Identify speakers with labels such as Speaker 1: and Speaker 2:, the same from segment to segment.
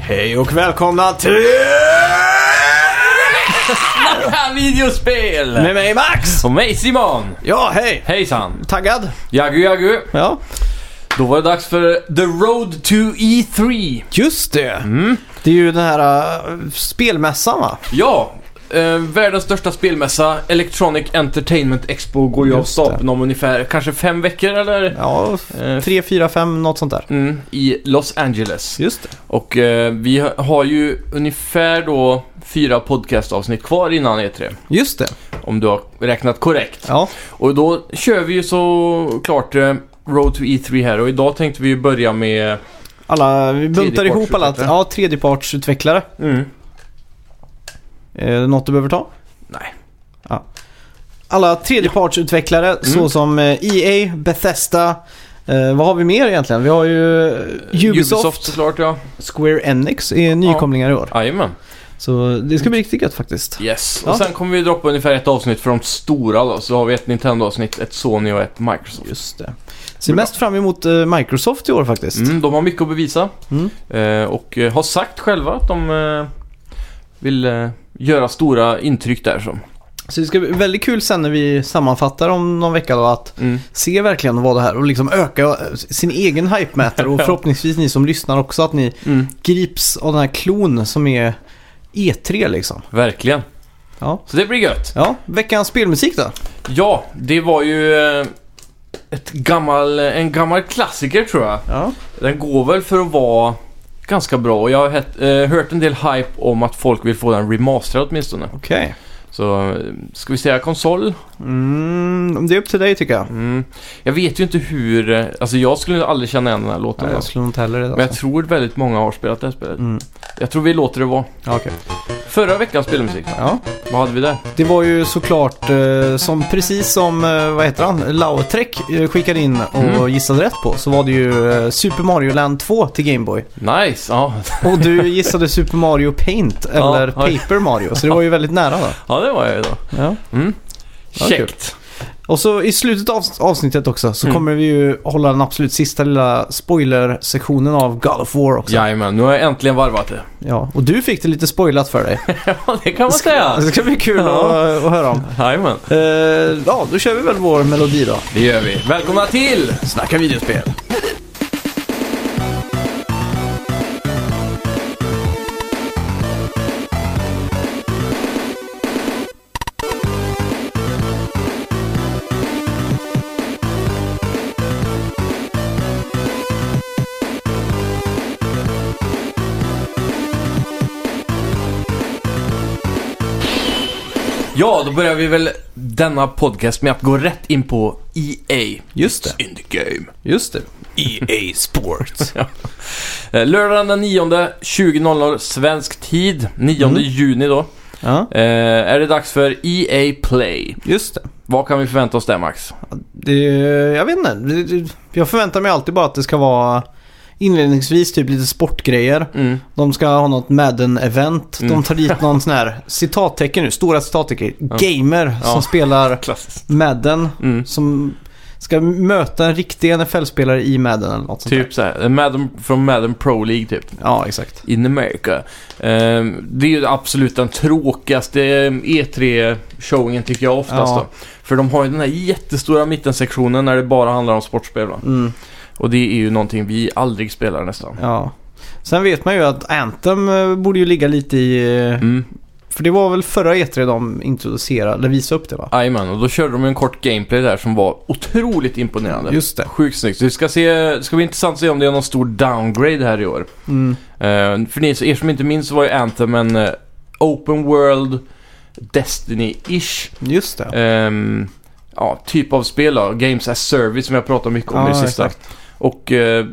Speaker 1: Hej och välkomna till...
Speaker 2: Snacka videospel!
Speaker 1: Med mig Max!
Speaker 2: Och mig Simon!
Speaker 1: Ja, hej!
Speaker 2: Hejsan!
Speaker 1: Taggad?
Speaker 2: Jagu jagu!
Speaker 1: Ja.
Speaker 2: Då var det dags för The Road to E E3.
Speaker 1: Just det! Det är ju den här äh, spelmässan va?
Speaker 2: Ja, eh, världens största spelmässa, Electronic Entertainment Expo, går ju av
Speaker 1: Just det.
Speaker 2: stapeln om ungefär kanske fem veckor eller?
Speaker 1: Ja, f-
Speaker 2: Eh,
Speaker 1: tre, fyra, fem, något sånt där.
Speaker 2: Mm, I Los Angeles.
Speaker 1: Just det.
Speaker 2: Och eh, vi ha- har ju ungefär då fyra podcastavsnitt kvar innan E3.
Speaker 1: Just det.
Speaker 2: Om du har räknat korrekt.
Speaker 1: Ja.
Speaker 2: Och då kör vi ju såklart eh, Road to E3 här och idag tänkte vi ju börja med
Speaker 1: Alla, vi buntar ihop alla.
Speaker 2: Tredjepartsutvecklare.
Speaker 1: Ja, tredjepartsutvecklare.
Speaker 2: mm,
Speaker 1: Eh, något du behöver ta?
Speaker 2: Nej.
Speaker 1: Alla tredjepartsutvecklare såsom eh, EA, Bethesda. Eh, vad har vi mer egentligen? Vi har ju eh, Ubisoft,
Speaker 2: såklart ja.
Speaker 1: Square Enix är nykomlingar i år.
Speaker 2: Jajamän.
Speaker 1: Så det ska bli riktigt gött faktiskt.
Speaker 2: Yes.
Speaker 1: Ja.
Speaker 2: Och sen kommer vi droppa ungefär ett avsnitt för de stora då. Så har vi ett Nintendo-avsnitt, ett Sony och ett Microsoft.
Speaker 1: Just det. Ser mest fram emot eh, Microsoft i år faktiskt.
Speaker 2: Mm, de har mycket att bevisa.
Speaker 1: Mm.
Speaker 2: Eh, och eh, har sagt själva att de eh, vill eh, göra stora intryck där. Så.
Speaker 1: Så det ska bli väldigt kul sen när vi sammanfattar om någon vecka då att
Speaker 2: Mm.
Speaker 1: se verkligen vad det här och liksom öka eh, sin egen hype-mätare och
Speaker 2: Ja.
Speaker 1: förhoppningsvis ni som lyssnar också att ni
Speaker 2: Mm.
Speaker 1: grips av den här klon som är E3 liksom.
Speaker 2: Verkligen.
Speaker 1: Ja.
Speaker 2: Så det blir gött.
Speaker 1: Ja, veckans spelmusik då?
Speaker 2: Ja, det var ju eh, ett gammal, en gammal klassiker tror jag.
Speaker 1: Ja.
Speaker 2: Den går väl för att vara ganska bra och jag har het, eh, hört en del hype om att folk vill få den remasterad åtminstone.
Speaker 1: Okej.
Speaker 2: Så eh, ska vi säga konsol?
Speaker 1: Mm, det är upp till dig tycker jag.
Speaker 2: Mm. Jag vet ju inte hur... eh, Alltså jag skulle aldrig känna igen den här låten.
Speaker 1: Nej, jag
Speaker 2: alltså.
Speaker 1: skulle nog inte heller det.
Speaker 2: Men jag
Speaker 1: alltså.
Speaker 2: tror väldigt många har spelat det här spelet.
Speaker 1: Mm.
Speaker 2: Jag tror vi låter det vara.
Speaker 1: Ja, okej.
Speaker 2: Förra veckans spelmusik,
Speaker 1: Ja.
Speaker 2: vad hade vi där?
Speaker 1: Det var ju såklart eh, som precis som, eh, vad heter han, Lautrec eh, skickade in och
Speaker 2: Mm.
Speaker 1: gissade rätt på så var det ju eh, Super Mario Land 2 till Gameboy.
Speaker 2: Nice! Ja,
Speaker 1: Och du gissade Super Mario Paint
Speaker 2: Ja,
Speaker 1: eller
Speaker 2: oj.
Speaker 1: Paper Mario så det var ju väldigt nära då.
Speaker 2: ja det var jag ju då.
Speaker 1: Ja.
Speaker 2: Mm.
Speaker 1: Ja, kul.
Speaker 2: Käckt!
Speaker 1: Och så i slutet av avsnittet också så
Speaker 2: Mm.
Speaker 1: kommer vi ju hålla den absolut sista lilla spoiler-sektionen av God of War också.
Speaker 2: Jajamän, nu har jag äntligen varvat det.
Speaker 1: Ja, och du fick det lite spoilat för dig.
Speaker 2: Ja, det kan
Speaker 1: Det
Speaker 2: man säga!
Speaker 1: ska bli kul
Speaker 2: Ja.
Speaker 1: att, att höra om.
Speaker 2: Jajamän,
Speaker 1: Eh, ja, då kör vi väl vår melodi då.
Speaker 2: det gör vi. Välkomna till!
Speaker 1: Snacka videospel.
Speaker 2: Ja, då börjar vi väl denna podcast med att gå rätt in på E EA.
Speaker 1: Just det.
Speaker 2: In the game.
Speaker 1: Just det.
Speaker 2: EA E Sports. Eh, Lördagen den 9, 20.00 svensk tid, 9
Speaker 1: Mm.
Speaker 2: juni då,
Speaker 1: Ja,
Speaker 2: eh, är det dags för EA Play.
Speaker 1: just det.
Speaker 2: Vad kan vi förvänta oss där Max?
Speaker 1: det. Jag vet inte. Det- det- Jag förväntar mig alltid bara att det ska vara inledningsvis typ lite sportgrejer.
Speaker 2: Mm.
Speaker 1: De ska ha något Madden-event.
Speaker 2: Mm.
Speaker 1: De tar dit någon sån här citattecken nu, stora citattecken. Gamer som
Speaker 2: Ja.
Speaker 1: spelar
Speaker 2: Klassiskt.
Speaker 1: Madden.
Speaker 2: Mm.
Speaker 1: Som ska möta en riktig NFL-spelare i Madden eller något sånt där.
Speaker 2: Typ såhär, Madden, från Madden Pro League typ.
Speaker 1: Ja, exakt.
Speaker 2: In America. Eh, det är ju absolut den tråkigaste eh, E3-showingen tycker jag oftast
Speaker 1: Ja.
Speaker 2: då. För de har ju den här jättestora mittensektionen när det bara handlar om sportspel va?
Speaker 1: Mm,
Speaker 2: Och det är ju någonting vi aldrig spelar nästan.
Speaker 1: ja. Sen vet man ju att Anthem eh, borde ju ligga lite i... eh,
Speaker 2: Mm.
Speaker 1: För det var väl förra E3 de introducerade, eller visade upp det va?
Speaker 2: Jajamän, och då körde de en kort gameplay där som var otroligt imponerande.
Speaker 1: Just det.
Speaker 2: Sjukt snyggt. Så Det ska, se, det ska bli intressant att se om det är någon stor downgrade här i år.
Speaker 1: Mm.
Speaker 2: Eh, för ni, er som inte minns så var ju Anthem en eh, open world Destiny-ish.
Speaker 1: Mm, Just det.
Speaker 2: ehm, ja, typ av spel då. Games as service som jag pratat mycket om i det
Speaker 1: Ja,
Speaker 2: sista. Och eh,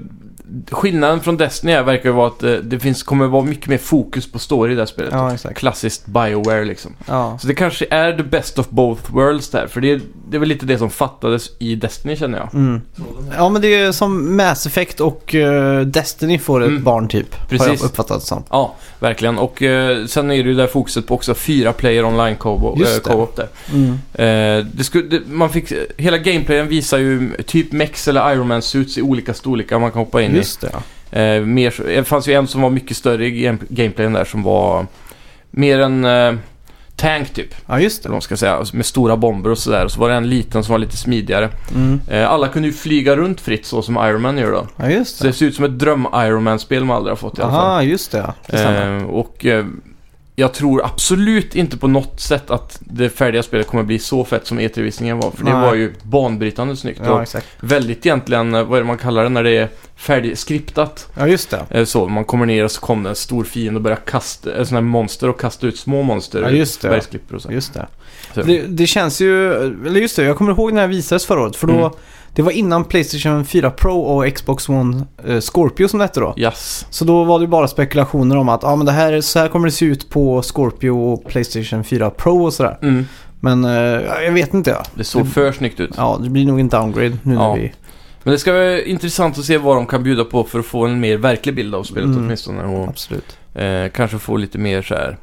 Speaker 2: skillnaden från Destiny här verkar ju vara att eh, det finns, kommer vara mycket mer fokus på story i det här spelet.
Speaker 1: Ja, exakt.
Speaker 2: Klassiskt Bioware liksom.
Speaker 1: Ja.
Speaker 2: Så det kanske är the best of both worlds där, för det är, det är väl lite det som fattades i Destiny känner jag.
Speaker 1: Mm. ja, men det är som Mass Effect och eh, Destiny får ett
Speaker 2: Mm.
Speaker 1: barn typ. Har jag
Speaker 2: Precis.
Speaker 1: uppfattat det som.
Speaker 2: Ja, verkligen. Och eh, sen är det ju där fokuset på också fyra player online co-op.
Speaker 1: Just
Speaker 2: eh,
Speaker 1: det.
Speaker 2: co-op där.
Speaker 1: Mm.
Speaker 2: Eh, det skulle, det, man fick, hela gameplayen visar ju typ Mex eller Iron Man suits i olika storlekar man kan hoppa in
Speaker 1: Just det. Ja.
Speaker 2: i. Eh, mer, så- det fanns ju en som var mycket större i game, gameplayen där som var mer en eh, tank typ.
Speaker 1: Ja, just
Speaker 2: Eller vad
Speaker 1: det.
Speaker 2: man ska säga. Med stora bomber och sådär. Och så var det en liten som var lite smidigare.
Speaker 1: Mm.
Speaker 2: Eh, alla kunde ju flyga runt fritt så som Iron Man gör då.
Speaker 1: Ja, just
Speaker 2: Så det
Speaker 1: det.
Speaker 2: ser ut som ett dröm-Iron Man-spel man aldrig har fått i alla fall.
Speaker 1: Aha, just det. ja. det stämmer.
Speaker 2: Eh, och eh, jag tror absolut inte på något sätt att det färdiga spelet kommer bli så fett som E3-visningen var. För det
Speaker 1: Nej.
Speaker 2: var ju banbrytande snyggt.
Speaker 1: Ja,
Speaker 2: och
Speaker 1: exakt.
Speaker 2: väldigt egentligen, eh, vad är det man kallar det när det är färdigskriptat?
Speaker 1: Ja, just det.
Speaker 2: Eh, så, man kommer ner och så kommer det en stor fiende och börjar kasta, eh, sådana här monster och kasta ut små monster.
Speaker 1: Ja, just det.
Speaker 2: Bergsklippor och så.
Speaker 1: Just det.
Speaker 2: Så-
Speaker 1: det. Det känns ju... Eller just det, jag kommer ihåg när det visades förra året. För då...
Speaker 2: Mm.
Speaker 1: Det var innan Playstation 4 Pro och Xbox One eh, Scorpio som det hette då.
Speaker 2: Yes.
Speaker 1: Så då var det ju bara spekulationer om att ah, men det här, så här kommer det se ut på Scorpio och Playstation 4 Pro och sådär.
Speaker 2: Mm.
Speaker 1: Men eh, jag vet inte. Ja.
Speaker 2: Det såg för snyggt ut.
Speaker 1: ja, det blir nog en downgrade nu
Speaker 2: Ja.
Speaker 1: när vi...
Speaker 2: Men det ska vara intressant att se vad de kan bjuda på för att få en mer verklig bild av spelet
Speaker 1: Mm.
Speaker 2: åtminstone. Och,
Speaker 1: Absolut.
Speaker 2: eh, kanske få lite mer så här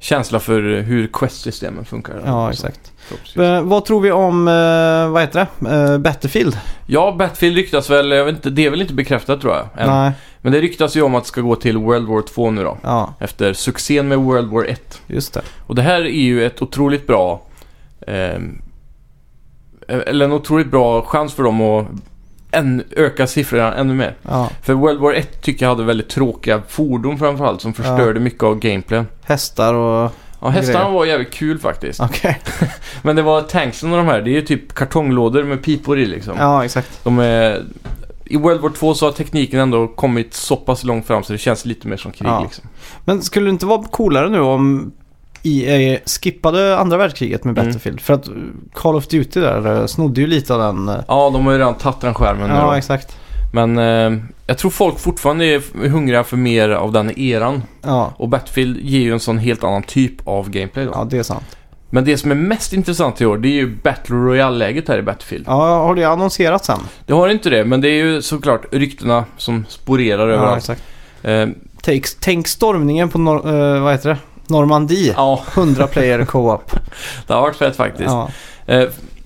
Speaker 2: känsla för hur quest-systemen funkar. Alltså,
Speaker 1: Ja,
Speaker 2: Så,
Speaker 1: exakt.
Speaker 2: förhoppningsvis.
Speaker 1: Eh, vad tror vi om, eh, vad heter det, eh, Battlefield?
Speaker 2: Ja, Battlefield ryktas väl, jag vet inte, det är väl inte bekräftat tror jag. Än.
Speaker 1: Nej,
Speaker 2: Men det ryktas ju om att det ska gå till World War 2 nu då.
Speaker 1: ja,
Speaker 2: Efter succén med World War 1.
Speaker 1: just det.
Speaker 2: Och det här är ju ett otroligt bra... ehm, eller en otroligt bra chans för dem att än, öka siffrorna ännu mer.
Speaker 1: Ja.
Speaker 2: För World War 1 tycker jag hade väldigt tråkiga fordon framförallt som förstörde mycket av gameplayen.
Speaker 1: Hästar och...
Speaker 2: Ja, hästarna
Speaker 1: Grejer.
Speaker 2: var jävligt kul faktiskt.
Speaker 1: Okej.
Speaker 2: Men det var tanksen och de här, det är ju typ kartonglådor med pipor i liksom.
Speaker 1: Ja, exakt.
Speaker 2: De är... I World War 2 så har tekniken ändå kommit så pass långt fram så det känns lite mer som krig
Speaker 1: Ja.
Speaker 2: liksom.
Speaker 1: Men skulle det inte vara coolare nu om EA skippade andra världskriget med
Speaker 2: Mm.
Speaker 1: Battlefield? För att eh, Call of Duty där eh, snodde ju lite av den... eh,
Speaker 2: Ja, de har ju redan tagit den skärmen nu
Speaker 1: ja,
Speaker 2: då.
Speaker 1: exakt.
Speaker 2: Men eh, jag tror folk fortfarande är f- hungriga för mer av den eran.
Speaker 1: Ja.
Speaker 2: Och Battlefield ger ju en sån helt annan typ av gameplay då.
Speaker 1: ja, det är sant.
Speaker 2: Men det som är mest intressant i år, det är ju Battle Royale-läget här i Battlefield.
Speaker 1: Ja, har det annonserats sen?
Speaker 2: Det har inte det, men det är ju såklart ryktena som sporerar
Speaker 1: Ja,
Speaker 2: överallt.
Speaker 1: exakt.
Speaker 2: Eh,
Speaker 1: Tänk, tänk stormningen på nor- eh, vad heter det? Normandie.
Speaker 2: ja,
Speaker 1: 100 player co-op.
Speaker 2: det har varit fett faktiskt.
Speaker 1: ja.
Speaker 2: Eh,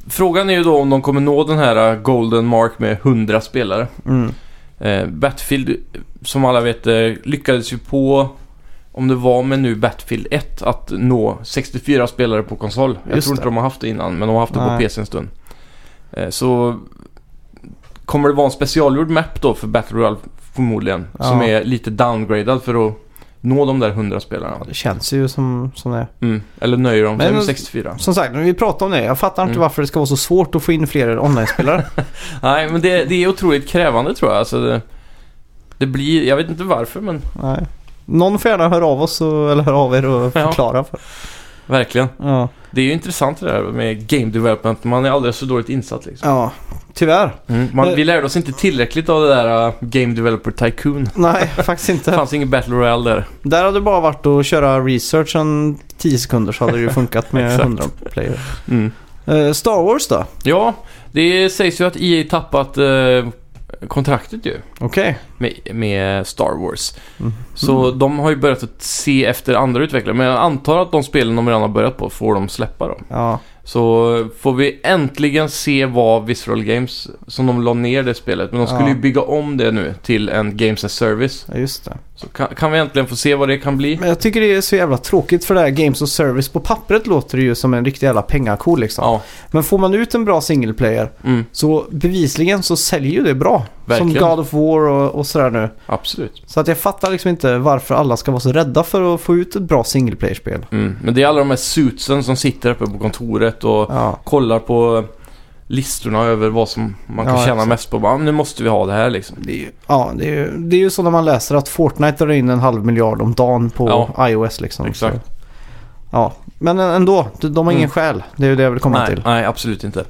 Speaker 2: frågan är ju då om de kommer nå den här eh, Golden Mark med 100 spelare.
Speaker 1: Mm.
Speaker 2: Eh, Battlefield, som alla vet, eh, lyckades ju på, om det var med nu Battlefield 1, att nå 64 spelare på konsol. Jag
Speaker 1: Just
Speaker 2: tror inte
Speaker 1: det.
Speaker 2: de har haft det innan, men de har haft det på
Speaker 1: Nej.
Speaker 2: PC en stund. Eh, så kommer det vara en specialgjord map då för Battle Royale förmodligen,
Speaker 1: Ja.
Speaker 2: som är lite downgradad för att nå de där 100 spelarna.
Speaker 1: Det känns ju som, som det är.
Speaker 2: Mm. Eller nöjer de sig
Speaker 1: Men-
Speaker 2: med 64?
Speaker 1: Som sagt, vi pratade om det. Jag fattar inte
Speaker 2: Mm.
Speaker 1: varför det ska vara så svårt att få in fler online-spelare.
Speaker 2: Nej, men det, det är otroligt krävande tror jag. Alltså, det, det blir, jag vet inte varför, men
Speaker 1: Nej. Någon får gärna höra av oss och, eller höra av er och
Speaker 2: Ja.
Speaker 1: förklara. För.
Speaker 2: verkligen.
Speaker 1: Ja.
Speaker 2: Det är ju intressant det där med game development. Man är alldeles för dåligt insatt liksom.
Speaker 1: ja, tyvärr.
Speaker 2: Man, vi lärde oss inte tillräckligt av det där uh, Game Developer Tycoon.
Speaker 1: Nej, faktiskt
Speaker 2: Det
Speaker 1: inte.
Speaker 2: fanns ingen Battle Royale där.
Speaker 1: Där hade det bara varit att köra researchen 10 sekunder så hade det ju funkat med
Speaker 2: Exakt.
Speaker 1: 100 player. Eh, Star Wars då?
Speaker 2: Ja, det sägs ju att EA tappat eh, kontraktet ju
Speaker 1: Okej.
Speaker 2: med, med Star Wars.
Speaker 1: Mm.
Speaker 2: Så de har ju börjat att se efter andra utvecklare. Men jag antar att de spelen de redan har börjat på får de släppa då.
Speaker 1: Ja.
Speaker 2: Så får vi äntligen se vad Visceral Games, som de la ner det spelet, men de skulle
Speaker 1: Ja.
Speaker 2: ju bygga om det nu till en Games as Service.
Speaker 1: ja, just det.
Speaker 2: Så kan, kan vi äntligen få se vad det kan bli?
Speaker 1: Men jag tycker det är så jävla tråkigt för det här Games of Service. På pappret låter det ju som en riktig jävla pengako liksom.
Speaker 2: Ja,
Speaker 1: Men får man ut en bra single player
Speaker 2: mm,
Speaker 1: så bevisligen så säljer ju det bra.
Speaker 2: Verkligen.
Speaker 1: Som God of War och, och sådär nu.
Speaker 2: absolut.
Speaker 1: Så att jag fattar liksom inte varför alla ska vara så rädda för att få ut ett bra single player-spel.
Speaker 2: Mm. Men det är alla de här suitsen som sitter uppe på kontoret och
Speaker 1: Ja.
Speaker 2: kollar på listorna över vad som man kan
Speaker 1: Ja,
Speaker 2: tjäna
Speaker 1: exakt.
Speaker 2: mest på. Bara, "Ah, men nu måste vi ha det här liksom.
Speaker 1: Det är, ju, ja, det, är ju, det är ju så när man läser att Fortnite drar in en halv miljard om dagen på
Speaker 2: Ja.
Speaker 1: iOS liksom.
Speaker 2: Exakt.
Speaker 1: Så, ja, men ändå. De de har ingen
Speaker 2: Mm.
Speaker 1: själ. Det är ju det jag vill komma
Speaker 2: nej,
Speaker 1: till.
Speaker 2: nej, absolut inte.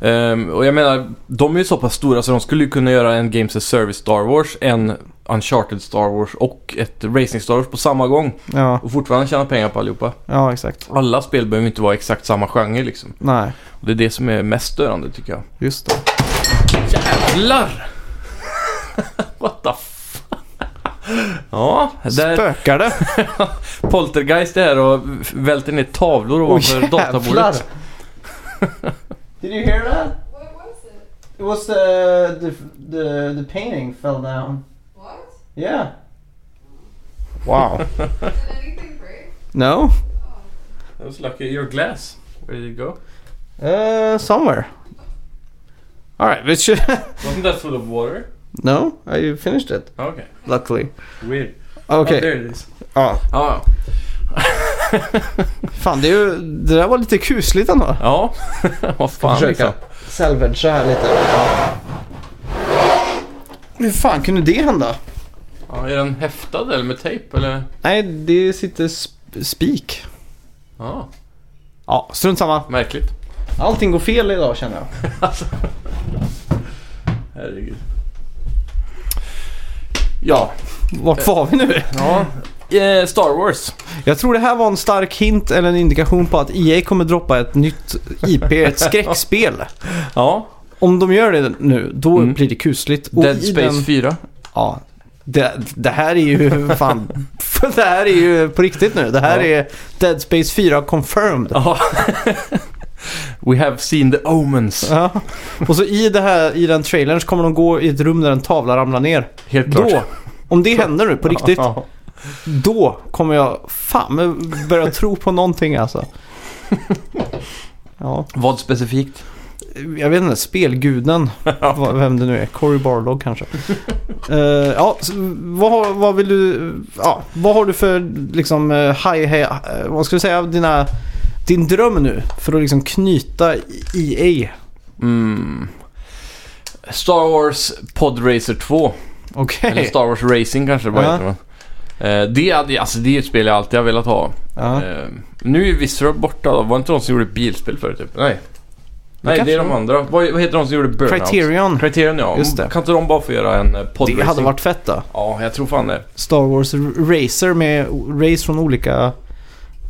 Speaker 2: Ehm, och jag menar, de är ju så pass stora så de skulle ju kunna göra en Games as Service Star Wars, en Uncharted Star Wars och ett Racing Star Wars på samma gång.
Speaker 1: Ja,
Speaker 2: Och fortfarande tjäna pengar på allihopa.
Speaker 1: ja, exakt.
Speaker 2: Alla spel behöver inte vara exakt samma genre liksom.
Speaker 1: Nej,
Speaker 2: Och det är det som är mest störande tycker jag.
Speaker 1: just det.
Speaker 2: Jävlar! What the fuck? Ja, där
Speaker 1: Spökar det?
Speaker 2: poltergeist är här och välter ner tavlor ovanför databordet.
Speaker 1: Oh, Did you hear that?
Speaker 3: What was it?
Speaker 1: It was the, the, the, the painting fell down.
Speaker 3: What?
Speaker 1: Yeah.
Speaker 3: Wow.
Speaker 4: Did anything break?
Speaker 1: No?
Speaker 4: Oh.
Speaker 2: I was lucky. Your glass. Where did it go?
Speaker 1: Uh, somewhere. Alright, we should...
Speaker 2: Wasn't that full of water?
Speaker 1: no? I finished it.
Speaker 2: Okay.
Speaker 1: Luckily.
Speaker 2: Weird. Oh,
Speaker 1: Okej.
Speaker 2: there it is.
Speaker 1: Ja.
Speaker 2: Ja.
Speaker 1: Fan, det, är ju, det där var lite kusligt ändå.
Speaker 2: Ja. Vad fan
Speaker 1: Försöka
Speaker 2: liksom.
Speaker 1: salvagea här lite. Hur fan kunde det hända?
Speaker 2: Ja, är den häftad eller med tejp eller?
Speaker 1: Nej, det sitter sp- spik.
Speaker 2: Ja.
Speaker 1: Ja, strunt samma.
Speaker 2: Märkligt.
Speaker 1: Allting går fel idag känner jag.
Speaker 2: Herregud. Ja.
Speaker 1: Vart var vi nu?
Speaker 2: ja. Eh, Star Wars.
Speaker 1: Jag tror det här var en stark hint eller en indikation på att EA kommer droppa ett nytt IP, ett skräckspel.
Speaker 2: Ja.
Speaker 1: Om de gör det nu, då
Speaker 2: Mm.
Speaker 1: blir det kusligt. Och
Speaker 2: Dead
Speaker 1: i
Speaker 2: Space
Speaker 1: den-
Speaker 2: 4.
Speaker 1: Ja. Det, det här är ju fan... det här är ju på riktigt nu. Det här
Speaker 2: Ja.
Speaker 1: är Dead Space 4 confirmed.
Speaker 2: Ja. We have seen the omens.
Speaker 1: Ja. Och så i, det här, i den trailern så kommer de gå i ett rum där en tavla ramlar ner.
Speaker 2: Helt klart.
Speaker 1: Då, om det händer nu på riktigt,
Speaker 2: Ja.
Speaker 1: då kommer jag fan men börja tro på någonting alltså. Ja,
Speaker 2: Vad specifikt?
Speaker 1: jag vet inte, spelguden, vad- vem det nu är, Cory Barlog kanske. Eh, ja, så vad, har- vad vill du, ja, vad har du för liksom eh, high, high eh, vad ska du säga, dina, din dröm nu för att liksom knyta E EA?
Speaker 2: Mm. Star Wars Podracer 2.
Speaker 1: Okej.
Speaker 2: Eller Star Wars Racing kanske det bara
Speaker 1: Ja.
Speaker 2: heter. Men. Eh, det, hade, alltså, det är ju ett spel jag alltid har velat ha.
Speaker 1: Ja.
Speaker 2: Eh, nu är ju Visceral borta då. Var det inte de som gjorde bilspel förut? Typ? Nej. Nej, det
Speaker 1: kanske
Speaker 2: är de
Speaker 1: var.
Speaker 2: andra. Vad, vad heter de som gjorde Burnout?
Speaker 1: Criterion.
Speaker 2: Criterion ja.
Speaker 1: Just det.
Speaker 2: Kan inte de bara få göra en eh, podracing?
Speaker 1: Det hade varit fett då.
Speaker 2: Ja, jag tror fan det.
Speaker 1: Star Wars R- Racer med o- race från olika uh,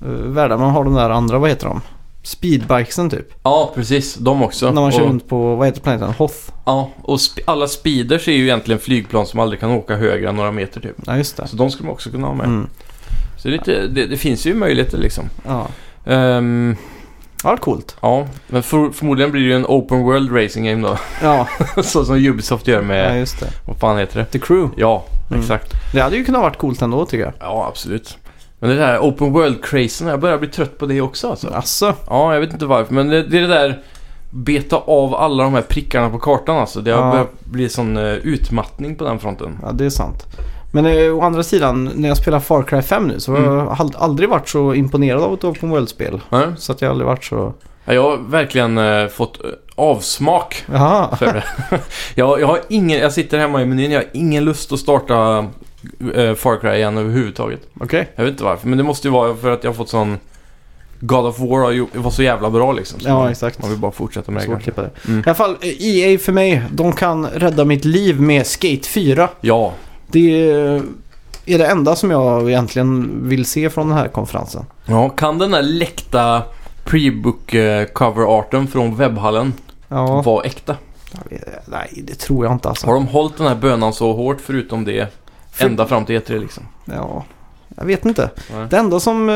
Speaker 1: världar. Man har de där andra, vad heter de? Speedbikesen typ.
Speaker 2: Ja, precis. De också.
Speaker 1: När man kör
Speaker 2: och,
Speaker 1: runt på, vad heter planeten? Hoth.
Speaker 2: Ja, och sp- alla speeders är ju egentligen flygplan som aldrig kan åka högre än några meter typ.
Speaker 1: Ja, just det.
Speaker 2: Så de skulle man också kunna ha med.
Speaker 1: Mm.
Speaker 2: Så det, är lite, det, det finns ju möjligheter liksom.
Speaker 1: Ja.
Speaker 2: Ehm,
Speaker 1: ja, det är coolt.
Speaker 2: ja, men för, förmodligen blir det ju en open world racing game då.
Speaker 1: Ja,
Speaker 2: Så som Ubisoft gör
Speaker 1: ja,
Speaker 2: med,
Speaker 1: just det.
Speaker 2: vad fan heter det?
Speaker 1: The Crew.
Speaker 2: Ja,
Speaker 1: Mm.
Speaker 2: exakt.
Speaker 1: Det hade ju kunnat varit coolt ändå tycker jag.
Speaker 2: Ja, absolut. Men det där open world-crazen, jag börjar bli trött på det också alltså.
Speaker 1: Alltså,
Speaker 2: Ja, jag vet inte varför, men det, det är det där beta av alla de här prickarna på kartan alltså. Det har
Speaker 1: Ja.
Speaker 2: börjat bli sån eh, utmattning på den fronten.
Speaker 1: ja det är sant. Men eh, å andra sidan, när jag spelar Far Cry 5 nu så har
Speaker 2: Mm.
Speaker 1: jag hal- aldrig varit så imponerad av ett Open World-spel.
Speaker 2: Nej.
Speaker 1: Så att jag har aldrig varit så...
Speaker 2: Ja, jag har verkligen eh, fått eh, avsmak
Speaker 1: Jaha.
Speaker 2: för det. jag, jag har ingen, jag sitter hemma i menyn, jag har ingen lust att starta eh, Far Cry igen överhuvudtaget.
Speaker 1: Okej.
Speaker 2: Jag vet inte varför, men det måste ju vara för att jag har fått sån... God of War har ju- var så jävla bra liksom. Så
Speaker 1: Ja,
Speaker 2: man-
Speaker 1: exakt.
Speaker 2: Man vill bara fortsätta med det
Speaker 1: Svårt att
Speaker 2: kanske.
Speaker 1: klippa det.
Speaker 2: Mm.
Speaker 1: I alla fall, EA för mig, de kan rädda mitt liv med Skate 4.
Speaker 2: Ja,
Speaker 1: Det är- är det enda som jag egentligen vill se från den här konferensen.
Speaker 2: Ja, kan den där läckta prebook eh, cover-arten från webbhallen
Speaker 1: Ja, Eh,
Speaker 2: vara äkta?
Speaker 1: nej det tror jag inte
Speaker 2: Har
Speaker 1: alltså.
Speaker 2: de hållit den här bönan så hårt förutom det
Speaker 1: För-
Speaker 2: ända fram till E3 liksom?
Speaker 1: Ja, jag vet inte.
Speaker 2: Nej.
Speaker 1: Det enda som eh,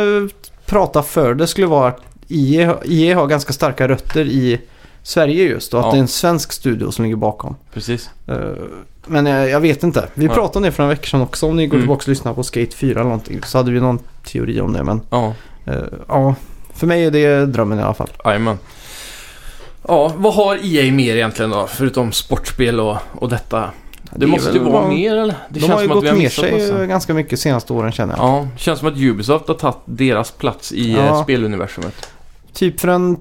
Speaker 1: pratar för det skulle vara att E EA, EA har ganska starka rötter i Sverige just och att
Speaker 2: Ja.
Speaker 1: det är en svensk studio som ligger bakom.
Speaker 2: Precis.
Speaker 1: Eh, Men jag, jag vet inte. Vi
Speaker 2: Nej.
Speaker 1: pratade om det för några veckor sedan också. Om ni går
Speaker 2: Mm.
Speaker 1: tillbaka och lyssnar på Skate 4 eller någonting så hade vi någon teori om det. Men
Speaker 2: Ja,
Speaker 1: Eh, ja, för mig är det drömmen i alla fall.
Speaker 2: jajamän. Ja, vad har EA mer egentligen då? Förutom sportspel och, och detta. Det,
Speaker 1: är
Speaker 2: måste ju
Speaker 1: väl
Speaker 2: vara
Speaker 1: vad-
Speaker 2: mer eller? Det
Speaker 1: de har ju
Speaker 2: som att vi
Speaker 1: gått ner
Speaker 2: missat
Speaker 1: sig eh,
Speaker 2: massa.
Speaker 1: ganska mycket senaste åren känner jag.
Speaker 2: Ja, det känns som att Ubisoft har tagit deras plats i
Speaker 1: Ja.
Speaker 2: eh, speluniversumet.
Speaker 1: Typ för en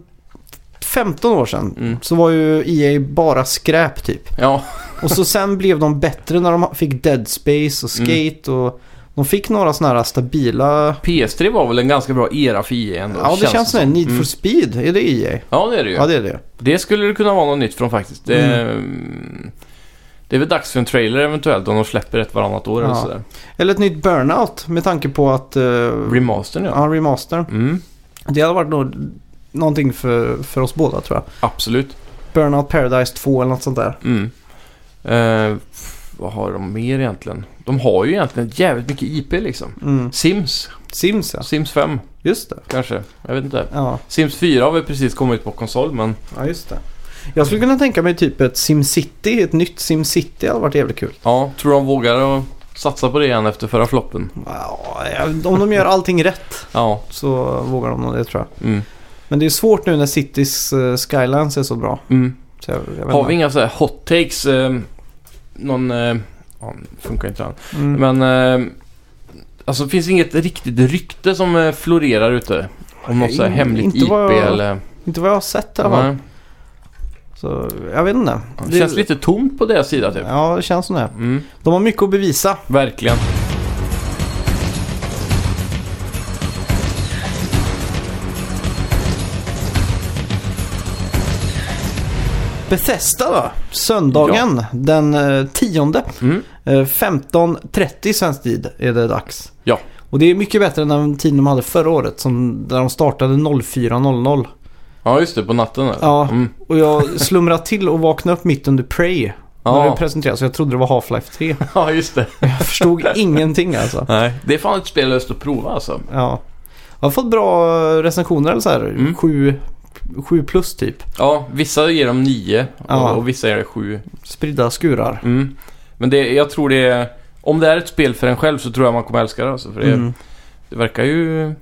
Speaker 1: 15 år sedan
Speaker 2: Mm.
Speaker 1: så var ju EA bara skräp typ.
Speaker 2: Ja,
Speaker 1: Och så sen blev de bättre när de fick Dead Space
Speaker 2: Mm.
Speaker 1: och Skate och de fick några sådana här stabila...
Speaker 2: PS3 var väl en ganska bra era för EA ändå?
Speaker 1: Ja, det känns som det. Need for
Speaker 2: Mm.
Speaker 1: Speed, är det EA?
Speaker 2: Ja, det är det ju.
Speaker 1: Ja, det är det.
Speaker 2: Det skulle det kunna vara något nytt från faktiskt. Det,
Speaker 1: Mm.
Speaker 2: det är väl dags för en trailer eventuellt om de släpper ett varannat år eller
Speaker 1: Ja.
Speaker 2: sådär.
Speaker 1: Eller ett nytt Burnout med tanke på att... Uh,
Speaker 2: Remastern ja.
Speaker 1: ja, remastern.
Speaker 2: Mm,
Speaker 1: Det hade varit nå- någonting för, för oss båda tror jag.
Speaker 2: absolut.
Speaker 1: Burnout Paradise 2 eller något sånt där.
Speaker 2: Mm. Eh, f- vad har de mer egentligen? De har ju egentligen jävligt mycket IP liksom.
Speaker 1: Mm.
Speaker 2: Sims.
Speaker 1: Sims ja,
Speaker 2: Sims 5
Speaker 1: just det.
Speaker 2: kanske. Jag vet inte.
Speaker 1: Ja,
Speaker 2: Sims 4 har väl precis kommit på konsol men
Speaker 1: ja just det. Jag skulle kunna tänka mig typ ett SimCity, ett nytt SimCity hade varit jävligt kul.
Speaker 2: ja, tror de vågar att Satsa på det igen efter förra floppen.
Speaker 1: Ja, jag- om de gör allting rätt
Speaker 2: Ja.
Speaker 1: så vågar de nog det tror jag.
Speaker 2: Mm.
Speaker 1: Men det är svårt nu när Citys eh, Skylines är så bra.
Speaker 2: Mm.
Speaker 1: Så jag, jag vet
Speaker 2: Har vi
Speaker 1: inte.
Speaker 2: inga så här hot takes? Eh, någon... Eh, ja, funkar inte han.
Speaker 1: Mm.
Speaker 2: Men... Eh, alltså finns det inget riktigt rykte som eh, florerar ute? Om något så här
Speaker 1: Nej,
Speaker 2: hemligt
Speaker 1: inte
Speaker 2: IP
Speaker 1: vad jag-
Speaker 2: eller...
Speaker 1: Inte vad jag har sett i alla fall.
Speaker 2: Nej.
Speaker 1: Så jag vet inte.
Speaker 2: Det känns lite tomt på deras sida typ.
Speaker 1: Ja, det känns som det.
Speaker 2: Mm.
Speaker 1: De har mycket att bevisa.
Speaker 2: Verkligen.
Speaker 1: Bethesda då? Söndagen den eh, 10.
Speaker 2: Mm.
Speaker 1: Eh, 15.30 svensk tid är det dags.
Speaker 2: Ja.
Speaker 1: Och det är mycket bättre än den tiden de hade förra året som, där de startade 04.00.
Speaker 2: Ja, just det. På natten eller?
Speaker 1: Ja.
Speaker 2: Mm.
Speaker 1: Och jag slumrade till och vaknade upp mitt under Prey. När det
Speaker 2: Ja.
Speaker 1: presenterades så jag trodde det var Half-Life 3.
Speaker 2: ja, just det.
Speaker 1: Jag förstod ingenting alltså.
Speaker 2: Nej. Det är fan ett spel jag har lust att prova alltså.
Speaker 1: Ja. Jag har fått bra recensioner eller så här.
Speaker 2: Mm.
Speaker 1: 7 7 plus typ.
Speaker 2: Ja, vissa ger dem nio
Speaker 1: Ja.
Speaker 2: och, och vissa ger det sju.
Speaker 1: Spridda skurar.
Speaker 2: Mm. Men det, jag tror det är... Om det är ett spel för en själv så tror jag man kommer älska det alltså. För det,
Speaker 1: Mm.
Speaker 2: det verkar ju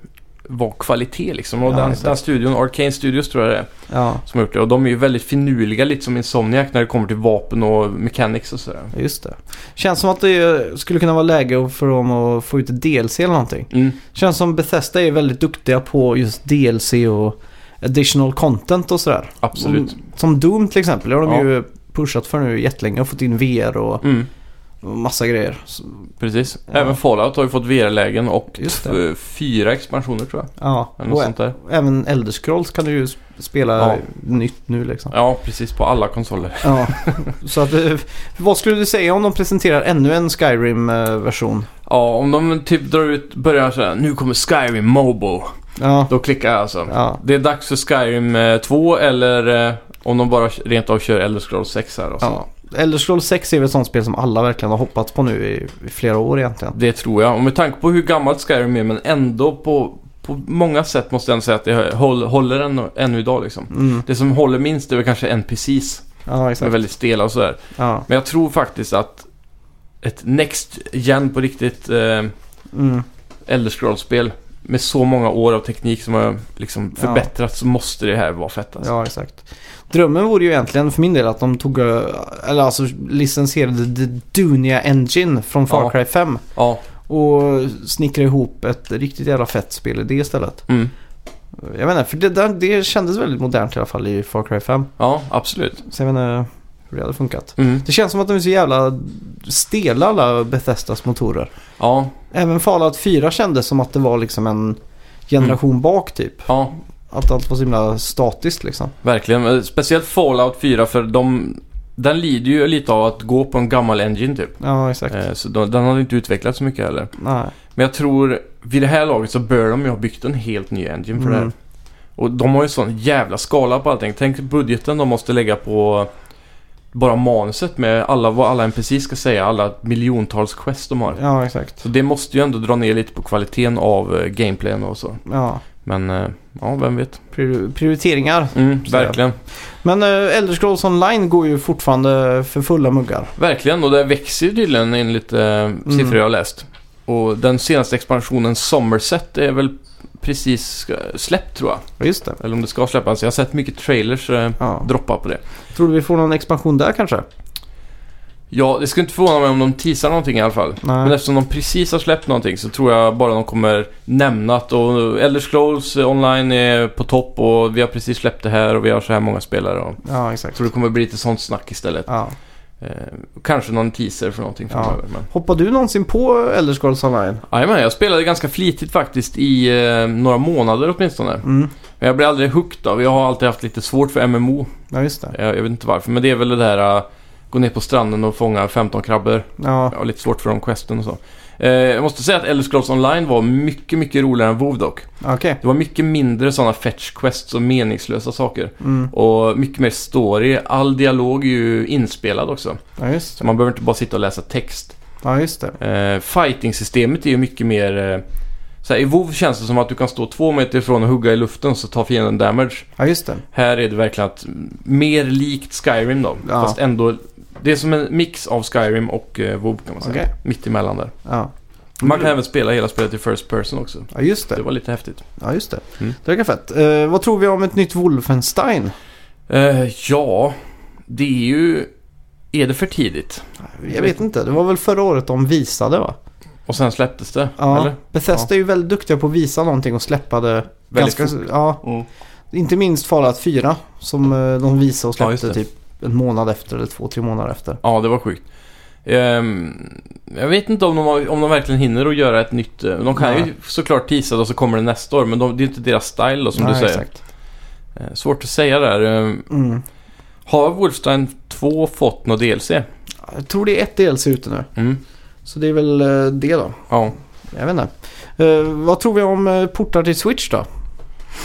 Speaker 2: vara kvalitet liksom. Och
Speaker 1: Ja,
Speaker 2: den,
Speaker 1: exakt.
Speaker 2: den studion, Arcane Studios tror jag det är,
Speaker 1: Ja,
Speaker 2: som har gjort det. Och de är ju väldigt finurliga, lite som Insomniac när det kommer till vapen och mechanics och sådär.
Speaker 1: just det. Känns som att det skulle kunna vara läge för dem att få ut ett DLC eller någonting.
Speaker 2: Mm.
Speaker 1: Känns som Bethesda är väldigt duktiga på just DLC och additional content och sådär.
Speaker 2: Absolut.
Speaker 1: Som Doom till exempel. Det har de
Speaker 2: Ja.
Speaker 1: ju pushat för nu jättelänge och fått in VR och
Speaker 2: Mm.
Speaker 1: och massa grejer. Så,
Speaker 2: Precis.
Speaker 1: Ja.
Speaker 2: Även Fallout har ju fått VR-lägen och
Speaker 1: Just
Speaker 2: t-
Speaker 1: det. Oh,
Speaker 2: fyra expansioner tror jag.
Speaker 1: ja.
Speaker 2: Eller något
Speaker 1: Och
Speaker 2: sånt där.
Speaker 1: även Elder Scrolls kan du ju sp- spela
Speaker 2: Ja.
Speaker 1: nytt nu liksom.
Speaker 2: Ja, precis. På alla konsoler.
Speaker 1: Ja. Så att, eh, vad skulle du säga om de presenterar ännu en eh, Skyrim-version?
Speaker 2: Ja, om de typ drar ut, börjar sådär, nu kommer Skyrim Mobo.
Speaker 1: Ja.
Speaker 2: Då klickar jag alltså.
Speaker 1: ja.
Speaker 2: Det är dags för Skyrim eh, 2 eller eh, om de bara rent av kör Elder Scrolls 6 här. Alltså.
Speaker 1: ja. Elder Scrolls 6 är väl ett sånt spel som alla verkligen har hoppats på nu i, i flera år egentligen.
Speaker 2: Det tror jag. Och med tanke på hur gammalt Skyrim är, men ändå på, på många sätt måste jag ändå säga att det håll, håller än, ännu idag liksom.
Speaker 1: Mm.
Speaker 2: Det som håller minst är väl kanske NPCs.
Speaker 1: Ja,
Speaker 2: Som är
Speaker 1: exakt.
Speaker 2: väldigt stela och sådär.
Speaker 1: Ja.
Speaker 2: Men jag tror faktiskt att ett Next Gen på riktigt eh,
Speaker 1: Mm.
Speaker 2: Elder Scrolls-spel med så många år av teknik som har liksom
Speaker 1: Ja.
Speaker 2: förbättrats så måste det här vara fett alltså.
Speaker 1: Ja, exakt. Drömmen vore ju egentligen för min del att de tog, eh, eller alltså licensierade The Dunia Engine från Far
Speaker 2: Ja.
Speaker 1: Cry 5
Speaker 2: Ja.
Speaker 1: och snickrade ihop ett riktigt jävla fett spel i det istället.
Speaker 2: Mm.
Speaker 1: Jag menar, för det, där- det kändes väldigt modernt i alla fall i Far Cry 5.
Speaker 2: ja, absolut.
Speaker 1: Så jag menar hur det hade funkat.
Speaker 2: Mm.
Speaker 1: Det känns som att de är så jävla stela alla Bethesdas motorer.
Speaker 2: Ja,
Speaker 1: Även Fallout 4 kändes som att det var liksom en generation
Speaker 2: Mm.
Speaker 1: bak typ.
Speaker 2: ja,
Speaker 1: Att allt var så himla statiskt liksom.
Speaker 2: verkligen. Eh, Speciellt Fallout 4 för de, den lider ju lite av att gå på en gammal engine typ.
Speaker 1: Ja, exakt.
Speaker 2: Eh, Så de, den har inte utvecklats så mycket heller.
Speaker 1: Nej.
Speaker 2: Men jag tror vid det här laget så bör de ju ha byggt en helt ny engine för det
Speaker 1: Mm.
Speaker 2: här. Och de har ju sån jävla skala på allting. Tänk budgeten de måste lägga på bara manuset med alla, vad alla NPC ska säga, alla miljontals quest de har.
Speaker 1: Ja, exakt.
Speaker 2: Så det måste ju ändå dra ner lite på kvaliteten av eh, gameplayen och så.
Speaker 1: Ja.
Speaker 2: Men eh, ja, vem vet.
Speaker 1: prior- prioriteringar.
Speaker 2: Mm,
Speaker 1: Så är det.
Speaker 2: verkligen.
Speaker 1: Men eh, Elder Scrolls Online går ju fortfarande för fulla muggar.
Speaker 2: Verkligen, och det växer ju tydligen enligt eh,
Speaker 1: Mm.
Speaker 2: siffror jag har läst. Och den senaste expansionen Somerset är väl precis eh, släppt tror jag.
Speaker 1: Ja, Just det.
Speaker 2: Eller om det ska släppas. Jag har sett mycket trailers eh,
Speaker 1: Ja.
Speaker 2: droppa på det.
Speaker 1: Tror du vi får någon expansion där kanske?
Speaker 2: Ja, det skulle inte förvåna mig om de teasar någonting i alla fall. Men
Speaker 1: Nej.
Speaker 2: eftersom de precis har släppt någonting så tror jag bara de kommer nämna att och Elder Scrolls eh, online är på topp och vi har precis släppt det här och vi har så här många spelare. Och
Speaker 1: Ja,
Speaker 2: jag
Speaker 1: exakt.
Speaker 2: tror det kommer bli lite sånt snack istället.
Speaker 1: Ja.
Speaker 2: Eh, kanske någon teaser för någonting
Speaker 1: Ja.
Speaker 2: framöver. Men...
Speaker 1: Hoppar du någonsin på Elder Scrolls Online?
Speaker 2: Jajamän, jag spelade ganska flitigt faktiskt i eh, några månader åtminstone.
Speaker 1: Mm.
Speaker 2: Men jag blev aldrig hooked av. Jag har alltid haft lite svårt för MMO.
Speaker 1: Ja, just det.
Speaker 2: Eh, Jag, jag vet inte varför, men det är väl det där eh, gå ner på stranden och fånga 15 krabbor.
Speaker 1: Ja.
Speaker 2: Jag har lite svårt för de questen och så. Eh, jag måste säga att Elder Scrolls Online var mycket, mycket roligare än WoW dock.
Speaker 1: Okej.
Speaker 2: Det var mycket mindre sådana fetch quests och meningslösa saker.
Speaker 1: Mm.
Speaker 2: Och mycket mer story. All dialog är ju inspelad också.
Speaker 1: Ja, just
Speaker 2: Så
Speaker 1: det.
Speaker 2: man behöver inte bara sitta och läsa text.
Speaker 1: Ja, just det.
Speaker 2: Eh, fighting-systemet är ju mycket mer... Eh, såhär, I WoW känns det som att du kan stå två meter ifrån och hugga i luften så tar fienden damage.
Speaker 1: Ja, just det.
Speaker 2: Här är det verkligen att mm, mer likt Skyrim då.
Speaker 1: Ja.
Speaker 2: Fast ändå Det är som en mix av Skyrim och eh, WoW kan man säga.
Speaker 1: Okej. Mm.
Speaker 2: Mitt emellan där.
Speaker 1: Ja.
Speaker 2: Man kan även spela hela spelet i First Person också.
Speaker 1: ja, just
Speaker 2: Det
Speaker 1: det.
Speaker 2: var lite häftigt.
Speaker 1: Ja, just det.
Speaker 2: Mm.
Speaker 1: Det verkar fett. Eh, vad tror vi om ett nytt Wolfenstein?
Speaker 2: Eh, ja, det är ju... Är det för tidigt?
Speaker 1: Jag vet inte. Det var väl förra året de visade va?
Speaker 2: Och sen släpptes det?
Speaker 1: Ja.
Speaker 2: Eller?
Speaker 1: Bethesda är ju väldigt duktiga på att visa någonting och släppa det.
Speaker 2: Väldigt
Speaker 1: ganska, ja,
Speaker 2: Mm.
Speaker 1: inte minst Fallout 4 som eh, de visade och
Speaker 2: Ja, just
Speaker 1: släppte
Speaker 2: det.
Speaker 1: typ en månad efter eller två, tre månader efter.
Speaker 2: Ja, det var sjukt. Ehm, jag vet inte om de, har- om de verkligen hinner att göra ett nytt. eh, De kan ju
Speaker 1: Nej.
Speaker 2: såklart teasa det och så kommer det nästa år. Men de, det är inte deras style då, som
Speaker 1: Nej,
Speaker 2: du säger.
Speaker 1: Exakt.
Speaker 2: Eh, Svårt att säga där. Ehm,
Speaker 1: Mm.
Speaker 2: Har Wolfenstein 2 fått något DLC?
Speaker 1: Jag tror det är ett DLC ute nu.
Speaker 2: Mm.
Speaker 1: Så det är väl eh, det då.
Speaker 2: Ja.
Speaker 1: Jag vet inte. Eh, vad tror vi om eh, portar till Switch då?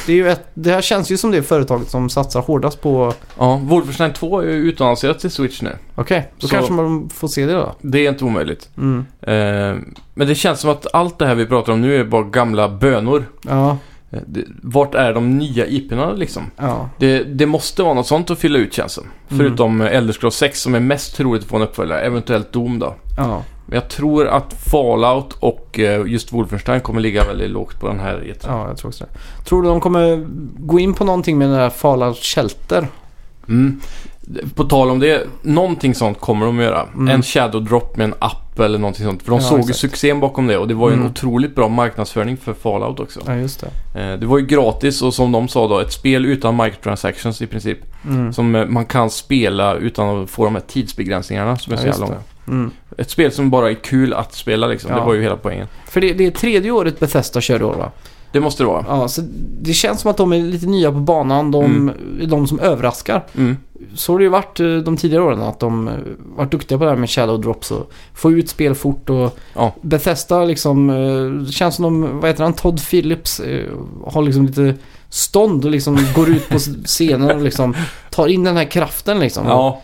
Speaker 1: Det, är ju ett, det här känns ju som det företaget som satsar hårdast på...
Speaker 2: ja. Wolfenstein 2 är ju utannonserat till Switch nu.
Speaker 1: Okej, då
Speaker 2: Så-
Speaker 1: kanske man får se det då.
Speaker 2: Det är inte omöjligt.
Speaker 1: Mm.
Speaker 2: Ehm, men det känns som att allt det här vi pratar om nu är bara gamla bönor.
Speaker 1: Ja,
Speaker 2: Eh, det- Vart är de nya IP-erna liksom?
Speaker 1: ja,
Speaker 2: Det, det måste vara något sånt att fylla ut känns det.
Speaker 1: Mm.
Speaker 2: Förutom eh, Elder Scrolls 6 som är mest troligt att få en uppföljare. Eventuellt Doom då.
Speaker 1: ja.
Speaker 2: Men jag tror att Fallout och eh, just Wolfenstein kommer ligga väldigt lågt på den här E E3.
Speaker 1: Ja, jag tror också det. Tror du de kommer gå in på någonting med den där Fallout Shelter?
Speaker 2: Mm. På tal om det, någonting sånt kommer de att göra.
Speaker 1: Mm.
Speaker 2: En shadow drop med en app eller någonting sånt. För de
Speaker 1: Ja,
Speaker 2: såg ju
Speaker 1: exakt.
Speaker 2: succén bakom det och det var ju en
Speaker 1: Mm.
Speaker 2: otroligt bra marknadsföring för Fallout också.
Speaker 1: Ja, just det.
Speaker 2: Eh, det var ju gratis och som de sa då, ett spel utan microtransactions i princip.
Speaker 1: Mm.
Speaker 2: Som eh, man kan spela utan att få de här tidsbegränsningarna som är
Speaker 1: Ja,
Speaker 2: så jävla
Speaker 1: just
Speaker 2: långa.
Speaker 1: det. Mm.
Speaker 2: Ett spel som bara är kul att spela liksom.
Speaker 1: Ja.
Speaker 2: Det var ju hela poängen.
Speaker 1: För det, det är tredje året Bethesda kör då va?
Speaker 2: Det måste det vara.
Speaker 1: Ja, så det känns som att de är lite nya på banan. De är de som överraskar.
Speaker 2: Mm.
Speaker 1: Så har det ju varit eh, de tidigare åren att de eh, varit duktiga på det här med shadow drops och få ut spel fort och
Speaker 2: Ja.
Speaker 1: Bethesda liksom, eh, det känns som de, vad heter han, Todd Phillips eh, har liksom lite stånd och liksom går ut på scenen och liksom tar in den här kraften liksom.
Speaker 2: Ja,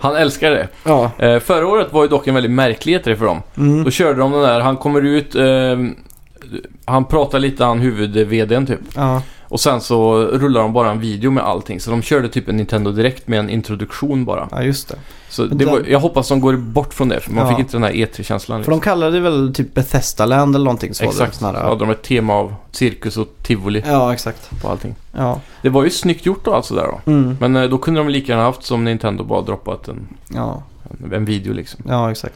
Speaker 2: han älskar det.
Speaker 1: Ja.
Speaker 2: Eh, förra året var ju dock en väldigt märklig E3 för dem.
Speaker 1: Mm.
Speaker 2: Då körde de den där, han kommer ut, eh, han pratar lite, han huvud-VDn typ.
Speaker 1: ja.
Speaker 2: Och sen så rullar de bara en video med allting. Så de körde typ en Nintendo Direkt med en introduktion bara.
Speaker 1: Ja, just det.
Speaker 2: Så
Speaker 1: Men
Speaker 2: det var,
Speaker 1: den-
Speaker 2: jag hoppas de går bort från det, för man
Speaker 1: Ja.
Speaker 2: fick inte den här E E3-känslan.
Speaker 1: För de kallade det väl typ Bethesda Land eller någonting så var det
Speaker 2: Exakt,
Speaker 1: sån här-
Speaker 2: då hade liksom. de ett tema av cirkus och tivoli
Speaker 1: Ja, exakt.
Speaker 2: på allting.
Speaker 1: Ja.
Speaker 2: Det var ju snyggt gjort då alltså där då.
Speaker 1: Mm.
Speaker 2: Men eh, då kunde de lika gärna haft som Nintendo bara droppat en,
Speaker 1: Ja.
Speaker 2: en, en video liksom.
Speaker 1: ja, exakt.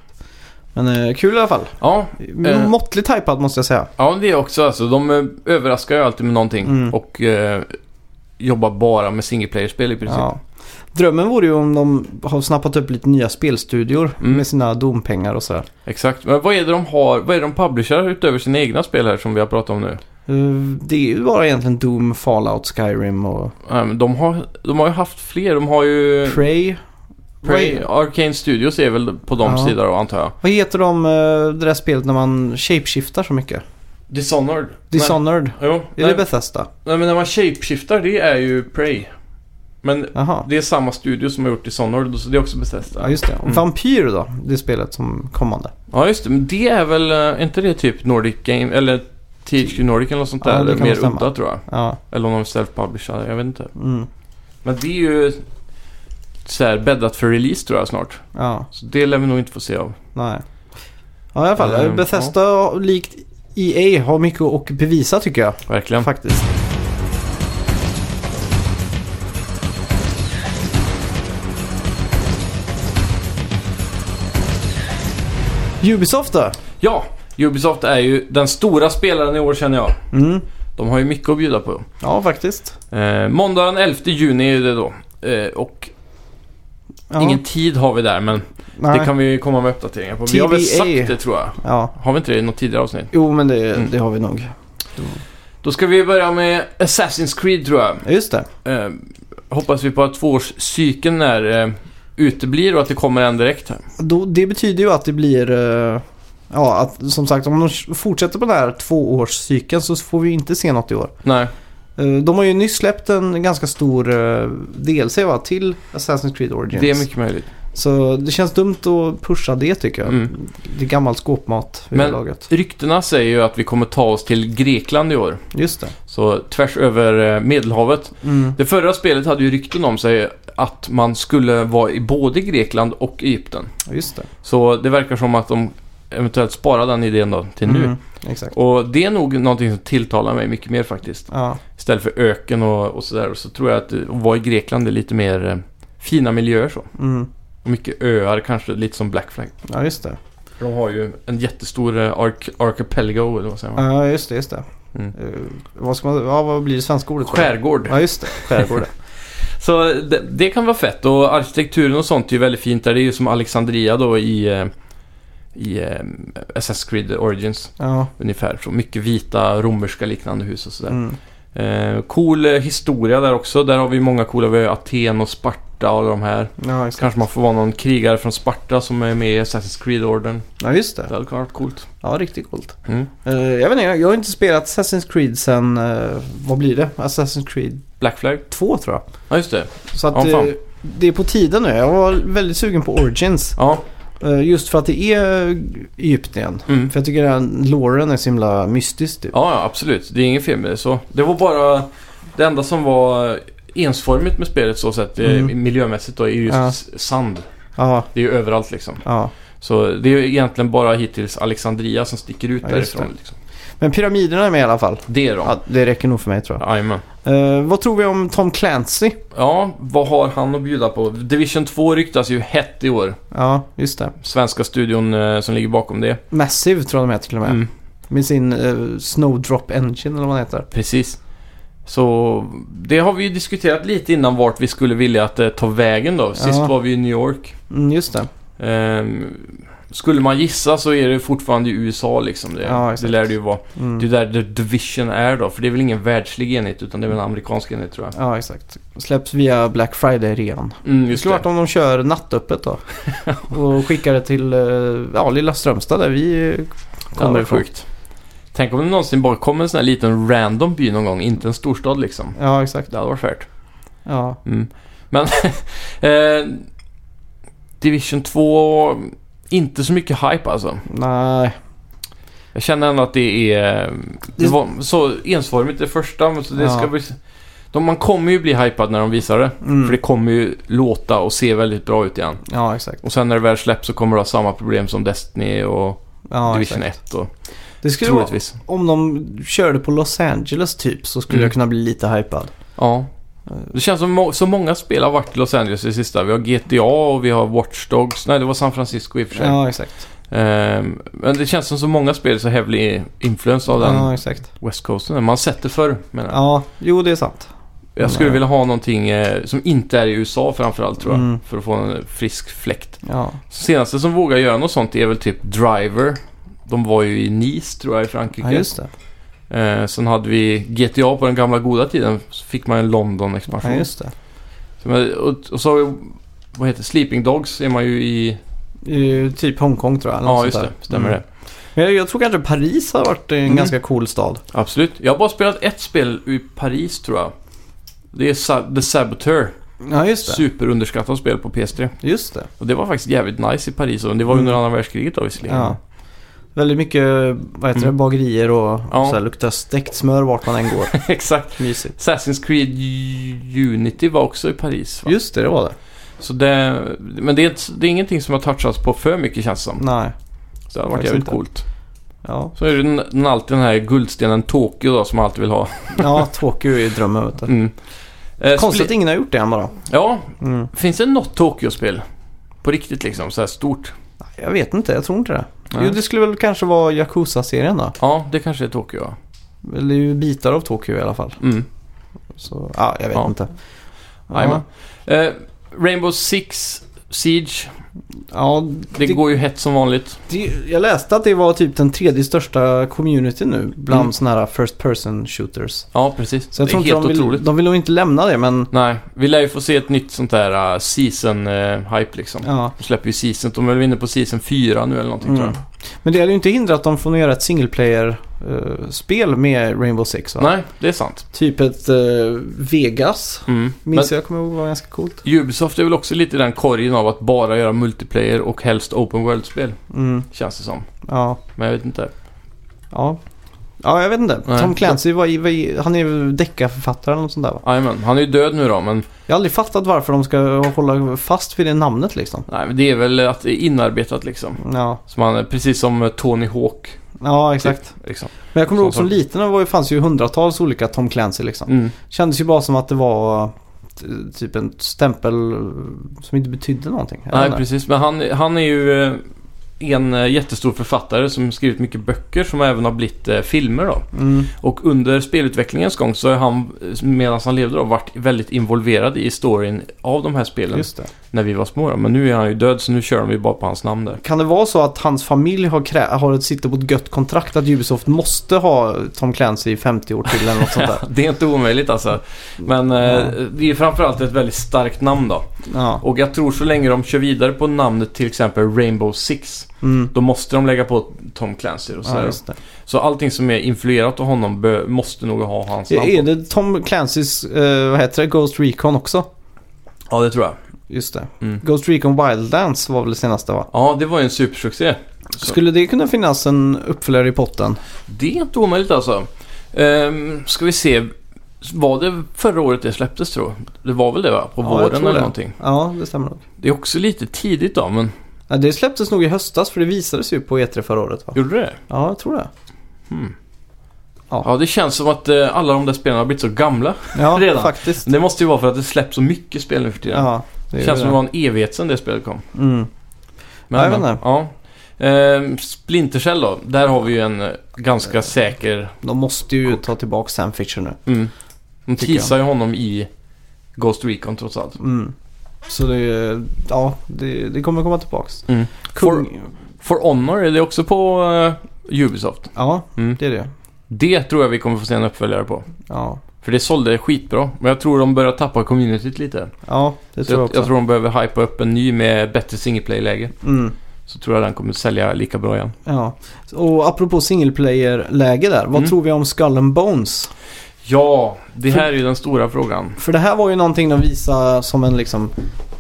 Speaker 1: Men eh, kul i alla fall.
Speaker 2: Ja, Eh.
Speaker 1: Måttligt typad måste jag säga.
Speaker 2: Ja, det också. Alltså, de eh, överraskar ju alltid med någonting
Speaker 1: Mm.
Speaker 2: och eh, jobbar bara med single player-spel i princip.
Speaker 1: Ja. Drömmen vore ju om de har snappat upp lite nya spelstudior
Speaker 2: Mm.
Speaker 1: med sina dompengar och sådär.
Speaker 2: Exakt. Men vad är det de har? Vad är det de publicerar utöver sina egna spel här som vi har pratat om nu?
Speaker 1: Eh, Det är ju bara egentligen Doom, Fallout, Skyrim och
Speaker 2: Eh, men de, har, de har ju haft fler. De har ju...
Speaker 1: Prey.
Speaker 2: Eh, Prey,
Speaker 1: Vad-
Speaker 2: Arcane Studios är väl på de
Speaker 1: Ja.
Speaker 2: sidor då, antar jag.
Speaker 1: Vad heter de, eh, det där spelet när man shapeshiftar så mycket?
Speaker 2: Dishonored.
Speaker 1: Dishonored.
Speaker 2: Nej. Jo.
Speaker 1: Är
Speaker 2: Nej,
Speaker 1: det Bethesda?
Speaker 2: nej, men när man shapeshiftar, det är ju Prey. Men
Speaker 1: Jaha.
Speaker 2: det är samma studio som har gjort Dishonored, så det är också
Speaker 1: Ja,
Speaker 2: Bethesda.
Speaker 1: just det. Och
Speaker 2: Mm.
Speaker 1: Vampyr då? Det spelet som kommande.
Speaker 2: Ja, just det. Men det är väl, eh, är inte det typ Nordic Game, eller THQ Nordic eller något sånt
Speaker 1: Ja,
Speaker 2: där?
Speaker 1: det
Speaker 2: Eller
Speaker 1: kan
Speaker 2: mer
Speaker 1: stämma.
Speaker 2: udda tror jag.
Speaker 1: Ja.
Speaker 2: Eller om de är self-publishade, jag vet inte.
Speaker 1: Mm.
Speaker 2: Men det är ju så här bäddat för release tror jag snart.
Speaker 1: Ja,
Speaker 2: Så det lär vi nog inte få se av.
Speaker 1: nej. Ja, i alla fall.
Speaker 2: Ehm,
Speaker 1: Bethesda, likt EA, har mycket att bevisa tycker jag.
Speaker 2: Verkligen.
Speaker 1: Faktiskt. Ubisoft då?
Speaker 2: Ja, Ubisoft är ju den stora spelaren i år känner jag.
Speaker 1: Mm.
Speaker 2: De har ju mycket att bjuda på.
Speaker 1: Ja, faktiskt.
Speaker 2: Eh, måndagen 11 juni är det då. Eh, och
Speaker 1: Ja,
Speaker 2: ingen tid har vi där men
Speaker 1: nej.
Speaker 2: det kan vi komma med uppdateringar på. Vi har väl
Speaker 1: TBA.
Speaker 2: sagt det tror jag.
Speaker 1: Ja.
Speaker 2: Har vi inte det i något tidigare avsnitt?
Speaker 1: Jo, men det,
Speaker 2: Mm.
Speaker 1: det har vi nog.
Speaker 2: Då ska vi börja med Assassin's Creed tror jag.
Speaker 1: Ja, Just det.
Speaker 2: Eh, hoppas vi på att tvåårscykeln när eh, uteblir och att det kommer en direkt här.
Speaker 1: Då, det betyder ju att det blir... eh, ja, att, som sagt, om de fortsätter på den här tvåårscykeln så får vi inte se något i år.
Speaker 2: Nej.
Speaker 1: Eh, De har ju nyss släppt en ganska stor eh, DLC va, till Assassin's Creed Origins.
Speaker 2: Det är mycket möjligt.
Speaker 1: Så det känns dumt att pusha det tycker jag.
Speaker 2: Mm.
Speaker 1: Det är gammal skåpmat vid
Speaker 2: Men-
Speaker 1: det laget.
Speaker 2: Ryktena säger ju att vi kommer ta oss till Grekland i år.
Speaker 1: Just det.
Speaker 2: Så tvärs över eh, Medelhavet. Det förra spelet hade ju rykten om sig att man skulle vara i både Grekland och Egypten.
Speaker 1: Ja, Just det.
Speaker 2: Så det verkar som att de eventuellt sparar den idén då till nu.
Speaker 1: Mm, Exakt.
Speaker 2: Och det är nog någonting som tilltalar mig mycket mer faktiskt.
Speaker 1: Ja,
Speaker 2: Istället för öken och, och sådär. Så tror jag att eh, att vara i Grekland är lite mer eh, fina miljöer så.
Speaker 1: mm.
Speaker 2: Och mycket öar kanske, lite som Black Flag.
Speaker 1: ja just det.
Speaker 2: För de har ju en jättestor eh, ark- archipelago eller vad säger man?
Speaker 1: Ja, just det. Just det.
Speaker 2: Mm.
Speaker 1: Eh, vad, ska man, ja, vad blir det svenska ordet? för det?
Speaker 2: Skärgård.
Speaker 1: Ja, just det. Skärgård.
Speaker 2: Så det, det kan vara fett och arkitekturen och sånt är ju väldigt fint där. Det är ju som Alexandria då i, eh, i eh, Assassin's Creed Origins
Speaker 1: ja.
Speaker 2: ungefär. Så mycket vita romerska liknande hus och sådär.
Speaker 1: Mm.
Speaker 2: Eh, cool eh, historia där också. Där har vi många coola. Vi har ju Aten och Sparta och de här.
Speaker 1: Ja, exakt.
Speaker 2: Kanske man får vara någon krigare från Sparta som är med i Assassin's Creed Orden.
Speaker 1: ja, just det.
Speaker 2: Det hade kunnat vara coolt.
Speaker 1: Ja, riktigt coolt.
Speaker 2: Mm.
Speaker 1: Eh, jag vet inte, jag jag har inte spelat Assassin's Creed sen, eh, vad blir det? Assassin's Creed
Speaker 2: Black Flag.
Speaker 1: 2 tror jag.
Speaker 2: Ja, just det.
Speaker 1: Så att
Speaker 2: Ja, fan.
Speaker 1: eh, det är på tiden nu. Jag var väldigt sugen på Origins.
Speaker 2: Ja.
Speaker 1: Eh, just för att det är eh, Egypten.
Speaker 2: Mm.
Speaker 1: För jag tycker den låren är så himla mystisk typ.
Speaker 2: Ja, ja, absolut. Det är ingen fel med det så. Det var bara det enda som var ensformigt med spelet så sett eh,
Speaker 1: Mm.
Speaker 2: miljömässigt då är ju just
Speaker 1: Ja.
Speaker 2: s- sand.
Speaker 1: Ja,
Speaker 2: Det är ju överallt liksom.
Speaker 1: ja.
Speaker 2: Så det är ju egentligen bara hittills Alexandria som sticker ut
Speaker 1: Ja, just
Speaker 2: därifrån. Det. Liksom.
Speaker 1: Men pyramiderna är med i alla fall.
Speaker 2: det är de.
Speaker 1: Ja, det räcker nog för mig tror jag.
Speaker 2: Jajamän.
Speaker 1: Eh, vad tror vi om Tom Clancy?
Speaker 2: Ja, vad har han att bjuda på? Division 2 ryktas ju hett i år.
Speaker 1: Ja, just det.
Speaker 2: Svenska studion eh, som ligger bakom det.
Speaker 1: Massive tror jag de heter till och med.
Speaker 2: Mm,
Speaker 1: Med sin eh, Snowdrop Engine eller vad den heter.
Speaker 2: precis. Så det har vi ju diskuterat lite innan vart vi skulle vilja att det tar vägen då. Sist
Speaker 1: Ja.
Speaker 2: var vi i New York.
Speaker 1: Mm, just det.
Speaker 2: Ehm, skulle man gissa så är det fortfarande i USA liksom. Det,
Speaker 1: Ja,
Speaker 2: det
Speaker 1: exakt.
Speaker 2: lär det ju vara.
Speaker 1: Mm.
Speaker 2: Det är där The Division är då. För det är väl ingen världslig enhet utan det är väl en amerikansk enhet tror jag.
Speaker 1: Ja, exakt. Släpps via Black Friday-rean.
Speaker 2: Mm,
Speaker 1: Det
Speaker 2: just
Speaker 1: skulle varit
Speaker 2: det.
Speaker 1: om de kör nattöppet då. Och skickar det till eh, ja, lilla Strömstad där vi eh,
Speaker 2: Det hade
Speaker 1: kommer
Speaker 2: varit
Speaker 1: ifrån.
Speaker 2: sjukt. Tänk om det någonsin bara kom en sån här liten random by någon gång. Inte en storstad liksom.
Speaker 1: Ja, exakt.
Speaker 2: Det hade varit färt.
Speaker 1: Ja.
Speaker 2: Mm. Men eh, Division 2, inte så mycket hype alltså.
Speaker 1: Nej.
Speaker 2: Jag känner ändå att det är... Det var så ensformigt det första. men Så det
Speaker 1: Ja.
Speaker 2: ska bli, de, man kommer ju bli hypad när de visar det.
Speaker 1: Mm.
Speaker 2: För det kommer ju låta och se väldigt bra ut igen.
Speaker 1: Ja, exakt.
Speaker 2: Och sen när det väl släpps så kommer det ha samma problem som Destiny och
Speaker 1: Ja,
Speaker 2: Division
Speaker 1: exakt.
Speaker 2: 1 och
Speaker 1: Det skulle vara,
Speaker 2: troligtvis.
Speaker 1: om de körde på Los Angeles typ så skulle
Speaker 2: Mm.
Speaker 1: jag kunna bli lite hypad.
Speaker 2: Ja. Det känns som må- så många spel har varit i Los Angeles i sista. Vi har GTA och vi har Watch Dogs. Nej, det var San Francisco i och för sig.
Speaker 1: Ja, exakt.
Speaker 2: Ehm, men det känns som så många spel är så heavily influenced av den
Speaker 1: Ja, exakt.
Speaker 2: West Coasten. Man har sett det förr, menar jag.
Speaker 1: Ja, jo det är sant.
Speaker 2: Jag skulle
Speaker 1: nej.
Speaker 2: vilja ha någonting eh, som inte är i USA framförallt, tror jag.
Speaker 1: Mm.
Speaker 2: För att få en frisk fläkt.
Speaker 1: Ja,
Speaker 2: Senaste som vågar göra något sånt är väl typ Driver. De var ju i Nice, tror jag, i Frankrike.
Speaker 1: ja just det.
Speaker 2: Eh, sen hade vi GTA på den gamla goda tiden. Så fick man en
Speaker 1: Ja,
Speaker 2: London-expansion.
Speaker 1: just det.
Speaker 2: Så man- och, och så har vi, vad heter det? Sleeping Dogs är man ju i...
Speaker 1: Eh, typ Hongkong tror jag. eller
Speaker 2: Ja,
Speaker 1: något
Speaker 2: just
Speaker 1: sånt
Speaker 2: det.
Speaker 1: där.
Speaker 2: Stämmer
Speaker 1: Mm.
Speaker 2: det.
Speaker 1: Men jag, jag tror kanske Paris har varit en
Speaker 2: Mm.
Speaker 1: ganska cool stad.
Speaker 2: Absolut. Jag har bara spelat ett spel i Paris, tror jag. Det är Sa- The Saboteur.
Speaker 1: Ja, just det.
Speaker 2: Superunderskattat spel på PS3.
Speaker 1: Just det.
Speaker 2: Och det var faktiskt jävligt nice i Paris. Och det var under
Speaker 1: Mm.
Speaker 2: andra världskriget då visserligen.
Speaker 1: Ja. Väldigt mycket vad heter det,
Speaker 2: Mm.
Speaker 1: bagerier och
Speaker 2: Ja.
Speaker 1: så här, luktar stekt smör vart man än går.
Speaker 2: Exakt.
Speaker 1: Mysigt.
Speaker 2: Assassin's Creed Unity var också i Paris. Va?
Speaker 1: Just det, det var det.
Speaker 2: Så det, men det är, inte- det är ingenting som har touchats på för mycket känns det som.
Speaker 1: Nej.
Speaker 2: Så det hade varit
Speaker 1: Faktiskt
Speaker 2: jävligt
Speaker 1: inte.
Speaker 2: coolt.
Speaker 1: Ja,
Speaker 2: Så är det den, den, alltid den här guldstenen Tokyo då som man alltid vill ha.
Speaker 1: ja Tokyo är drömmen vet du.
Speaker 2: Mm. Eh,
Speaker 1: Konstigt att
Speaker 2: spli-
Speaker 1: ingen har gjort det än bara.
Speaker 2: Ja,
Speaker 1: Mm.
Speaker 2: finns det något Tokyo-spel? På riktigt liksom, så här stort.
Speaker 1: Jag vet inte, jag tror inte det.
Speaker 2: Nej.
Speaker 1: Jo, det skulle väl kanske vara Yakuza-serien då.
Speaker 2: Ja, det kanske är Tokyo ja.
Speaker 1: Eller ju bitar av Tokyo i alla fall.
Speaker 2: Mm.
Speaker 1: Så, ja, jag vet
Speaker 2: Ja.
Speaker 1: inte.
Speaker 2: Jajamän. Eh, Rainbow Six Siege.
Speaker 1: ja,
Speaker 2: Det,
Speaker 1: Det-
Speaker 2: går ju hett som vanligt.
Speaker 1: det, jag läste att det var typ den tredje största communityn nu bland
Speaker 2: Mm.
Speaker 1: sådana här first person shooters.
Speaker 2: Ja, precis.
Speaker 1: Så jag
Speaker 2: det är
Speaker 1: tror
Speaker 2: helt
Speaker 1: inte de vill,
Speaker 2: otroligt.
Speaker 1: de vill nog inte lämna det men
Speaker 2: Nej, vi lär ju få se ett nytt sånt äh, där season-hype liksom.
Speaker 1: ja.
Speaker 2: De släpper ju season. De är väl inne på season 4 nu eller någonting tror
Speaker 1: Mm.
Speaker 2: jag.
Speaker 1: Men det hade ju inte hindrat dem från att göra ett single player-spel med Rainbow Six va?
Speaker 2: Nej, det är sant.
Speaker 1: Typ ett eh, Vegas.
Speaker 2: Mm. Men
Speaker 1: Minns jag kommer ihåg var ganska coolt.
Speaker 2: Ubisoft är väl också lite i den korgen av att bara göra multiplayer och helst open world-spel.
Speaker 1: Mm,
Speaker 2: Känns det som.
Speaker 1: ja,
Speaker 2: Men jag vet inte.
Speaker 1: ja. Ja, jag vet inte.
Speaker 2: Nej.
Speaker 1: Tom Clancy, var, i- var, i- han är ju deckarförfattare eller något sånt där va?
Speaker 2: Jajamän, han är ju död nu då, men,
Speaker 1: Jag har aldrig fattat varför de ska hålla fast vid det namnet liksom.
Speaker 2: nej, men det är väl att det är inarbetat liksom.
Speaker 1: Ja,
Speaker 2: Som han, precis som eh, Tony Hawk.
Speaker 1: ja exakt.
Speaker 2: Liksom.
Speaker 1: Men jag kommer
Speaker 2: Som
Speaker 1: ihåg som
Speaker 2: sagt.
Speaker 1: liten, det var ju- fanns ju hundratals olika Tom Clancy liksom.
Speaker 2: Mm.
Speaker 1: Kändes ju bara som att det var t- typ en stämpel som inte betydde någonting. Jag vet
Speaker 2: Nej,
Speaker 1: inte.
Speaker 2: precis. Men han, han är ju eh, en eh, jättestor författare som skrivit mycket böcker som även har blivit eh, filmer då.
Speaker 1: Mm.
Speaker 2: Och under spelutvecklingens gång så har han, eh, medan han levde då, varit väldigt involverad i storyn av de här spelen
Speaker 1: Just det.
Speaker 2: när vi var små då. Men nu är han ju död så nu kör de ju bara på hans namn där.
Speaker 1: Kan det vara så att hans familj har, krä- har ett sitter på ett gött kontrakt att Ubisoft måste ha Tom Clancy i 50 år till eller något sånt där?
Speaker 2: Det är inte omöjligt alltså. Men eh, det är framförallt ett väldigt starkt namn då.
Speaker 1: Ja.
Speaker 2: Och jag tror så länge de kör vidare på namnet till exempel Rainbow Six.
Speaker 1: Mm.
Speaker 2: Då måste de lägga på Tom Clancy och
Speaker 1: Ja,
Speaker 2: sådär.
Speaker 1: just det.
Speaker 2: Så allting som är influerat av honom bö- måste nog ha hans namn
Speaker 1: Är är
Speaker 2: på.
Speaker 1: det Tom Clancys, eh, vad heter det, Ghost Recon också?
Speaker 2: Ja, det tror jag.
Speaker 1: Just det.
Speaker 2: Mm.
Speaker 1: Ghost Recon Wildlands var väl det senaste va?
Speaker 2: Ja, det var ju en supersuccé. Så.
Speaker 1: Skulle det kunna finnas en uppföljare i potten?
Speaker 2: Det är inte omöjligt alltså. Um, ska vi se. Var det förra året det släpptes tror jag? Det var väl det va? På
Speaker 1: Ja, jag
Speaker 2: våren
Speaker 1: tror
Speaker 2: eller
Speaker 1: det.
Speaker 2: någonting.
Speaker 1: Ja, det stämmer nog.
Speaker 2: Det är också lite tidigt då, men
Speaker 1: Ja, det släpptes nog i höstas för det visades ju på E3 förra året va?
Speaker 2: gjorde det?
Speaker 1: Ja, jag tror det.
Speaker 2: Hmm.
Speaker 1: Ja.
Speaker 2: Ja, det känns som att eh, alla de där spelen har blivit så gamla.
Speaker 1: Ja,
Speaker 2: Redan.
Speaker 1: faktiskt.
Speaker 2: Det måste ju vara för att det släpps så mycket spel nu för tiden.
Speaker 1: Ja, det är
Speaker 2: det
Speaker 1: ju
Speaker 2: känns som det var en evighet sedan det spelet kom.
Speaker 1: Mm. Ja, jag vet inte.
Speaker 2: ja. Ehm, Splinter Cell då. Där har vi ju en eh, ganska säker...
Speaker 1: De måste ju ta tillbaka Sam Fisher nu.
Speaker 2: Mm. De
Speaker 1: Tycker jag.
Speaker 2: teasar ju honom i Ghost Recon trots allt.
Speaker 1: Mm. Så det, är- ja, det, det kommer komma tillbaks.
Speaker 2: Mm.
Speaker 1: Kung,
Speaker 2: For Honor är det också på eh, Ubisoft.
Speaker 1: Ja,
Speaker 2: Mm.
Speaker 1: det är det.
Speaker 2: Det tror jag vi kommer få se en uppföljare på.
Speaker 1: Ja,
Speaker 2: För det sålde skitbra. Men jag tror de börjar tappa communityt lite.
Speaker 1: ja det
Speaker 2: Så
Speaker 1: tror jag också.
Speaker 2: jag tror de behöver hypa upp en ny med bättre singleplay-läge.
Speaker 1: Mm.
Speaker 2: Så tror jag den kommer sälja lika bra igen.
Speaker 1: Ja. Och apropå single player-läge där, vad
Speaker 2: Mm.
Speaker 1: tror vi om Skull and Bones?
Speaker 2: Ja, det här är ju den stora frågan.
Speaker 1: För det här var ju någonting de visade som en liksom,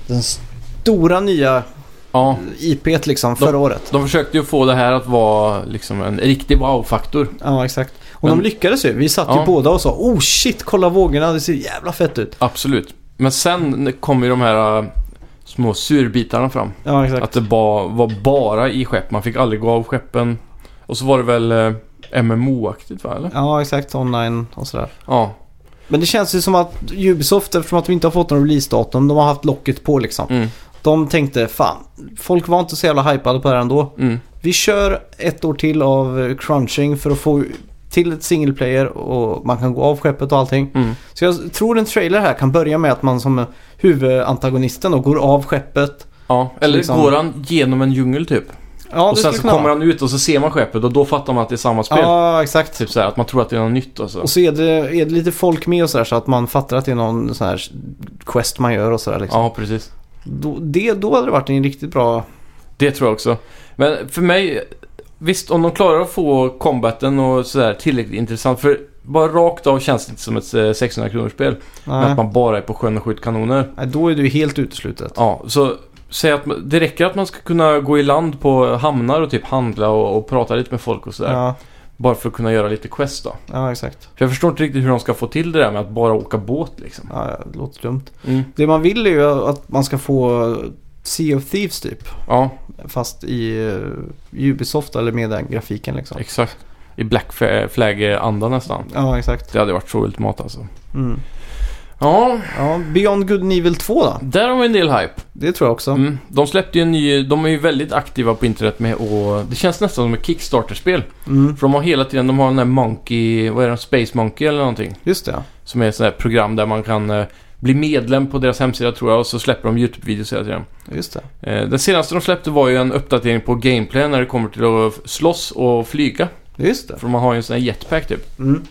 Speaker 1: den stora nya
Speaker 2: Ja,
Speaker 1: IP't liksom förra året.
Speaker 2: de försökte ju få det här att vara liksom en riktig wow-faktor.
Speaker 1: Ja, exakt. Och
Speaker 2: Men-
Speaker 1: de lyckades ju. Vi satt
Speaker 2: Ja.
Speaker 1: ju båda och sa oh shit, kolla vågorna, det ser jävla fett ut.
Speaker 2: Absolut. Men sen kom ju de här äh, små surbitarna fram.
Speaker 1: Ja, exakt.
Speaker 2: Att det ba, var bara i skepp. Man fick aldrig gå av skeppen. Och så var det väl äh, MMO-aktigt va, eller?
Speaker 1: Ja, exakt. Online och sådär.
Speaker 2: Ja.
Speaker 1: Men det känns ju som att Ubisoft, eftersom att de inte har fått någon releasedatum, de har haft locket på liksom.
Speaker 2: Mm,
Speaker 1: De tänkte fan, folk var inte så jävla hypade på det här ändå.
Speaker 2: mm.
Speaker 1: Vi kör ett år till av eh, crunching för att få till ett single player och man kan gå av skeppet och allting.
Speaker 2: Mm.
Speaker 1: Så jag tror en trailer här kan börja med att man som eh, huvudantagonisten då går av skeppet.
Speaker 2: Ja, eller
Speaker 1: liksom-
Speaker 2: går han genom en djungel typ?
Speaker 1: Ja,
Speaker 2: och sen så kommer han ut och så ser man skeppet och då fattar man att det är samma spel.
Speaker 1: Ja, exakt.
Speaker 2: Typ så här, att man tror att det är något nytt alltså. och så.
Speaker 1: Och så är det, är det lite folk med och sådär så att man fattar att det är någon sån här quest man gör och sådär liksom.
Speaker 2: Ja, precis.
Speaker 1: Då, det, då hade det varit en riktigt bra...
Speaker 2: Det tror jag också. Men för mig, visst om de klarar att få combaten och sådär tillräckligt intressant. För bara rakt av känns det inte som ett eh, 600 kronors spel. Men
Speaker 1: Nej.
Speaker 2: att man bara är på sjön och skjuter kanoner.
Speaker 1: Nej, då är du helt uteslutet.
Speaker 2: Ja, så säg att man- det räcker att man ska kunna gå i land på hamnar och typ handla och, och prata lite med folk och sådär.
Speaker 1: Ja,
Speaker 2: Bara för att kunna göra lite quest då.
Speaker 1: ja exakt.
Speaker 2: För jag förstår inte riktigt hur de ska få till det där med att bara åka båt liksom.
Speaker 1: Ja, det låter dumt.
Speaker 2: Mm.
Speaker 1: Det man vill är ju att man ska få Sea of Thieves typ.
Speaker 2: Ja,
Speaker 1: Fast i eh, Ubisoft eller med den grafiken liksom.
Speaker 2: exakt. I Black Fa- Flag-anda nästan.
Speaker 1: Ja, exakt.
Speaker 2: Det hade varit så ultimat alltså.
Speaker 1: Mm.
Speaker 2: Ja,
Speaker 1: Ja, Beyond Good and Evil 2 då?
Speaker 2: där har vi en del hype.
Speaker 1: Det tror jag också.
Speaker 2: Mm. De släppte ju en ny, de är ju väldigt aktiva på internet med och det känns nästan som ett Kickstarter-spel.
Speaker 1: Mm.
Speaker 2: För de har hela tiden, de har den där Monkey, vad är det, Space Monkey eller någonting.
Speaker 1: Just det.
Speaker 2: Som är ett sånt här program där man kan eh, bli medlem på deras hemsida tror jag och så släpper de YouTube-videos hela tiden.
Speaker 1: ja. Just det.
Speaker 2: Eh, den senaste de släppte var ju en uppdatering på gameplay när det kommer till att slåss och flyga.
Speaker 1: Just det.
Speaker 2: För man har ju en sån här jetpack typ.
Speaker 1: Mm.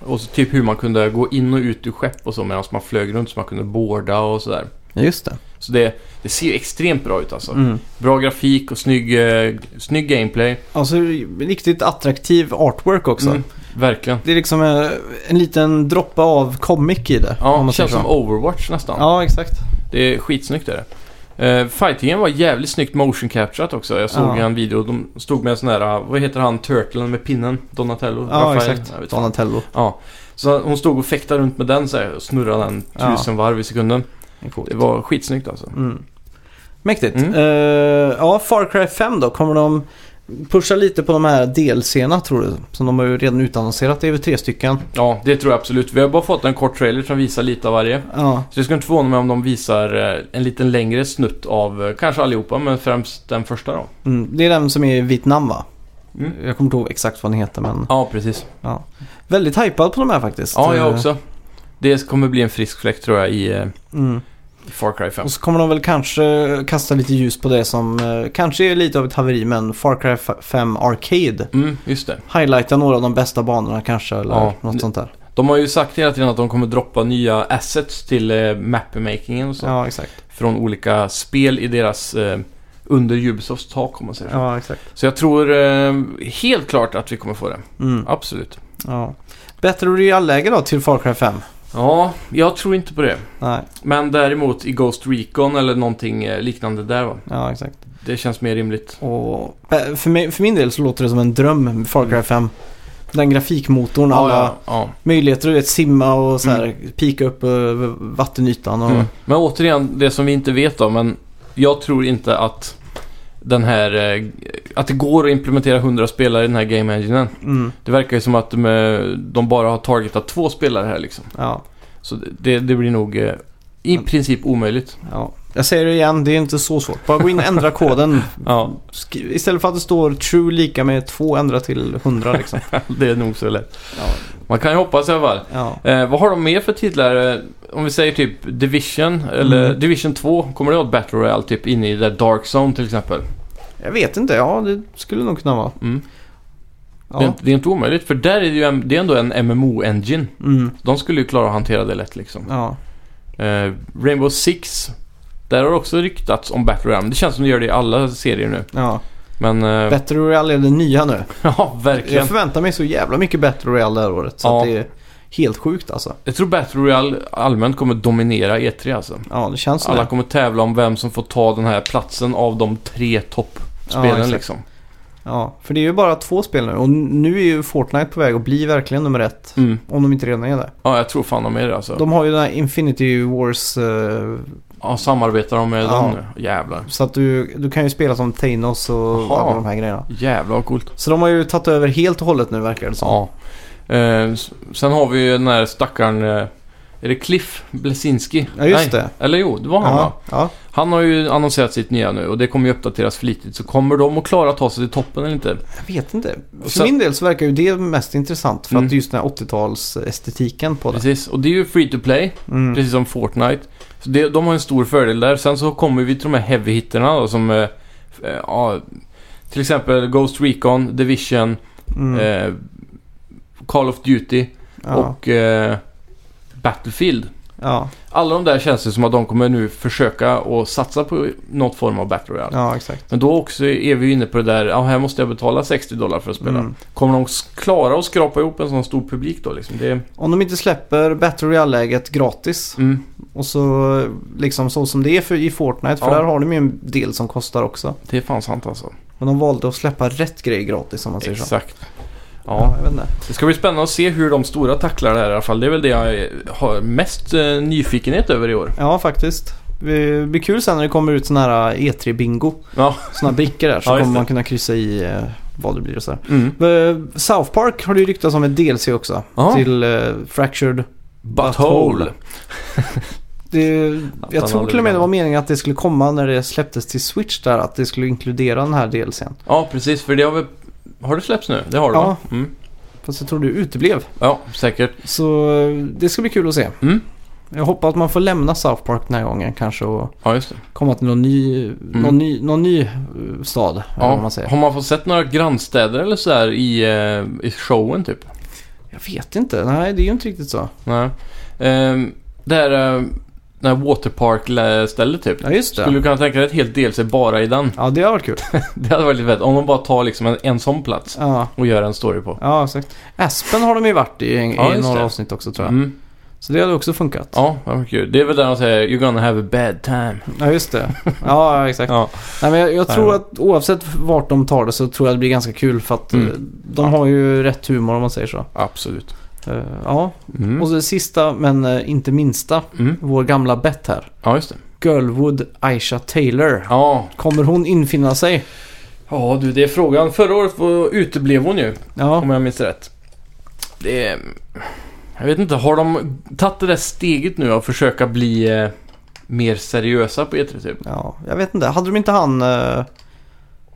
Speaker 2: Och så typ hur man kunde gå in och ut ur skepp och så medan man flög runt så man kunde boarda och sådär.
Speaker 1: Ja, Just det.
Speaker 2: Så det, det ser ju extremt bra ut alltså.
Speaker 1: Mm.
Speaker 2: Bra grafik och snygg, eh, snygg gameplay.
Speaker 1: Alltså riktigt attraktiv artwork också.
Speaker 2: Mm, verkligen.
Speaker 1: Det är liksom eh, en liten droppa av comic i det.
Speaker 2: Ja,
Speaker 1: om
Speaker 2: det
Speaker 1: man säger
Speaker 2: känns som
Speaker 1: så.
Speaker 2: Overwatch nästan.
Speaker 1: Ja, exakt.
Speaker 2: Det är skitsnyggt är det. Eh, fightingen var jävligt snyggt motion capturat också. Jag såg
Speaker 1: Ja.
Speaker 2: ju en video. De stod med en sån här, ah, vad heter han, Turtlen med pinnen? Donatello?
Speaker 1: Ja,
Speaker 2: Raphael? Jag
Speaker 1: exakt.
Speaker 2: vet inte.
Speaker 1: Donatello.
Speaker 2: Ja. Så hon stod och fäktade runt med den så här, och snurrade den
Speaker 1: Ja.
Speaker 2: tusen varv i sekunden.
Speaker 1: Det är coolt.
Speaker 2: Det var skitsnyggt alltså.
Speaker 1: Mm. Mäktigt.
Speaker 2: Mm.
Speaker 1: Eh, ja, Far Cry 5 då. Kommer de pusha lite på de här DLC-erna tror du? Som de har ju redan utannonserat. Det är väl tre stycken.
Speaker 2: Ja, det tror jag absolut. Vi har bara fått en kort trailer som visar lite av varje.
Speaker 1: Ja,
Speaker 2: Så det skulle inte förvåna mig om de visar eh, en liten längre snutt av, eh, kanske allihopa, men främst den första då.
Speaker 1: mm. Det är den som är i Vietnam va?
Speaker 2: Mm.
Speaker 1: Jag kommer inte ihåg exakt vad den heter men
Speaker 2: Ja, precis.
Speaker 1: väldigt hypad på de här faktiskt.
Speaker 2: Ja, jag
Speaker 1: Eh,
Speaker 2: också. Det kommer bli en frisk fläkt tror jag i eh,
Speaker 1: Mm.
Speaker 2: i Far Cry 5.
Speaker 1: Och så kommer de väl kanske kasta lite ljus på det som eh, kanske är lite av ett haveri men Far Cry f- 5 Arcade.
Speaker 2: Mm, just det.
Speaker 1: Highlighta några av de bästa banorna kanske eller
Speaker 2: Ja.
Speaker 1: något sånt där.
Speaker 2: De har ju sagt hela tiden att de kommer droppa nya assets till eh, mapmakingen och så.
Speaker 1: Ja, exakt.
Speaker 2: Från olika spel i deras eh, under Ubisofts tak om man säger så.
Speaker 1: Ja, exakt.
Speaker 2: Så jag tror eh, helt klart att vi kommer få det.
Speaker 1: Mm.
Speaker 2: Absolut.
Speaker 1: Ja. Bättre realläge då till Far Cry 5?
Speaker 2: Ja, jag tror inte på det.
Speaker 1: Nej,
Speaker 2: Men däremot i Ghost Recon eller någonting eh, liknande där va.
Speaker 1: ja exakt.
Speaker 2: Det känns mer rimligt.
Speaker 1: Och eh, för, mig, för min del så låter det som en dröm, Far Cry 5. Den grafikmotorn, alla
Speaker 2: ja, ja.
Speaker 1: möjligheter du vet, simma och så här, pika upp över vattenytan och...
Speaker 2: Mm. Men återigen, det som vi inte vet då, men jag tror inte att den här... eh, Att det går att implementera 100 spelare i den här Game Enginen.
Speaker 1: Mm,
Speaker 2: Det verkar ju som att de, eh, de bara har targetat två spelare här liksom.
Speaker 1: ja,
Speaker 2: Så det, det blir nog eh, i princip omöjligt.
Speaker 1: ja. Jag säger det igen, det är inte så svårt. Bara gå in och ändra koden.
Speaker 2: Ja,
Speaker 1: Skri- Istället för att det står true lika med 2 ändra till 100 liksom.
Speaker 2: det är nog så lätt.
Speaker 1: Ja.
Speaker 2: Man kan ju hoppas i alla fall.
Speaker 1: Ja.
Speaker 2: Eh, vad har de mer för titlar? Eh, Om vi säger typ Division eller
Speaker 1: Mm.
Speaker 2: Division 2. Kommer det vara ett Battle Royale typ inne i där Dark Zone till exempel?
Speaker 1: Jag vet inte, ja det skulle nog kunna vara.
Speaker 2: Mm. Det, är,
Speaker 1: Ja.
Speaker 2: inte- det är inte omöjligt för där är det ju en, det är ändå en MMO-engine.
Speaker 1: Mm,
Speaker 2: De skulle ju klara att hantera det lätt liksom.
Speaker 1: ja.
Speaker 2: Eh, Rainbow Six. Där har det också ryktats om Battle Royale. Det känns som det gör det i alla serier nu.
Speaker 1: ja.
Speaker 2: Men eh,
Speaker 1: Battle Royale är det nya nu.
Speaker 2: ja, verkligen.
Speaker 1: Jag förväntar mig så jävla mycket Battle Royale det här året. Så
Speaker 2: Ja.
Speaker 1: att det är helt sjukt alltså.
Speaker 2: Jag tror Battle Royale allmänt kommer dominera E3 alltså.
Speaker 1: Ja, det känns som
Speaker 2: Alla
Speaker 1: det.
Speaker 2: kommer tävla om vem som får ta den här platsen av de tre
Speaker 1: Ja,
Speaker 2: toppspelen
Speaker 1: exakt.
Speaker 2: liksom.
Speaker 1: Ja, för det är ju bara två spel nu. Och nu är ju Fortnite på väg att bli verkligen nummer ett.
Speaker 2: Mm.
Speaker 1: Om de inte redan är det.
Speaker 2: Ja, jag tror fan de är det alltså.
Speaker 1: De har ju den här Infinity Wars. eh,
Speaker 2: Ja, samarbetar de med
Speaker 1: Ja.
Speaker 2: dem nu? Jävlar.
Speaker 1: Så att du, du kan ju spela som Thanos och
Speaker 2: Jaha.
Speaker 1: alla de här grejerna.
Speaker 2: Jävlar vad coolt.
Speaker 1: Så de har ju tagit över helt och hållet nu verkar det som.
Speaker 2: Ja. Eh, s- sen har vi ju den här stackaren... Eh, är det Cliff Blesinski?
Speaker 1: Ja, just det.
Speaker 2: Eller jo, det var han va?
Speaker 1: Ja, ja.
Speaker 2: Han har ju annonserat sitt nya nu och det kommer ju uppdateras flitigt. Så kommer de att klara att ta sig till toppen eller inte?
Speaker 1: Jag vet inte. För
Speaker 2: Så-
Speaker 1: min del så verkar ju det mest intressant. För
Speaker 2: Mm.
Speaker 1: att just den här 80-talsestetiken på det.
Speaker 2: Precis, och det är ju free to play.
Speaker 1: Mm.
Speaker 2: Precis som Fortnite. Så det, de har en stor fördel där. Sen så kommer vi till de här heavy hitterna då som... eh, eh, Ja, till exempel Ghost Recon, Division,
Speaker 1: Mm.
Speaker 2: eh, Call of Duty
Speaker 1: ja.
Speaker 2: och eh, Battlefield.
Speaker 1: ja.
Speaker 2: Alla de där känns det som att de kommer nu försöka och satsa på något form av Battle Royale.
Speaker 1: ja, exakt.
Speaker 2: Men då också är vi ju inne på det där, ja här måste jag betala 60 dollar för att spela.
Speaker 1: Mm.
Speaker 2: Kommer de s- klara att skrapa ihop en sån stor publik då liksom? Det,
Speaker 1: Om de inte släpper Battle Royale-läget gratis.
Speaker 2: mm,
Speaker 1: Och så liksom så som det är för, i Fortnite. För
Speaker 2: Ja.
Speaker 1: där har de ju en del som kostar också.
Speaker 2: det är fan sant alltså.
Speaker 1: Men de valde att släppa rätt grej gratis om man säger så.
Speaker 2: Exakt. Ja,
Speaker 1: Ja, jag vet inte.
Speaker 2: Det ska bli spännande att se hur de stora tacklar det här i alla fall. Det är väl det jag eh, har mest eh, nyfikenhet över i år.
Speaker 1: Ja, faktiskt. Det blir kul sen när det kommer ut sån här E3-bingo.
Speaker 2: Ja.
Speaker 1: Såna här brickor där. Så
Speaker 2: Ja, just
Speaker 1: kommer man
Speaker 2: det.
Speaker 1: kunna kryssa i eh, vad det blir och så här.
Speaker 2: Mm.
Speaker 1: Eh, South Park har det ju ryktats om ett DLC också.
Speaker 2: Ja.
Speaker 1: Till eh, Fractured.
Speaker 2: Butthole.
Speaker 1: Det,
Speaker 2: han
Speaker 1: jag tror till
Speaker 2: aldrig
Speaker 1: och med det
Speaker 2: glömmer.
Speaker 1: var meningen att det skulle komma när det släpptes till Switch där. Att det skulle inkludera den här DLCn.
Speaker 2: Ja, precis. För det har vi... Har det släppts nu? Det har det
Speaker 1: Ja.
Speaker 2: va? Mm.
Speaker 1: Fast jag tror det uteblev.
Speaker 2: Ja, säkert.
Speaker 1: Så eh, det ska bli kul att se.
Speaker 2: Mm.
Speaker 1: Jag hoppas att man får lämna South Park den här gången kanske och
Speaker 2: Ja, just det.
Speaker 1: komma till någon ny, någon ny, någon ny eh, stad. eller
Speaker 2: Mm. Ja.
Speaker 1: vad man säger.
Speaker 2: har man fått sett några grannstäder eller så här i, eh, i showen typ?
Speaker 1: Jag vet inte. Nej, det är ju inte riktigt så.
Speaker 2: Nej. Um, det här, eh, den här Waterpark-stället typ.
Speaker 1: Ja, just
Speaker 2: Skulle
Speaker 1: det.
Speaker 2: du kunna tänka dig ett helt DLC bara i den?
Speaker 1: Ja, det har varit kul.
Speaker 2: Det hade varit lite fett. Om de bara tar liksom en, en sån plats
Speaker 1: Ja,
Speaker 2: och gör en story på.
Speaker 1: ja exakt. Aspen har de ju varit i, i
Speaker 2: Ja, just
Speaker 1: några
Speaker 2: det.
Speaker 1: avsnitt också tror jag.
Speaker 2: Mm.
Speaker 1: Så det hade också funkat.
Speaker 2: Ja, vad mycket kul. Det är väl där de säger “You're gonna have a bad time”.
Speaker 1: Ja, just det. Ja, exakt.
Speaker 2: Ja.
Speaker 1: Nej, men jag, jag
Speaker 2: Nej,
Speaker 1: tror
Speaker 2: men-
Speaker 1: att oavsett vart de tar det så tror jag det blir ganska kul för att eh,
Speaker 2: Mm.
Speaker 1: de har ju rätt humor om man säger så.
Speaker 2: Absolut.
Speaker 1: Eh, ja, och
Speaker 2: Mm.
Speaker 1: så det sista men eh, inte minsta.
Speaker 2: Mm.
Speaker 1: Vår gamla bett här.
Speaker 2: Ja, just det.
Speaker 1: Girlwood Aisha Taylor.
Speaker 2: Ja.
Speaker 1: Kommer hon infinna sig?
Speaker 2: ja, du det är frågan. Förra året var- uteblev hon ju,
Speaker 1: Ja,
Speaker 2: om jag minns rätt. Det är... Jag vet inte, har de tagit det där steget nu att försöka bli eh, mer seriösa på E3 typ?
Speaker 1: ja jag vet inte. Hade de inte han... eh,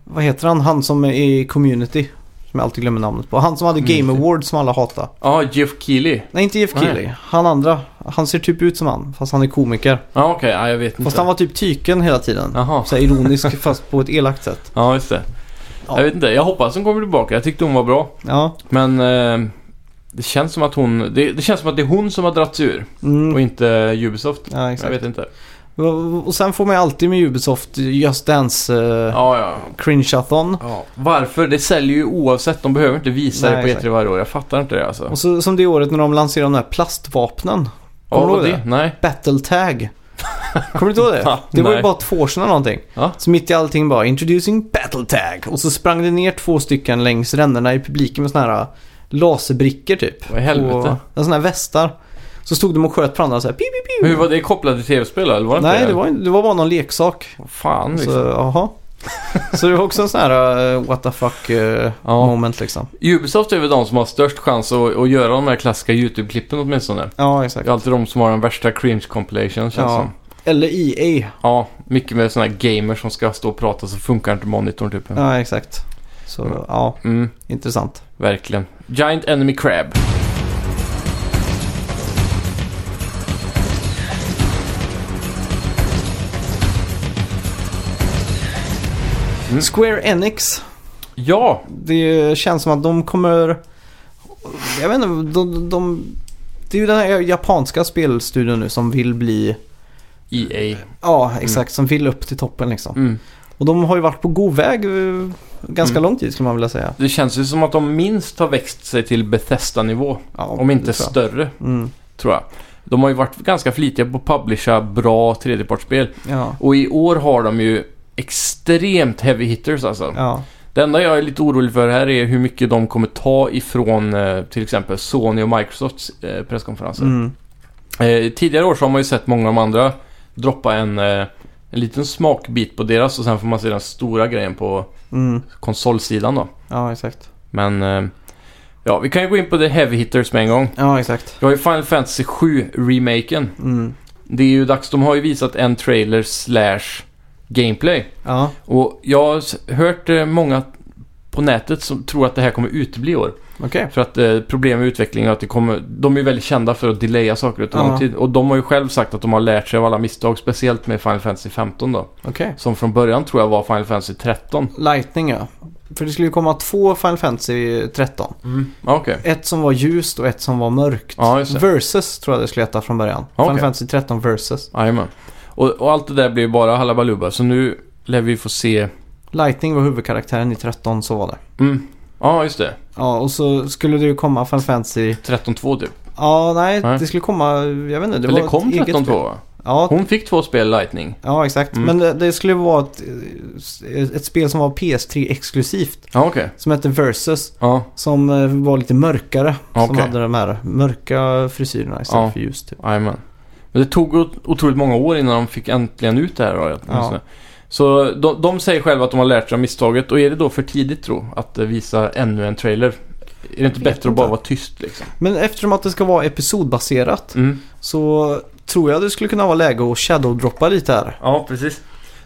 Speaker 1: vad heter han? Han som är i Community. Som jag alltid glömmer namnet på. Han som hade Game
Speaker 2: Community.
Speaker 1: Awards som alla hatade.
Speaker 2: Ja, Jeff Keely.
Speaker 1: Nej, inte Jeff
Speaker 2: Nej.
Speaker 1: Keely. Han andra. Han ser typ ut som han, fast han är komiker.
Speaker 2: Ja, okej. Ja, jag vet
Speaker 1: Fast
Speaker 2: inte.
Speaker 1: han var typ tyken hela tiden.
Speaker 2: Jaha.
Speaker 1: Så här ironisk fast på ett elakt sätt.
Speaker 2: Ja, just det.
Speaker 1: Ja.
Speaker 2: Jag vet inte. Jag hoppas hon kommer tillbaka. Jag tyckte hon var bra.
Speaker 1: Ja.
Speaker 2: Men eh, det känns som att hon... Det, det känns som att det är hon som har dragit sig ur och
Speaker 1: Mm.
Speaker 2: inte Ubisoft.
Speaker 1: Ja,
Speaker 2: Jag
Speaker 1: exakt.
Speaker 2: vet inte.
Speaker 1: Och- Och sen får man ju alltid med Ubisoft Just Dance eh,
Speaker 2: Ja, ja.
Speaker 1: Cringe-athon.
Speaker 2: ja. Varför? Det säljer ju oavsett. De behöver inte visa
Speaker 1: Nej,
Speaker 2: det på
Speaker 1: exakt.
Speaker 2: E3 varje år. Jag fattar inte det alltså.
Speaker 1: Och så som det året när de lanserade de här plastvapnen.
Speaker 2: Ja,
Speaker 1: kommer du
Speaker 2: vad
Speaker 1: ihåg
Speaker 2: det? Nej.
Speaker 1: Battle Tag. Kommer du inte ihåg det?
Speaker 2: Ja,
Speaker 1: Det var ju
Speaker 2: nej.
Speaker 1: bara två år sedan eller någonting.
Speaker 2: Ja.
Speaker 1: Så mitt i allting bara “Introducing Battle Tag” och så sprang det ner två stycken längs ränderna i publiken med såna här eh, laserbrickor typ.
Speaker 2: Vad i helvete?
Speaker 1: Och, ja, såna här västar. Så stod de och sköt på varandra såhär “Piu, piu, piu”.
Speaker 2: Men hur var det kopplat till tv-spel eller var det
Speaker 1: Nej,
Speaker 2: inte
Speaker 1: det var, inte- det var bara någon leksak.
Speaker 2: Fan liksom.
Speaker 1: Så, aha. så det var också en sån här eh, what the fuck eh,
Speaker 2: Ja.
Speaker 1: moment liksom.
Speaker 2: Ubisoft är väl de som har störst chans att, att göra de här klassiska YouTube-klippen åtminstone.
Speaker 1: Ja,
Speaker 2: Det
Speaker 1: exakt.
Speaker 2: är alltid de som har den värsta cringe compilation känns
Speaker 1: Ja.
Speaker 2: som.
Speaker 1: Eller E EA.
Speaker 2: Ja, mycket med sådana här gamers som ska stå och prata så funkar inte monitorn typ.
Speaker 1: Ja, exakt. Så
Speaker 2: Mm.
Speaker 1: ja,
Speaker 2: Mm,
Speaker 1: intressant.
Speaker 2: verkligen. Giant Enemy Crab. Mm.
Speaker 1: Square Enix.
Speaker 2: Ja,
Speaker 1: Det känns som att de kommer... Jag vet inte, de... de det är ju den här japanska spelstudion nu som vill bli...
Speaker 2: EA.
Speaker 1: Ja, exakt. Som vill upp till toppen liksom.
Speaker 2: Mm.
Speaker 1: Och de har ju varit på god väg eh, ganska lång tid skulle man vilja säga.
Speaker 2: Det känns ju som att de minst har växt sig till Bethesda-nivå.
Speaker 1: Ja,
Speaker 2: Om inte
Speaker 1: det tror jag.
Speaker 2: större,
Speaker 1: Mm,
Speaker 2: tror jag. De har ju varit ganska flitiga på att publisha bra tredjepartsspel.
Speaker 1: ja,
Speaker 2: Och i år har de ju extremt heavy hitters alltså.
Speaker 1: ja,
Speaker 2: Det enda jag är lite orolig för här är hur mycket de kommer ta ifrån eh, till exempel Sony och Microsofts eh, presskonferenser.
Speaker 1: mm,
Speaker 2: Eh, tidigare år så har man ju sett många av de andra droppa en, eh, en liten smakbit på deras och sen får man se den stora grejen på
Speaker 1: mm,
Speaker 2: konsolsidan då.
Speaker 1: ja, exakt.
Speaker 2: Men eh, ja, vi kan ju gå in på the heavy hitters med en gång.
Speaker 1: Ja, exakt.
Speaker 2: Vi har ju Final Fantasy 7 remaken.
Speaker 1: Mm,
Speaker 2: Det är ju dags, de har ju visat en trailer slash gameplay.
Speaker 1: ja,
Speaker 2: Och jag har s- hört eh, många på nätet som tror att det här kommer utebli i år.
Speaker 1: okej.
Speaker 2: För att eh, problem med utvecklingen är att det kommer, de är ju väldigt kända för att delaya saker och ta
Speaker 1: Ja.
Speaker 2: lång tid. Och de har ju själv sagt att de har lärt sig av alla misstag, speciellt med Final Fantasy 15 då.
Speaker 1: Okej.
Speaker 2: Som från början tror jag var Final Fantasy 13.
Speaker 1: Lightning ja. För det skulle ju komma två Final Fantasy 13.
Speaker 2: Ja, Okej.
Speaker 1: Ett som var ljust och ett som var mörkt.
Speaker 2: Ja, just det.
Speaker 1: versus tror jag det skulle heta från början. Final
Speaker 2: Okej.
Speaker 1: Fantasy 13 versus.
Speaker 2: Jajamän. Och, och allt det där blir ju bara halabaluba. Så nu lär vi få se...
Speaker 1: Lightning var huvudkaraktären i 13, så var det.
Speaker 2: Mm. Ja, just det.
Speaker 1: Ja, och så skulle det ju komma Final Fantasy...
Speaker 2: 13-2 typ.
Speaker 1: Ja, nej,
Speaker 2: Nej.
Speaker 1: det skulle komma... Jag vet inte, det
Speaker 2: Eller
Speaker 1: var ett
Speaker 2: kom
Speaker 1: eget spel.
Speaker 2: 13-2 va?
Speaker 1: Ja,
Speaker 2: Hon fick två spel Lightning.
Speaker 1: ja, exakt.
Speaker 2: Mm.
Speaker 1: Men det, det skulle vara ett, ett spel som var PS3-exklusivt.
Speaker 2: Ja, okej.
Speaker 1: Som hette Versus.
Speaker 2: Ja,
Speaker 1: Som eh, var lite mörkare. Som
Speaker 2: Okej.
Speaker 1: hade de här mörka frisyrerna istället
Speaker 2: Ja.
Speaker 1: för ljus typ.
Speaker 2: Jajamän. Men det tog ot- otroligt många år innan de fick äntligen ut det här då, åtminstone. Så de, de säger själva att de har lärt sig av misstaget och är det då för tidigt tro att eh, visa ännu en trailer? Är det inte
Speaker 1: vet
Speaker 2: bättre att bara
Speaker 1: inte.
Speaker 2: vara tyst liksom?
Speaker 1: Men eftersom att det ska vara episodbaserat
Speaker 2: Mm.
Speaker 1: så tror jag det skulle kunna vara läge att shadowdroppa lite här.
Speaker 2: Ja, precis.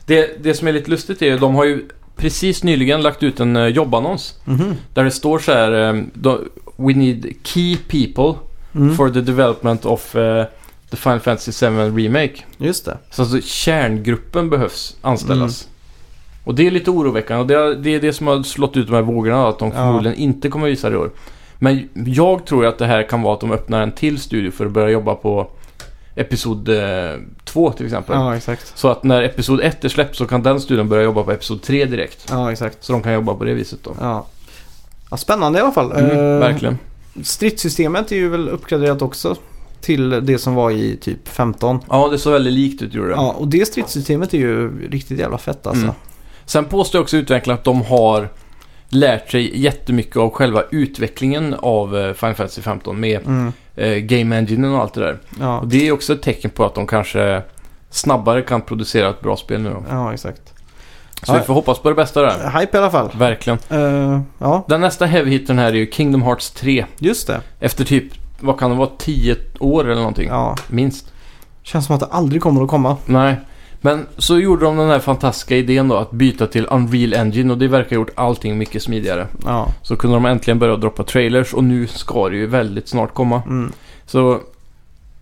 Speaker 2: Det, det som är lite lustigt är ju de har ju precis nyligen lagt ut en eh, jobbannons
Speaker 1: Mhm.
Speaker 2: där det står så här eh, då- We need key people
Speaker 1: Mm.
Speaker 2: for the development of eh, the Final Fantasy 7 Remake.
Speaker 1: Just det.
Speaker 2: Så alltså, kärngruppen behövs anställas.
Speaker 1: Mm.
Speaker 2: Och det är lite oroväckande och det är det, är det som har slått ut de här vågorna att de
Speaker 1: Ja.
Speaker 2: förmodligen inte kommer visa det i år. Men jag tror att det här kan vara att de öppnar en till studio för att börja jobba på Episod 2 till exempel.
Speaker 1: Ja, exakt.
Speaker 2: Så att när Episod 1 är släppt så kan den studion börja jobba på Episod 3 direkt.
Speaker 1: Ja, exakt.
Speaker 2: Så de kan jobba på det viset då.
Speaker 1: Ja. ja spännande i alla fall.
Speaker 2: Mm,
Speaker 1: Eh,
Speaker 2: verkligen.
Speaker 1: Stridssystemet är ju väl uppgraderat också. till det som var i typ 15.
Speaker 2: Ja, det såg väldigt likt ut gjorde det.
Speaker 1: Ja, och det stridssystemet är ju riktigt jävla fett alltså.
Speaker 2: Mm. Sen påstår också utvecklarna att de har lärt sig jättemycket av själva utvecklingen av eh, Final Fantasy 15 med
Speaker 1: Mm.
Speaker 2: eh, Game Engine och allt det där.
Speaker 1: Ja.
Speaker 2: Och det är också ett tecken på att de kanske snabbare kan producera ett bra spel nu då.
Speaker 1: ja, exakt.
Speaker 2: Så
Speaker 1: Ja.
Speaker 2: vi får hoppas på det bästa där.
Speaker 1: Hype i alla fall.
Speaker 2: Verkligen.
Speaker 1: Eh, ja,
Speaker 2: Den nästa heavy hittern här är ju Kingdom Hearts 3.
Speaker 1: just det.
Speaker 2: Efter typ, vad kan det vara, 10 år eller någonting?
Speaker 1: Ja.
Speaker 2: Minst.
Speaker 1: Känns som att det aldrig kommer att komma.
Speaker 2: Nej. Men så gjorde de den här fantastiska idén då att byta till Unreal Engine och det verkar ha gjort allting mycket smidigare.
Speaker 1: Ja.
Speaker 2: Så kunde de äntligen börja droppa trailers och nu ska det ju väldigt snart komma.
Speaker 1: Mm.
Speaker 2: Så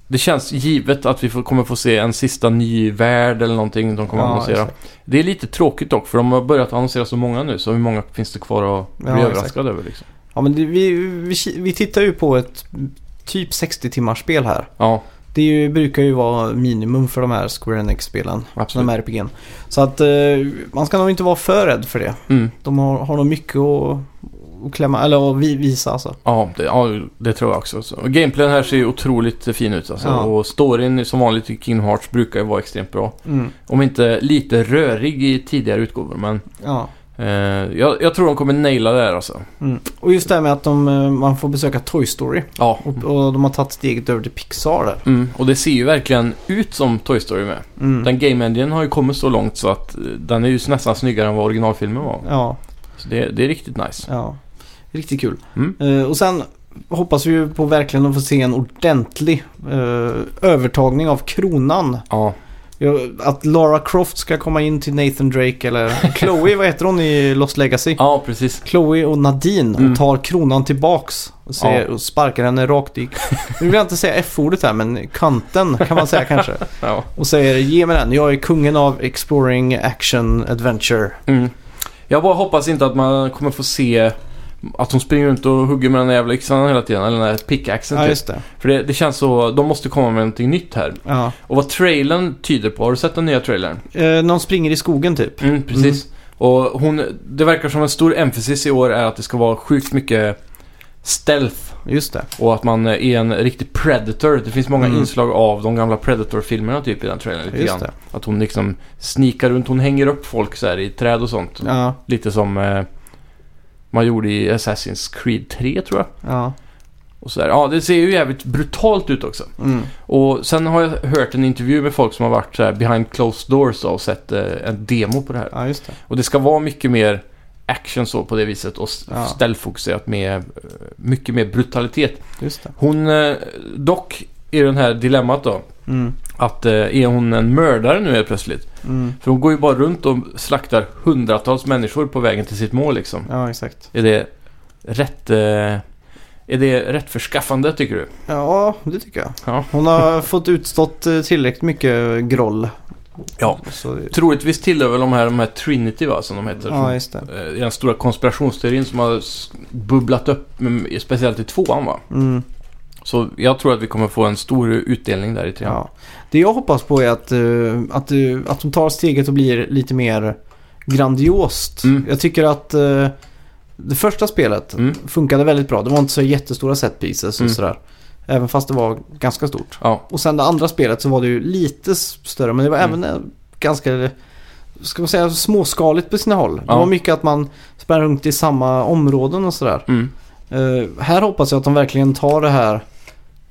Speaker 2: det känns givet att vi får, kommer få se en sista ny värld eller någonting de kommer
Speaker 1: Ja,
Speaker 2: annonsera.
Speaker 1: exakt.
Speaker 2: Det är lite tråkigt dock för de har börjat annonsera så många nu så hur många finns det kvar att bli
Speaker 1: Ja, exakt.
Speaker 2: överraskad över liksom?
Speaker 1: Ja, men det, vi, vi, vi tittar ju på ett typ 60 timmars spel här.
Speaker 2: Ja,
Speaker 1: Det är ju, brukar ju vara minimum för de här Square Enix-spelen.
Speaker 2: absolut.
Speaker 1: De här RPG'n. Så att eh, man ska nog inte vara för rädd för det.
Speaker 2: Mm.
Speaker 1: De har, har nog mycket att, att klämma, eller att vi- visa alltså.
Speaker 2: Ja, det, ja, det tror jag också. Så. och Gameplayen här ser ju otroligt eh, fin ut alltså.
Speaker 1: Ja.
Speaker 2: Och storyn som vanligt i Kingdom Hearts brukar ju vara extremt bra.
Speaker 1: Mm.
Speaker 2: Om inte lite rörig i tidigare utgåvor men
Speaker 1: Ja.
Speaker 2: eh, jag, jag tror de kommer naila det här alltså.
Speaker 1: Mm. Och just det här med att de, eh, man får besöka Toy Story.
Speaker 2: Ja.
Speaker 1: Och, och de har tagit steget över till Pixar där.
Speaker 2: Mm, och det ser ju verkligen ut som Toy Story med.
Speaker 1: Mm.
Speaker 2: Den Game Engine har ju kommit så långt så att eh, den är ju nästan snyggare än vad originalfilmen var.
Speaker 1: Ja,
Speaker 2: Så det, det är riktigt nice.
Speaker 1: ja. Riktigt kul.
Speaker 2: Mm.
Speaker 1: Eh, och sen hoppas vi ju på verkligen att få se en ordentlig eh, övertagning av kronan.
Speaker 2: Ja,
Speaker 1: Ja, Att Lara Croft ska komma in till Nathan Drake eller Chloe, vad heter hon i Lost Legacy?
Speaker 2: ja precis.
Speaker 1: Chloe och Nadine
Speaker 2: Mm.
Speaker 1: tar kronan tillbaks och, ser,
Speaker 2: Ja.
Speaker 1: och sparkar henne rakt i... Nu vill jag inte säga F-ordet här men kanten kan man säga kanske.
Speaker 2: Ja.
Speaker 1: Och säger ge mig den, jag är kungen av exploring action adventure.
Speaker 2: Mm. Jag bara hoppas inte att man kommer få se att hon springer runt och hugger med den där jävla yxan hela tiden. Eller den där pickaxen
Speaker 1: Ja
Speaker 2: typ.
Speaker 1: just det.
Speaker 2: För det, det känns så, de måste komma med någonting nytt här.
Speaker 1: Ja.
Speaker 2: Och vad trailern tyder på, har du sett den nya trailern?
Speaker 1: Eh, någon springer i skogen typ.
Speaker 2: Mm, precis. Och hon, det verkar som en stor emphasis i år är att det ska vara sjukt mycket stealth.
Speaker 1: Just det.
Speaker 2: Och att man är en riktig predator. Det finns många
Speaker 1: Mm.
Speaker 2: inslag av de gamla Predator-filmerna typ i den trailern lite
Speaker 1: Just
Speaker 2: grann.
Speaker 1: det.
Speaker 2: Att hon liksom snikar runt, hon hänger upp folk så här i träd och sånt.
Speaker 1: Ja,
Speaker 2: Lite som eh, man gjorde i Assassin's Creed 3 tror jag.
Speaker 1: ja.
Speaker 2: Och så där. Ja, det ser ju jävligt brutalt ut också.
Speaker 1: Mm.
Speaker 2: Och sen har jag hört en intervju med folk som har varit så här behind closed doors då, och sett eh, en demo på det här.
Speaker 1: Ja just det.
Speaker 2: Och det ska vara mycket mer action så på det viset och s-
Speaker 1: Ja.
Speaker 2: ställfokuserat med eh, mycket mer brutalitet.
Speaker 1: Just det.
Speaker 2: Hon, eh, dock, i den här dilemmat då.
Speaker 1: Mm.
Speaker 2: Att eh, är hon en mördare nu helt plötsligt?
Speaker 1: Mm.
Speaker 2: För hon går ju bara runt och slaktar hundratals människor på vägen till sitt mål liksom.
Speaker 1: Ja exakt.
Speaker 2: Är det rätt... Eh, är det rätt förskaffande tycker du?
Speaker 1: Ja det tycker jag.
Speaker 2: Ja.
Speaker 1: Hon har fått utstått eh, tillräckligt mycket groll.
Speaker 2: Ja.
Speaker 1: Så,
Speaker 2: Troligtvis tillhör väl de här, de här Trinity va, som de heter.
Speaker 1: ja, just det.
Speaker 2: som, eh, den stora konspirationsteorin som har s- bubblat upp, mm, speciellt i tvåan va.
Speaker 1: Mm,
Speaker 2: Så jag tror att vi kommer få en stor utdelning där i trean.
Speaker 1: ja. Det jag hoppas på är att, eh, att, eh, att de tar steget och blir lite mer grandiost.
Speaker 2: Mm.
Speaker 1: Jag tycker att eh, det första spelet
Speaker 2: Mm.
Speaker 1: funkade väldigt bra. Det var inte så jättestora set pieces och
Speaker 2: Mm.
Speaker 1: sådär. Även fast det var ganska stort.
Speaker 2: Ja.
Speaker 1: Och sen det andra spelet så var det ju lite s- större men det var
Speaker 2: Mm.
Speaker 1: även eh, ganska ska man säga småskaligt på sina håll. Det
Speaker 2: Ja.
Speaker 1: var mycket att man sprang runt i samma områden och sådär.
Speaker 2: Mm.
Speaker 1: Eh, här hoppas jag att de verkligen tar det här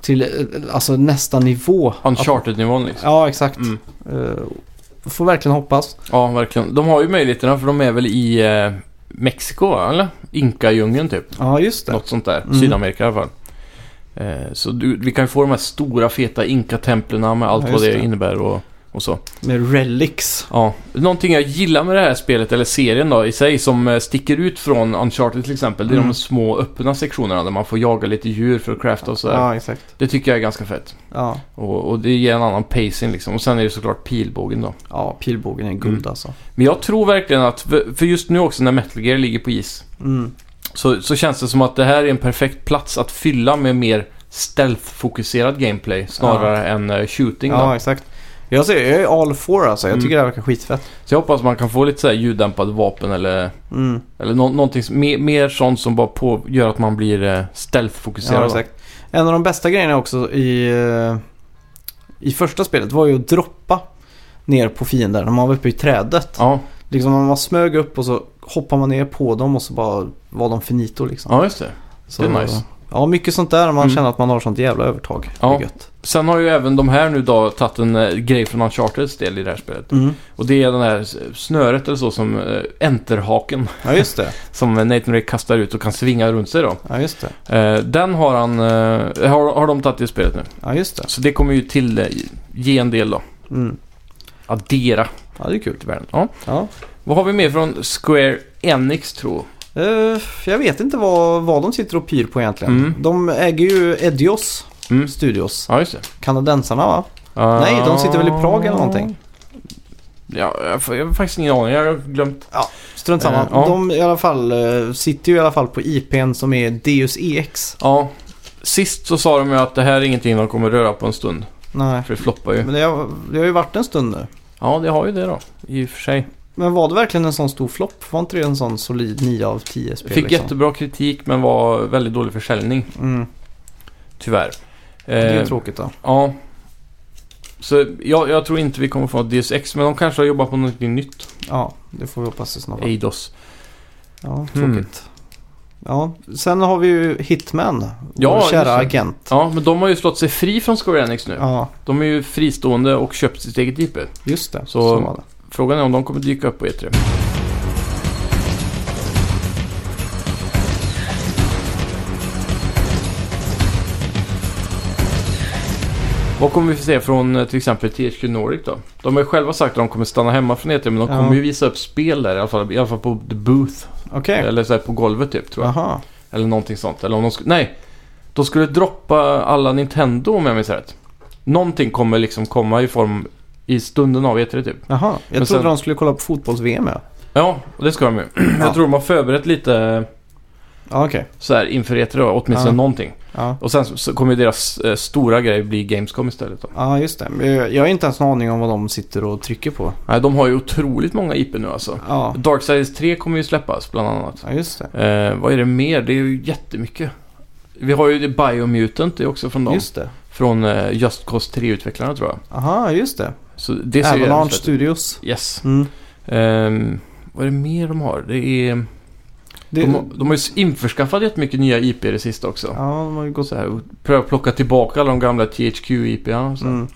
Speaker 1: till eh, alltså nästa nivå.
Speaker 2: Uncharted-nivån liksom.
Speaker 1: Att, ja, exakt.
Speaker 2: Mm.
Speaker 1: Eh, får verkligen hoppas.
Speaker 2: Ja, verkligen. De har ju möjligheterna för de är väl i eh, Mexiko, va, eller? Inka-djungeln typ.
Speaker 1: Ja, just det.
Speaker 2: Något sånt där.
Speaker 1: Mm.
Speaker 2: Sydamerika i alla fall. Eh, så du, vi kan ju få de här stora feta Inka-templen med allt
Speaker 1: Ja,
Speaker 2: vad
Speaker 1: just
Speaker 2: det,
Speaker 1: det.
Speaker 2: innebär och, och så.
Speaker 1: Med relics.
Speaker 2: Ja. Någonting jag gillar med det här spelet, eller serien då, i sig som eh, sticker ut från Uncharted till exempel. Det är
Speaker 1: Mm.
Speaker 2: de små öppna sektionerna där man får jaga lite djur för att crafta och sådär.
Speaker 1: Ja, exakt.
Speaker 2: Det tycker jag är ganska fett.
Speaker 1: Ja.
Speaker 2: Och, och det ger en annan pacing liksom. Och sen är det såklart pilbågen då.
Speaker 1: ja, pilbågen är guld
Speaker 2: Mm.
Speaker 1: alltså.
Speaker 2: Men jag tror verkligen att, för för just nu också när Metal Gear ligger på is.
Speaker 1: Mm.
Speaker 2: så, så känns det som att det här är en perfekt plats att fylla med mer stealth-fokuserad gameplay snarare än eh, shooting.
Speaker 1: Ja,
Speaker 2: Då.
Speaker 1: exakt. Jag säger, jag är all for alltså. Jag
Speaker 2: Mm.
Speaker 1: tycker det här verkar skitfett.
Speaker 2: Så jag hoppas man kan få lite så här ljuddämpade vapen eller,
Speaker 1: Mm.
Speaker 2: eller nå- någonting som- mer, mer sånt som bara på, gör att man blir eh,
Speaker 1: Ja,
Speaker 2: stealth-fokuserad. då.
Speaker 1: exakt. En av de bästa grejerna också i, eh, i första spelet var ju att droppa ner på fiender när man var uppe i trädet.
Speaker 2: Ja,
Speaker 1: Liksom man smög upp och så hoppar man ner på dem och så bara var de finito liksom.
Speaker 2: ja just det.
Speaker 1: så,
Speaker 2: det är nice.
Speaker 1: Ja, mycket sånt där. Man
Speaker 2: Mm.
Speaker 1: känner att man har sånt jävla övertag.
Speaker 2: Ja.
Speaker 1: Det är gött.
Speaker 2: Sen har ju även de här nu då tagit en eh, grej från Uncharteds del i det här spelet.
Speaker 1: Mm.
Speaker 2: Och det är den här s- snöret eller så som eh, enterhaken
Speaker 1: Ja, just det.
Speaker 2: som Nathan Drake kastar ut och kan svinga runt sig då.
Speaker 1: Ja, just det.
Speaker 2: Eh, den har han, eh, har, har de tagit i spelet nu.
Speaker 1: Ja, just det.
Speaker 2: Så det kommer ju till, eh, ge en del då.
Speaker 1: Mm.
Speaker 2: Addera
Speaker 1: Ja, det är kul.
Speaker 2: till världen. Ja.
Speaker 1: Ja.
Speaker 2: Vad har vi mer från Square Enix tror
Speaker 1: Eh, jag vet inte vad, vad de sitter och pyr på egentligen.
Speaker 2: Mm.
Speaker 1: De äger ju Edios
Speaker 2: Mm.
Speaker 1: Studios.
Speaker 2: Ja, just det.
Speaker 1: Kanadensarna va?
Speaker 2: Ah.
Speaker 1: Nej, de sitter väl i Prag eller någonting.
Speaker 2: Ja, jag, får- jag har faktiskt ingen aning. Jag har glömt.
Speaker 1: Strunt samma.
Speaker 2: Eh, ja.
Speaker 1: De i alla fall eh, sitter ju i alla fall på IPn som är Deus EX.
Speaker 2: Ja. Sist så sa de ju att det här är ingenting de kommer röra på en stund.
Speaker 1: Nej.
Speaker 2: För det floppar ju.
Speaker 1: Men det har, det har ju varit en stund nu.
Speaker 2: Ja, det har ju det då. I och för sig.
Speaker 1: Men var det verkligen en sån stor flopp? Var inte det en sån solid 9 av 10 spel?
Speaker 2: Fick
Speaker 1: liksom?
Speaker 2: jättebra kritik men var väldigt dålig försäljning.
Speaker 1: Mm.
Speaker 2: Tyvärr.
Speaker 1: Det är ju
Speaker 2: Eh,
Speaker 1: tråkigt då.
Speaker 2: Ja. Så jag, jag tror inte vi kommer få ett DSX, men de kanske har jobbat på något nytt.
Speaker 1: Ja, det får vi hoppas i snart.
Speaker 2: Eidos.
Speaker 1: Ja,
Speaker 2: Hmm.
Speaker 1: tråkigt. Ja, sen har vi ju Hitman.
Speaker 2: Ja,
Speaker 1: vår
Speaker 2: just det.
Speaker 1: kära agent.
Speaker 2: Ja, men de har ju slått sig fri från Square Enix nu.
Speaker 1: Ja,
Speaker 2: De är ju fristående och köpt sitt eget IP.
Speaker 1: just det.
Speaker 2: Så-
Speaker 1: Så var det.
Speaker 2: Frågan är om de kommer dyka upp på E E3. Vad kommer vi få se från eh, till exempel THQ Nordic då? De har ju själva sagt att de kommer stanna hemma från E3 men de
Speaker 1: Ja.
Speaker 2: kommer ju visa upp spel där i alla fall, i alla fall på The Booth.
Speaker 1: Okej.
Speaker 2: Eller så här på golvet typ tror jag.
Speaker 1: Jaha.
Speaker 2: Eller någonting sånt. Eller om de sk- Nej! De skulle droppa alla Nintendo om jag minns rätt. Någonting kommer liksom komma i form i stunden av E3 typ.
Speaker 1: Jaha. Jag
Speaker 2: Men
Speaker 1: trodde
Speaker 2: sen-
Speaker 1: de skulle kolla på fotbolls-VM ja.
Speaker 2: Ja, och det ska de ju.
Speaker 1: Ja.
Speaker 2: Jag tror de har förberett lite
Speaker 1: Ja, okej.
Speaker 2: så här inför E3 då, åtminstone
Speaker 1: Ja.
Speaker 2: någonting.
Speaker 1: Ja.
Speaker 2: Och sen så- så kommer ju deras eh, stora grej bli Gamescom istället då.
Speaker 1: ja, just det. Men Jag jag har inte ens en aning om vad de sitter och trycker på.
Speaker 2: Nej, de har ju otroligt många IP nu alltså.
Speaker 1: Ja,
Speaker 2: Darksiders 3 kommer ju släppas bland annat.
Speaker 1: ja just det.
Speaker 2: Eh, vad är det mer? Det är ju jättemycket. Vi har ju det Biomutant, det är också från dem.
Speaker 1: Just det.
Speaker 2: Från eh, Just Cause 3-utvecklarna tror jag.
Speaker 1: Aha, just det.
Speaker 2: Så det ser ju
Speaker 1: Avalanche
Speaker 2: jävligt fett ut.
Speaker 1: Studios.
Speaker 2: Yes.
Speaker 1: Mm.
Speaker 2: Ehm, vad är det mer de har? Det är...
Speaker 1: Det...
Speaker 2: De, har- de har ju införskaffat jättemycket nya IP det sista också.
Speaker 1: Ja, de har ju
Speaker 2: Och
Speaker 1: gått...
Speaker 2: så här, och pröva plocka tillbaka alla de gamla THQ-IParna. Så.
Speaker 1: Mm.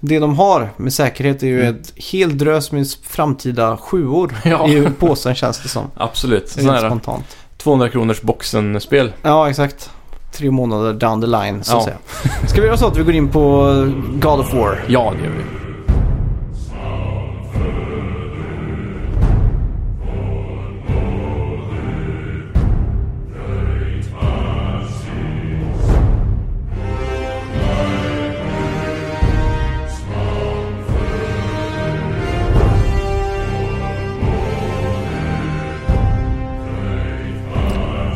Speaker 1: Det de har med säkerhet är ju
Speaker 2: Mm.
Speaker 1: ett helt drös med framtida sjuor
Speaker 2: Ja.
Speaker 1: i påsen känns det som.
Speaker 2: Absolut. Sådana
Speaker 1: Rent
Speaker 2: här
Speaker 1: spontant.
Speaker 2: 200 kronors boxen-spel.
Speaker 1: Ja, exakt. Tre månader down the line så att
Speaker 2: Ja.
Speaker 1: säga. Ska vi göra så att vi går in på eh, God of War?
Speaker 2: Ja, det gör vi.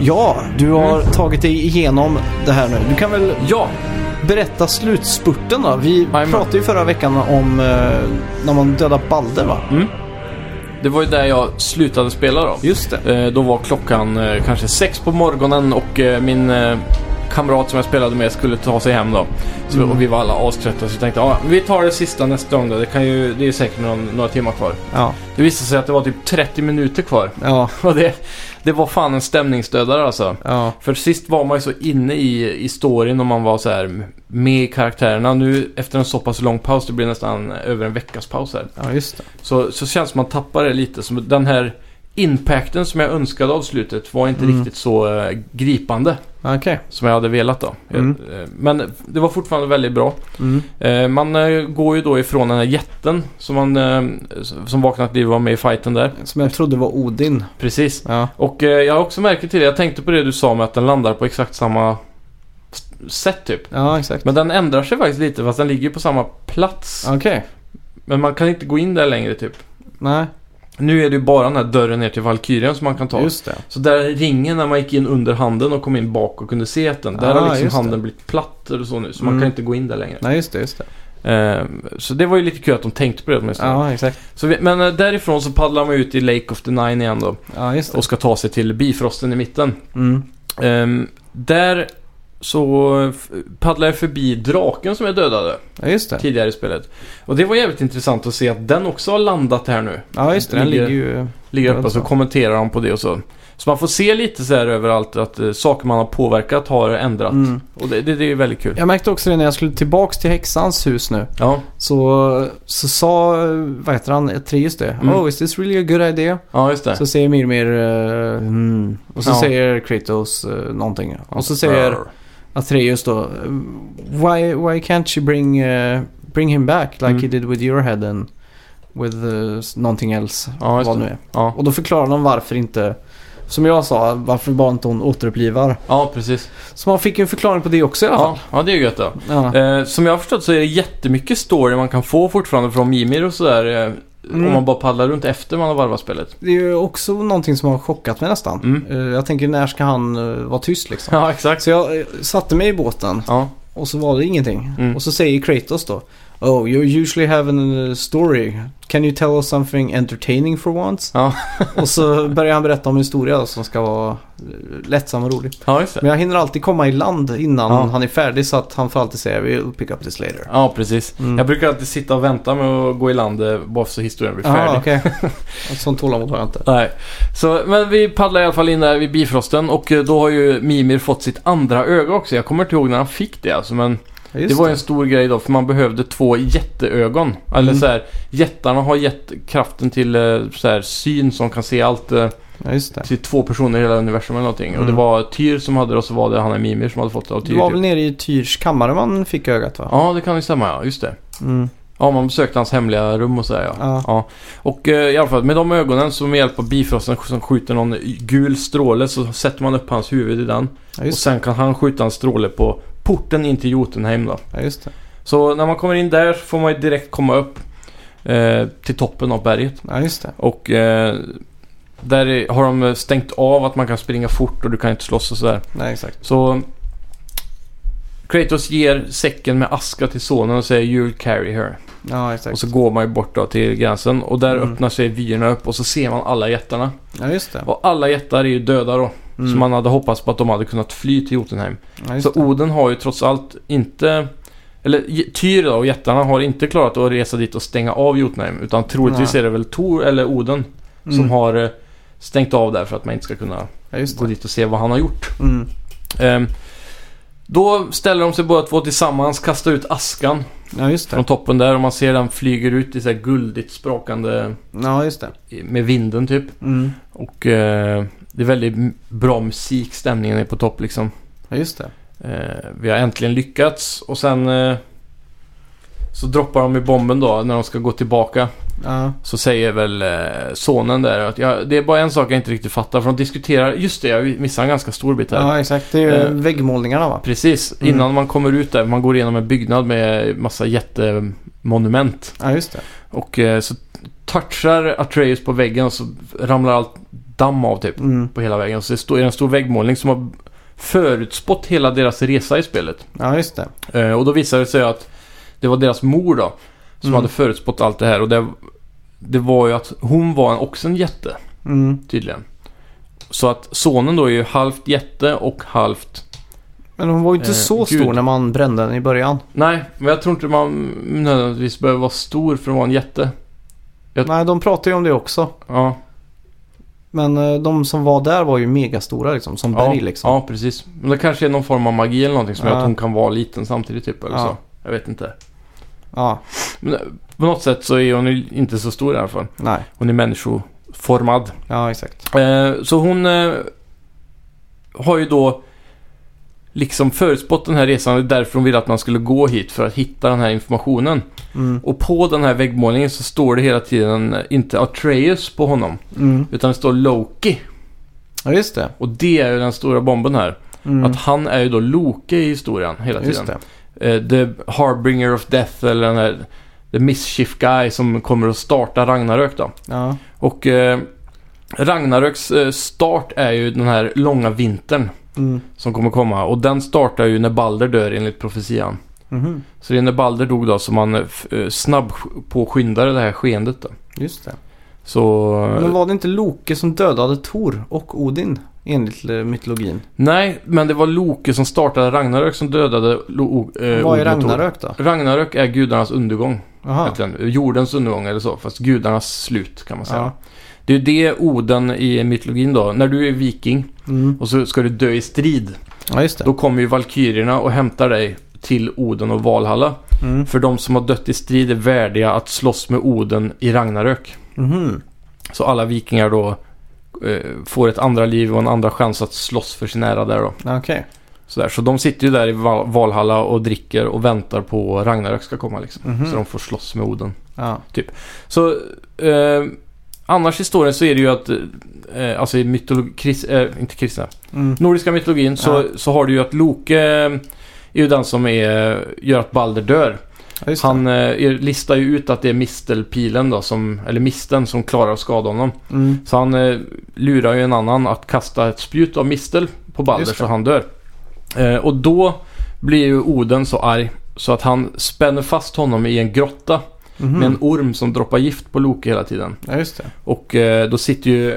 Speaker 1: Ja, du har
Speaker 2: Mm.
Speaker 1: tagit dig igenom det här nu. Du kan väl
Speaker 2: Ja!
Speaker 1: berätta slutspurten då? Vi
Speaker 2: Jajamän.
Speaker 1: pratade ju förra veckan om eh, när man dödar Balder va?
Speaker 2: Det var ju där jag slutade spela då.
Speaker 1: Just det.
Speaker 2: Eh, då var klockan eh, kanske sex på morgonen och eh, min eh, kamrat som jag spelade med skulle ta sig hem då. Så, Och vi var alla aströtta så vi tänkte ah, vi tar det sista nästa gång då. Det, kan ju, det är säkert någon, några timmar kvar.
Speaker 1: Ja,
Speaker 2: Det visade sig att det var typ 30 minuter kvar.
Speaker 1: ja,
Speaker 2: Och det, det var fan en stämningsdödare alltså.
Speaker 1: ja.
Speaker 2: För sist var man ju så inne i, i storyn och man var så här med i karaktärerna. Nu efter en så pass lång paus, det blir nästan över en veckas paus här.
Speaker 1: Ja, just det.
Speaker 2: Så, så känns det som man tappar det lite. Som den här impacten som jag önskade av slutet var inte
Speaker 1: Mm.
Speaker 2: riktigt så eh, gripande
Speaker 1: Okej.
Speaker 2: som jag hade velat då.
Speaker 1: Mm.
Speaker 2: Eh, Men det var fortfarande väldigt bra.
Speaker 1: Mm.
Speaker 2: Eh, Man eh, går ju då ifrån den här jätten som, man, eh, som vaknat liv och var med i fighten där.
Speaker 1: Som jag trodde var Odin.
Speaker 2: Precis.
Speaker 1: Ja,
Speaker 2: Och eh, jag har också märkt till det, jag tänkte på det du sa med att den landar på exakt samma s- sätt typ.
Speaker 1: ja exakt.
Speaker 2: Men den ändrar sig faktiskt lite fast den ligger på samma plats.
Speaker 1: Okej.
Speaker 2: Men man kan inte gå in där längre typ.
Speaker 1: Nej,
Speaker 2: Nu är det ju bara den här dörren ner till Valkyrien som man kan ta.
Speaker 1: just det.
Speaker 2: Så där ringen när man gick in under handen och kom in bak och kunde se att den. Där
Speaker 1: Ah,
Speaker 2: har
Speaker 1: just
Speaker 2: liksom
Speaker 1: det.
Speaker 2: handen blivit platt eller så nu. Så man
Speaker 1: Mm.
Speaker 2: kan inte gå in där längre.
Speaker 1: Nej, just det, just det.
Speaker 2: Ehm, så det var ju lite kul att de tänkte på det åtminstone.
Speaker 1: Ja, exakt.
Speaker 2: Så vi, men eh, därifrån så paddlar man ut i Lake of the Nine igen då.
Speaker 1: Ja, just det.
Speaker 2: Och ska ta sig till Bifrosten i mitten.
Speaker 1: Mm.
Speaker 2: Ehm, där så eh, f- paddlar jag förbi draken som jag dödade
Speaker 1: Ja, just det.
Speaker 2: tidigare i spelet. Och det var jävligt intressant att se att den också har landat här nu.
Speaker 1: Ja, just det. Den
Speaker 2: Ligger-
Speaker 1: ligger ju...
Speaker 2: Ligger uppe
Speaker 1: Ja,
Speaker 2: och så
Speaker 1: så.
Speaker 2: kommenterar de på det och så. Så man får se lite så här överallt att eh, saker man har påverkat har ändrat.
Speaker 1: Mm.
Speaker 2: Och det, det, det är väldigt kul.
Speaker 1: Jag märkte också det när jag skulle tillbaks till häxans hus nu.
Speaker 2: Ja,
Speaker 1: Så, så sa, eh, vad heter han, Atreus det.
Speaker 2: Mm.
Speaker 1: Oh, is this really a good idea?
Speaker 2: ja just det.
Speaker 1: Så säger Mirmir, eh, mm. Och så
Speaker 2: Ja.
Speaker 1: säger Kratos eh, någonting. Och så säger Atreus då, eh, why, why can't you bring, eh, bring him back like
Speaker 2: Mm.
Speaker 1: he did with your head and with eh, s- någonting else?
Speaker 2: Ja, just
Speaker 1: vad
Speaker 2: det.
Speaker 1: nu är.
Speaker 2: Ja,
Speaker 1: Och då förklarar de varför inte, som jag sa, varför bara inte hon återupplivar.
Speaker 2: ja precis.
Speaker 1: Så man fick ju en förklaring på det också i alla fall.
Speaker 2: Ja, ja det är ju gött då.
Speaker 1: Ja.
Speaker 2: Eh, som jag har förstått så är det jättemycket story man kan få fortfarande från Mimir och sådär. Eh,
Speaker 1: Mm.
Speaker 2: Om man bara paddlar runt efter man har varvat spelet.
Speaker 1: Det är ju också någonting som har chockat mig nästan.
Speaker 2: Mm.
Speaker 1: Eh, Jag tänker när ska han eh, vara tyst liksom?
Speaker 2: Ja, exakt.
Speaker 1: Så jag eh, satte mig i båten
Speaker 2: Ja,
Speaker 1: och så var det ingenting.
Speaker 2: Mm.
Speaker 1: Och så säger Kratos då. Oh, you usually have a story. Can you tell us something entertaining for once?
Speaker 2: Ja.
Speaker 1: och så börjar han berätta om en historia som ska vara eh, lättsam och rolig.
Speaker 2: ja just det.
Speaker 1: Men jag hinner alltid komma i land innan
Speaker 2: Ja.
Speaker 1: han är färdig så att han får alltid säga we'll pick up this later.
Speaker 2: Ja, precis.
Speaker 1: Mm.
Speaker 2: Jag brukar alltid sitta och vänta med att gå i land eh, bara så historien blir färdig.
Speaker 1: Jaha, Ah, okej. Ett sånt tålamod har jag inte.
Speaker 2: Nej, så, men vi paddlar i alla fall in där vid bifrosten och eh, då har ju Mimir fått sitt andra öga också. Jag kommer inte ihåg när han fick det alltså, men
Speaker 1: Ja, just
Speaker 2: det var ju en stor grej då för man behövde två jätteögon. Eller
Speaker 1: Mm.
Speaker 2: så här, jättarna har gett kraften till eh, så här, syn som kan se allt eh,
Speaker 1: ja, just det.
Speaker 2: till två personer i hela universum eller någonting. Och det
Speaker 1: Mm.
Speaker 2: var Tyr som hade det och så var det han är Mimir som hade fått det av
Speaker 1: Du
Speaker 2: Tyr.
Speaker 1: var
Speaker 2: typ.
Speaker 1: väl nere i Tyrs kammare man fick ögat va?
Speaker 2: Ja, det kan ju stämma ja, just det.
Speaker 1: Mm.
Speaker 2: Ja, man besökte hans hemliga rum och sådär ja.
Speaker 1: Ja.
Speaker 2: Och eh, i alla fall med de ögonen som med hjälp av bifrosten som skjuter någon gul stråle så sätter man upp hans huvud i den.
Speaker 1: Ja,
Speaker 2: Och
Speaker 1: just,
Speaker 2: sen kan han skjuta en stråle på porten in till Jotunheim då.
Speaker 1: ja, just det.
Speaker 2: Så när man kommer in där så får man ju direkt komma upp eh, till toppen av berget.
Speaker 1: Ja, just det.
Speaker 2: Och eh, där är- har de stängt av att man kan springa fort och du kan inte slåss och sådär.
Speaker 1: Nej, exakt.
Speaker 2: Så Kratos ger säcken med aska till sonen och säger You'll carry her.
Speaker 1: Ja, exakt.
Speaker 2: Och så går man ju bort då till gränsen och där
Speaker 1: Mm.
Speaker 2: öppnar sig vyerna upp och så ser man alla jättarna.
Speaker 1: Ja, just det.
Speaker 2: Och alla jättar är ju döda då.
Speaker 1: Mm.
Speaker 2: Så man hade hoppats på att de hade kunnat fly till Jotunheim.
Speaker 1: ja, just
Speaker 2: Så
Speaker 1: det.
Speaker 2: Oden har ju trots allt inte... Eller J- Tyr då och jättarna har inte klarat att resa dit och stänga av Jotunheim. Utan troligtvis
Speaker 1: Nej.
Speaker 2: är det väl Tor eller Oden som
Speaker 1: Mm.
Speaker 2: har eh, stängt av där för att man inte ska kunna
Speaker 1: Ja, just
Speaker 2: gå
Speaker 1: det.
Speaker 2: dit och se vad han har gjort.
Speaker 1: Mm.
Speaker 2: Ehm, då ställer de sig båda två tillsammans, kastar ut askan
Speaker 1: Ja, just
Speaker 2: från
Speaker 1: det.
Speaker 2: toppen där och man ser den flyger ut i så här guldigt sprakande
Speaker 1: Ja, just det.
Speaker 2: i- med vinden typ.
Speaker 1: Mm.
Speaker 2: Och eh, det är väldigt m- bra musik, stämningen är på topp liksom.
Speaker 1: Ja, just det.
Speaker 2: Eh, vi har äntligen lyckats och sen eh, så droppar de i bomben då när de ska gå tillbaka.
Speaker 1: Ja,
Speaker 2: Så säger väl eh, sonen där att ja, det är bara en sak jag inte riktigt fattar för de diskuterar, just det jag missar en ganska stor bit här.
Speaker 1: ja exakt. Det är ju
Speaker 2: Eh.
Speaker 1: väggmålningarna va?
Speaker 2: Precis,
Speaker 1: Mm.
Speaker 2: innan man kommer ut där, man går igenom en byggnad med massa jättemonument.
Speaker 1: Ja, just det.
Speaker 2: Och eh, så touchar Atreus på väggen och så ramlar allt damm av typ.
Speaker 1: Mm.
Speaker 2: på hela vägen. Så det står- är en stor väggmålning som har förutspått hela deras resa i spelet.
Speaker 1: Ja, just det.
Speaker 2: Eh, och då visade det sig att det var deras mor då som
Speaker 1: Mm.
Speaker 2: hade förutspått allt det här. Och det, det var ju att hon var en, också en jätte
Speaker 1: Mm.
Speaker 2: tydligen. Så att sonen då är ju halvt jätte och halvt...
Speaker 1: Men hon var ju inte
Speaker 2: Eh,
Speaker 1: så
Speaker 2: gud.
Speaker 1: stor när man brände den i början.
Speaker 2: Nej, men jag tror inte man nödvändigtvis behöver vara stor för att vara en jätte. Jag-
Speaker 1: Nej, de pratar ju om det också.
Speaker 2: Ja,
Speaker 1: Men eh, de som var där var ju megastora liksom. Som
Speaker 2: ja,
Speaker 1: berg liksom.
Speaker 2: ja precis. Men det kanske är någon form av magi eller någonting som gör
Speaker 1: Ja.
Speaker 2: att hon kan vara liten samtidigt typ eller
Speaker 1: Ja.
Speaker 2: så. Jag vet inte.
Speaker 1: Ja.
Speaker 2: Men eh, på något sätt så är hon ju inte så stor i alla fall.
Speaker 1: Nej.
Speaker 2: Hon är människoformad.
Speaker 1: Ja, exakt.
Speaker 2: Eh, så hon eh, har ju då liksom förutspått den här resan. Det är därför hon ville att man skulle gå hit för att hitta den här informationen.
Speaker 1: Mm.
Speaker 2: Och på den här väggmålningen så står det hela tiden eh, inte Atreus på honom.
Speaker 1: Mm.
Speaker 2: Utan det står Loki.
Speaker 1: Ja, just det.
Speaker 2: Och det är ju den stora bomben här.
Speaker 1: Mm.
Speaker 2: Att han är ju då Loki i historien hela tiden.
Speaker 1: just det.
Speaker 2: Eh, the Harbinger of Death eller den här The Mischief Guy som kommer att starta Ragnarök då.
Speaker 1: Ja.
Speaker 2: Och eh, Ragnaröks eh, start är ju den här långa vintern
Speaker 1: Mm.
Speaker 2: som kommer komma. Och den startar ju när Balder dör enligt profetian.
Speaker 1: Mhm.
Speaker 2: Så det är när Balder dog då som man eh, f- eh, snabb på skyndade det här skeendet då.
Speaker 1: Just det.
Speaker 2: Så... eh,
Speaker 1: Men var det inte Loke som dödade Tor och Odin enligt eh, mytologin?
Speaker 2: Nej, men det var Loke som startade Ragnarök som dödade Lo- o- eh,
Speaker 1: Vad är
Speaker 2: Odin och Thor.
Speaker 1: Ragnarök Ah. då?
Speaker 2: Ragnarök är gudarnas undergång.
Speaker 1: Jaha.
Speaker 2: egentligen. Jordens undergång eller så, fast gudarnas slut kan man säga.
Speaker 1: Ja.
Speaker 2: Det är ju det Oden i mytologin då. När du är viking
Speaker 1: Mm.
Speaker 2: och så ska du dö i strid.
Speaker 1: ja, just det.
Speaker 2: Då kommer ju valkyrierna och hämtar dig till Oden och Valhalla.
Speaker 1: Mm.
Speaker 2: För de som har dött i strid är värdiga att slåss med Oden i Ragnarök.
Speaker 1: Mhm.
Speaker 2: Så alla vikingar då eh, får ett andra liv och en andra chans att slåss för sin ära där då.
Speaker 1: Okej.
Speaker 2: Sådär. Så de sitter ju där i Val- Valhalla och dricker och väntar på Ragnarök ska komma liksom.
Speaker 1: Mhm.
Speaker 2: Så de får slåss med Oden.
Speaker 1: Ja.
Speaker 2: Så eh, annars i historien så är det ju att eh, alltså i mytologi, kris, eh, inte kristna,
Speaker 1: Mm.
Speaker 2: nordiska mytologin så, så har du ju att Loke eh, är ju den som är, gör att Balder dör.
Speaker 1: Ja, just
Speaker 2: Han eh, är- listar ju ut att det är mistelpilen då, som, eller misten som klarar att skada honom.
Speaker 1: det. Mm.
Speaker 2: Så han eh, lurar ju en annan att kasta ett spjut av mistel på Balder
Speaker 1: Just det.
Speaker 2: så han dör. Eh, och då blir ju Oden så arg så att han spänner fast honom i en grotta
Speaker 1: Mhm.
Speaker 2: med en orm som droppar gift på Loke hela tiden.
Speaker 1: Ja, just det.
Speaker 2: Och eh, då sitter ju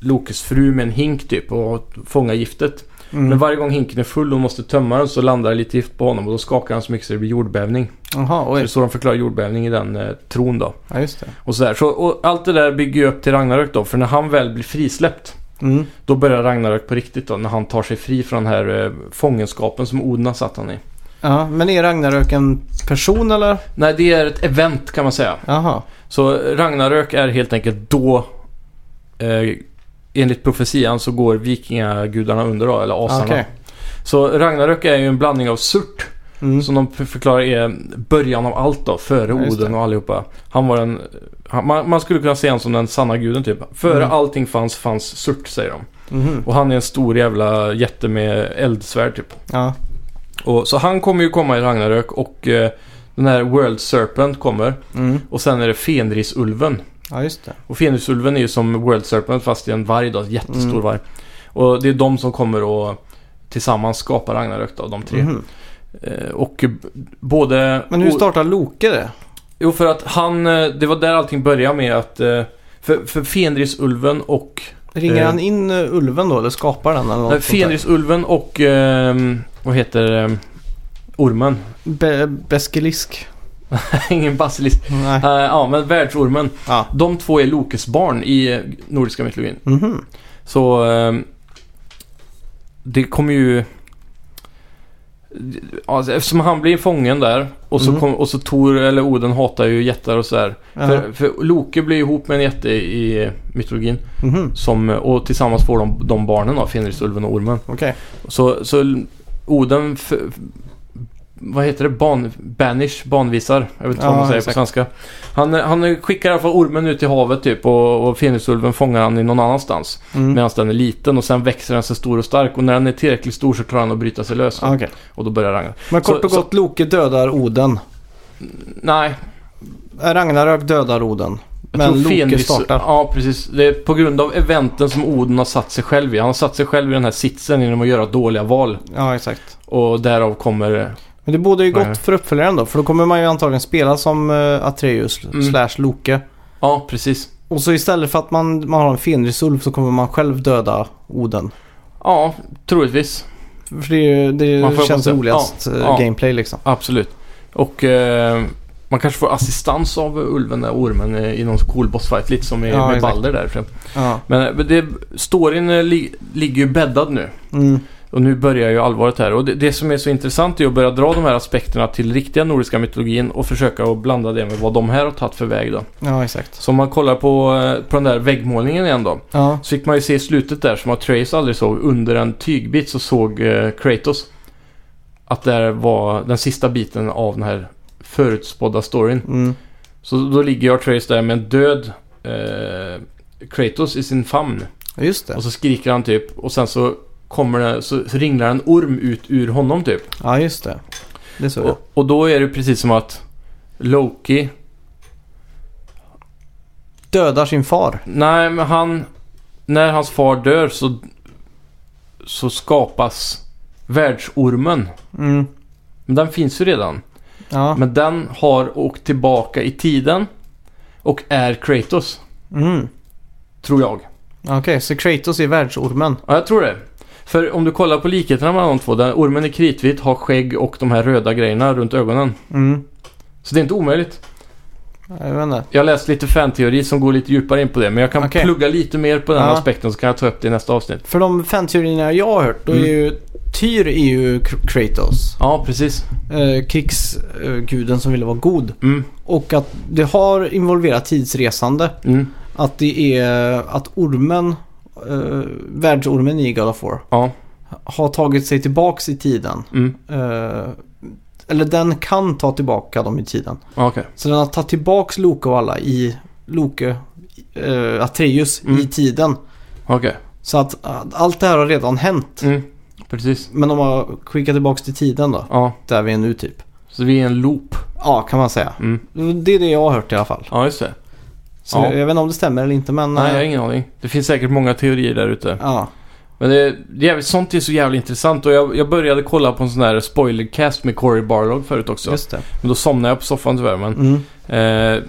Speaker 2: Lokes fru med en hink typ och fångar giftet.
Speaker 1: Mm.
Speaker 2: Men varje gång hinken är full och måste tömma den så landar det lite gift på honom och då skakar han så mycket så det blir jordbävning.
Speaker 1: Jaha,
Speaker 2: Så det är
Speaker 1: oj.
Speaker 2: så de förklarar jordbävning i den eh, tron då.
Speaker 1: Ja, just det.
Speaker 2: Och, sådär. Så, och allt det där bygger ju upp till Ragnarök då. För när han väl blir frisläppt
Speaker 1: Mm.
Speaker 2: då börjar Ragnarök på riktigt då. När han tar sig fri från den här eh, fångenskapen som Oden har satt han i.
Speaker 1: Ja, men är Ragnarök en person eller?
Speaker 2: Nej, det är ett event kan man säga.
Speaker 1: Jaha.
Speaker 2: Så Ragnarök är helt enkelt då eh, Enligt profetian så går vikingagudarna under då, eller asarna.
Speaker 1: Ah, Okej.
Speaker 2: Så Ragnarök är ju en blandning av surt,
Speaker 1: Mm.
Speaker 2: som de f- förklarar är början av allt då, före
Speaker 1: Ja, just det.
Speaker 2: Oden och allihopa. Han var en... Han, man, man skulle kunna se honom som den sanna guden typ. Före
Speaker 1: Mm.
Speaker 2: allting fanns, fanns surt, säger de.
Speaker 1: Mhm.
Speaker 2: Och han är en stor jävla jätte med eldsvärd typ.
Speaker 1: Ja.
Speaker 2: Och, så han kommer ju komma i Ragnarök och eh, den här World Serpent kommer.
Speaker 1: Mm.
Speaker 2: Och sen är det Fenrisulven.
Speaker 1: ja, just det.
Speaker 2: Och Fenrisulven är ju som World Serpent fast i en varg då, en jättestor
Speaker 1: Mm.
Speaker 2: varg. Och det är de som kommer och tillsammans skapar Ragnarök då, de tre.
Speaker 1: Mhm.
Speaker 2: Eh, och b- både...
Speaker 1: Men hur
Speaker 2: och-
Speaker 1: startar Loke det?
Speaker 2: Jo, för att han... eh, Det var där allting började med att... eh, För, för Fenrisulven och...
Speaker 1: Ringer
Speaker 2: Eh.
Speaker 1: han in eh, ulven då eller skapar den eller något
Speaker 2: Nej,
Speaker 1: sånt där?
Speaker 2: Fenrisulven och... ehm, vad heter ehm, Ormen?
Speaker 1: Be- Beskilisk.
Speaker 2: Ingen basilisk.
Speaker 1: Nej.
Speaker 2: Eh, ja, men världsormen.
Speaker 1: Ja.
Speaker 2: De två är Lokes barn i eh, nordiska mytologin.
Speaker 1: Mhm.
Speaker 2: Så ehm, det kommer ju... Alltså, eftersom han blir fången där och så,
Speaker 1: Mm.
Speaker 2: kom, och så Tor eller Oden hatar ju jättar och sådär.
Speaker 1: Ja.
Speaker 2: För, för Loke blir ihop med en jätte i mytologin.
Speaker 1: Mhm.
Speaker 2: Som, och tillsammans får de, de barnen då, Fenrisulven och Ormen.
Speaker 1: Okej.
Speaker 2: Så, så Oden... F, vad heter det? Ban, banish? Banvisar? Jag vet inte vad
Speaker 1: Ja,
Speaker 2: man säger
Speaker 1: exakt.
Speaker 2: på svenska. Han, han skickar i alla fall ormen ut i havet typ och, och Fenrisulven fångar han i någon annanstans.
Speaker 1: Mm.
Speaker 2: Medan den är liten och sen växer den sig stor och stark och när den är tillräckligt stor så klarar den att bryta sig lös.
Speaker 1: Ah, okej.
Speaker 2: Och då börjar Ragnar.
Speaker 1: Men kort
Speaker 2: Så-
Speaker 1: och gott, Loke dödar Oden.
Speaker 2: Nej,
Speaker 1: Eh, Ragnarök dödar Oden.
Speaker 2: jag
Speaker 1: Men
Speaker 2: tror
Speaker 1: Loke
Speaker 2: Fenris...
Speaker 1: startar.
Speaker 2: Ja, precis. Det är på grund av eventen som Oden har satt sig själv i. Han har satt sig själv i den här sitsen genom att göra dåliga val.
Speaker 1: Ja, exakt.
Speaker 2: Och därav kommer...
Speaker 1: Men det borde ju
Speaker 2: Nej.
Speaker 1: gott för uppföljaren då. För då kommer man ju antagligen spela som eh, Atreus
Speaker 2: Mm.
Speaker 1: slash Loke.
Speaker 2: Ja, precis.
Speaker 1: Och så istället för att man, man har en Fenrisulv så kommer man själv döda Oden.
Speaker 2: Ja, troligtvis.
Speaker 1: För det, är ju-
Speaker 2: Man får
Speaker 1: det känns
Speaker 2: hoppas det.
Speaker 1: roligast
Speaker 2: Ja,
Speaker 1: eh,
Speaker 2: ja.
Speaker 1: gameplay liksom.
Speaker 2: Absolut. Och... Eh, man kanske får assistans av ulven där, ormen, eh, i någon cool bossfight. Lite som i,
Speaker 1: Ja,
Speaker 2: med
Speaker 1: exakt.
Speaker 2: Balder där.
Speaker 1: Ja.
Speaker 2: Men eh, det, storyn eh, li, ligger ju bäddad nu.
Speaker 1: Mm.
Speaker 2: Och nu börjar ju allvaret här. Och det, det som är så intressant är att börja dra de här aspekterna till riktiga nordiska mytologin och försöka att blanda det med vad de här har tagit för väg då.
Speaker 1: ja, exakt.
Speaker 2: Så om man kollar på, eh, på den där väggmålningen igen då.
Speaker 1: Ja.
Speaker 2: Så fick man ju se i slutet där som Atreus aldrig såg. Under en tygbit så såg eh, Kratos att det här var den sista biten av den här förutspådda storyn.
Speaker 1: Mm.
Speaker 2: Så då ligger ju Atreus där med en död eh, Kratos i sin famn.
Speaker 1: Ja, Just det.
Speaker 2: Och så skriker han typ och sen så kommer det, så så ringlar en orm ut ur honom typ.
Speaker 1: Ja, just det. Det såg jag.
Speaker 2: Och, och då är det precis som att Loki,
Speaker 1: Dödar sin far.
Speaker 2: nej men han, när hans far dör så, så skapas världsormen.
Speaker 1: Mm.
Speaker 2: Men den finns ju redan.
Speaker 1: Ja.
Speaker 2: Men den har åkt tillbaka i tiden och är Kratos.
Speaker 1: Mm.
Speaker 2: Tror jag.
Speaker 1: Okej, så Kratos är världsormen.
Speaker 2: Ja, jag tror det. För om du kollar på likheterna mellan de två. Där ormen är kritvit, har skägg och de här röda grejerna runt ögonen.
Speaker 1: Mm.
Speaker 2: Så det är inte omöjligt.
Speaker 1: Jag vet inte.
Speaker 2: Jag har läst lite fanteori som går lite djupare in på det. Men jag kan
Speaker 1: Okej.
Speaker 2: plugga lite mer på den
Speaker 1: Ja.
Speaker 2: aspekten så kan jag ta upp det i nästa avsnitt.
Speaker 1: För de fanteorierna jag har hört, då är
Speaker 2: Mm.
Speaker 1: ju Tyr är ju Kr- Kratos.
Speaker 2: Ja, precis.
Speaker 1: Eh, krigsguden som ville vara god.
Speaker 2: Mm.
Speaker 1: Och att det har involverat tidsresande.
Speaker 2: Mm.
Speaker 1: Att det är att ormen, eh, världsormen i God of War,
Speaker 2: Ja.
Speaker 1: har tagit sig tillbaks i tiden.
Speaker 2: Mm.
Speaker 1: Eh, eller den kan ta tillbaka dem i tiden.
Speaker 2: Ja, Okej.
Speaker 1: Så den har tagit tillbaks Loke och alla i Loke, eh, Atreus
Speaker 2: Mm.
Speaker 1: i tiden.
Speaker 2: Okej.
Speaker 1: Så att eh, allt det här har redan hänt.
Speaker 2: Mm. Precis.
Speaker 1: Men de har skickat tillbaks till tiden då,
Speaker 2: Ja.
Speaker 1: där vi är nu typ.
Speaker 2: Så vi är en loop.
Speaker 1: Ja, kan man säga.
Speaker 2: Mm.
Speaker 1: Det är det jag har hört i alla fall.
Speaker 2: Ja, just det.
Speaker 1: Så
Speaker 2: Ja.
Speaker 1: jag vet inte om det stämmer eller inte men...
Speaker 2: Nej.
Speaker 1: eh,
Speaker 2: jag har ingen aning. Det finns säkert många teorier där ute.
Speaker 1: Ja.
Speaker 2: Men det, det är, jävligt- sånt är så jävligt intressant och jag, jag började kolla på en sån här spoilercast med Corey Barlog förut också.
Speaker 1: Just det.
Speaker 2: Men då somnade jag på soffan tyvärr. Men,
Speaker 1: Mm.
Speaker 2: eh,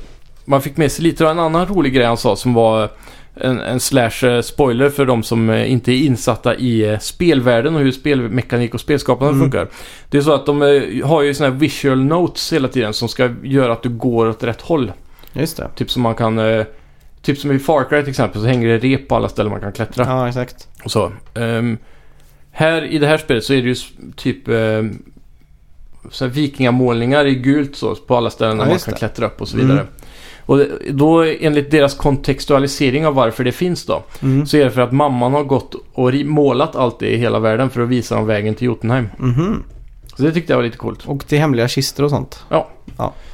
Speaker 2: man fick med sig lite av en annan rolig grej han sa som var en, en slash eh, spoiler för de som eh, inte är insatta i eh, spelvärlden och hur spelmekanik och spelskapande
Speaker 1: Mm.
Speaker 2: funkar. Det är så att de eh, har ju såna här visual notes hela tiden som ska göra att du går åt rätt håll.
Speaker 1: Just det.
Speaker 2: Typ som man kan... Eh, typ som i Far Cry till exempel så hänger det rep på alla ställen man kan klättra.
Speaker 1: Ja, exakt.
Speaker 2: Och så. Ehm, här i det här spelet så är det ju s- typ ehm, så här vikingamålningar i gult så på alla ställen där
Speaker 1: Ja,
Speaker 2: man
Speaker 1: just
Speaker 2: kan
Speaker 1: det.
Speaker 2: klättra upp och så
Speaker 1: Mm.
Speaker 2: vidare. Och det- då enligt deras kontextualisering av varför det finns då.
Speaker 1: Mm.
Speaker 2: Så är det för att mamman har gått och ri- målat allt det i hela världen för att visa dem vägen till Jotunheim.
Speaker 1: Mhm.
Speaker 2: Så det tyckte jag var lite coolt.
Speaker 1: Och till hemliga kistor och sånt.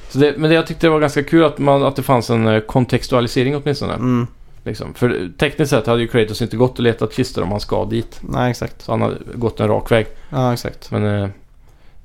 Speaker 2: Så det, men det jag tyckte det var ganska kul att, man, att det fanns en eh, kontextualisering åtminstone.
Speaker 1: Mm.
Speaker 2: Liksom. För eh, tekniskt sett hade ju Kratos inte gått och letat kistor om han ska dit.
Speaker 1: Nej, exakt.
Speaker 2: Så han hade gått en rak väg.
Speaker 1: Ja, exakt.
Speaker 2: Men eh,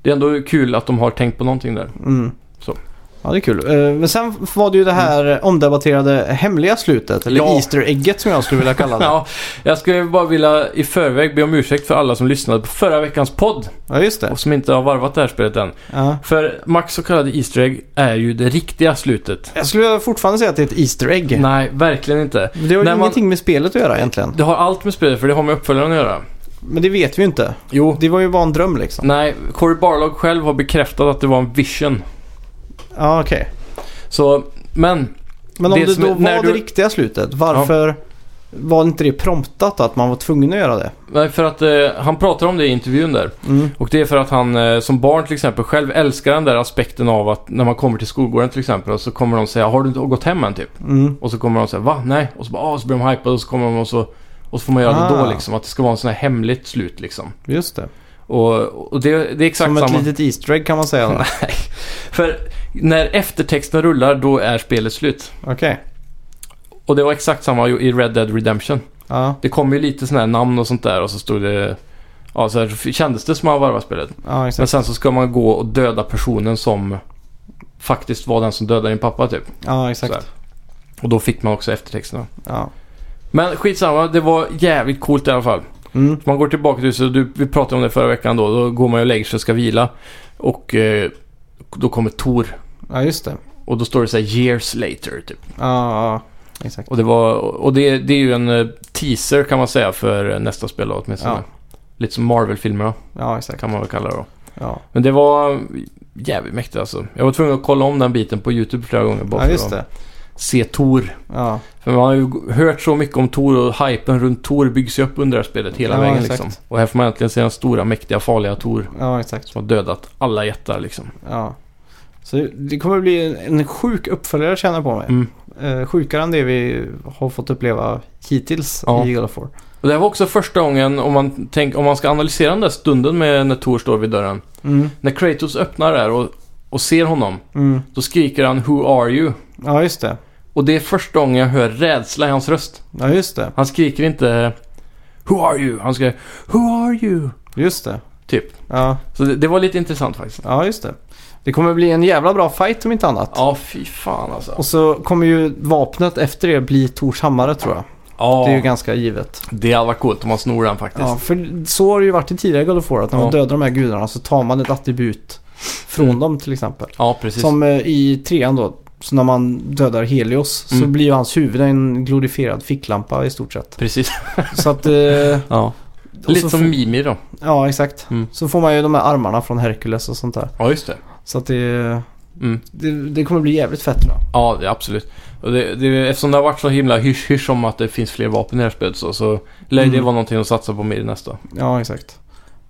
Speaker 2: det är ändå kul att de har tänkt på någonting där.
Speaker 1: Mm.
Speaker 2: Så. Mm.
Speaker 1: Ja, det är kul. Eh, Men sen var det ju det här omdebatterade hemliga slutet, eller
Speaker 2: Ja.
Speaker 1: Easter egget som jag skulle vilja kalla det.
Speaker 2: Ja, jag skulle bara vilja i förväg be om ursäkt för alla som lyssnade på förra veckans podd
Speaker 1: ja, just det.
Speaker 2: och som inte har varvat det här spelet än.
Speaker 1: Ja.
Speaker 2: För Max så kallade Easter Egg är ju det riktiga slutet.
Speaker 1: Jag skulle fortfarande säga att det är ett Easter egg.
Speaker 2: Nej, verkligen inte.
Speaker 1: Det har ju
Speaker 2: När man-
Speaker 1: ingenting med spelet att göra egentligen.
Speaker 2: Det har allt med spelet för det har med uppföljaren att göra.
Speaker 1: Men det vet vi ju inte.
Speaker 2: Jo.
Speaker 1: Det var ju bara en dröm liksom.
Speaker 2: Nej, Corey Barlog själv har bekräftat att det var en vision.
Speaker 1: Ja, okej.
Speaker 2: Så, men
Speaker 1: Men om
Speaker 2: Det
Speaker 1: det,
Speaker 2: som
Speaker 1: då
Speaker 2: är-
Speaker 1: var
Speaker 2: när
Speaker 1: det
Speaker 2: du-
Speaker 1: riktiga slutet, varför var inte det promptat att man var tvungen att göra det?
Speaker 2: nej, för att eh, han pratar om det i intervjun där.
Speaker 1: Mm.
Speaker 2: Och det är för att han eh, som barn till exempel själv älskar den där aspekten av att när man kommer till skolgården till exempel och så kommer de säga Har du inte gått hem än? Typ.
Speaker 1: Mm.
Speaker 2: Och så kommer de säga Va? Nej? Och så, bara, ah, så blir de hypade och så kommer de och så, och så får man göra det
Speaker 1: Ah.
Speaker 2: då liksom. Att det ska vara en sån här hemligt slut liksom.
Speaker 1: Just det.
Speaker 2: Och, och det, det är exakt
Speaker 1: Som
Speaker 2: samma.
Speaker 1: ett litet Easter egg kan man säga. då.
Speaker 2: Nej. För när eftertexten rullar då är spelet slut.
Speaker 1: Okej.
Speaker 2: Och det var exakt samma ju i Red Dead Redemption.
Speaker 1: Ja,
Speaker 2: Det kom ju lite sådana här namn och sånt där och så stod det Ja, så här, kändes det som att man varvat spelet.
Speaker 1: ja
Speaker 2: Men
Speaker 1: exakt.
Speaker 2: sen så ska man gå och döda personen som faktiskt var den som dödade din pappa typ.
Speaker 1: Ja,
Speaker 2: Så här.
Speaker 1: exakt.
Speaker 2: Och då fick man också eftertexterna.
Speaker 1: Ja.
Speaker 2: Men skitsamma, det var jävligt coolt i alla fall.
Speaker 1: Mm.
Speaker 2: Man går tillbaka till så du, vi pratade om det förra veckan då. Då går man och lägger sig och ska vila. Och eh, då kommer Tor.
Speaker 1: ja, just det.
Speaker 2: Och då står det så här years later typ.
Speaker 1: Ja, ja. exakt.
Speaker 2: Och det, var, och det, det är ju en eh, teaser kan man säga för eh, nästa spel då, åtminstone.
Speaker 1: Ja.
Speaker 2: Lite som Marvel-filmerna
Speaker 1: Ja, exakt.
Speaker 2: kan man väl kalla det då.
Speaker 1: Ja,
Speaker 2: Men det var jävligt mäktigt alltså. Jag var tvungen att kolla om den biten på YouTube flera gånger bara
Speaker 1: ja
Speaker 2: för
Speaker 1: just
Speaker 2: att
Speaker 1: det.
Speaker 2: se Tor.
Speaker 1: Ja,
Speaker 2: För man har ju hört så mycket om Tor och hypen runt Tor byggs ju upp under det här spelet hela
Speaker 1: Ja,
Speaker 2: vägen
Speaker 1: exakt.
Speaker 2: liksom. Och här får man äntligen se den stora, mäktiga, farliga Tor
Speaker 1: ja exakt.
Speaker 2: som har dödat alla jättar liksom.
Speaker 1: Ja. Så det kommer bli en- en sjuk uppföljare känner jag på mig.
Speaker 2: Mm.
Speaker 1: Eh, sjukare än det vi har fått uppleva hittills
Speaker 2: Ja.
Speaker 1: i God of War.
Speaker 2: Och det här var också första gången, om man, tänk, om man ska analysera den där stunden med när Tor står vid dörren.
Speaker 1: Mm.
Speaker 2: När Kratos öppnar där och, och ser honom,
Speaker 1: Mm.
Speaker 2: då skriker han “Who are you?”
Speaker 1: Ja, just det.
Speaker 2: Och det är första gången jag hör rädsla i hans röst.
Speaker 1: Ja, just det.
Speaker 2: Han skriker inte “Who are you?” Han skriker “Who are you?”
Speaker 1: Just det.
Speaker 2: Typ.
Speaker 1: Ja,
Speaker 2: Så det, det var lite intressant faktiskt.
Speaker 1: ja just det. Det kommer bli en jävla bra fight om inte annat.
Speaker 2: Ja, fy fan alltså.
Speaker 1: Och så kommer ju vapnet efter det bli Tors hammare tror jag.
Speaker 2: Ja,
Speaker 1: Det är ju ganska givet.
Speaker 2: det hade varit coolt om man snor den faktiskt.
Speaker 1: Ja, för så har det ju varit i tidigare God of War. Att när man
Speaker 2: Ja.
Speaker 1: dödar de här Mm. gudarna så tar man ett attribut från dem till exempel.
Speaker 2: Ja, precis.
Speaker 1: Som eh, i trean då. Så när man dödar Helios så
Speaker 2: Mm.
Speaker 1: blir ju hans huvud en glorifierad ficklampa i stort sett.
Speaker 2: Precis.
Speaker 1: Så att... Eh,
Speaker 2: Ja.
Speaker 1: och så
Speaker 2: Lite som
Speaker 1: får-
Speaker 2: Mimir då.
Speaker 1: Ja, exakt.
Speaker 2: Mm.
Speaker 1: Så får man ju de här armarna från Herkules och sånt där.
Speaker 2: Ja, just det.
Speaker 1: Så att det,
Speaker 2: Mm.
Speaker 1: det, det kommer bli jävligt fett tror jag.
Speaker 2: Ja, det, absolut. Och det, det, eftersom det har varit så himla hysch-hysch om att det finns fler vapen i det här spelet så, så lär det
Speaker 1: Mm.
Speaker 2: vara någonting att satsa på mer i nästa.
Speaker 1: Ja, exakt.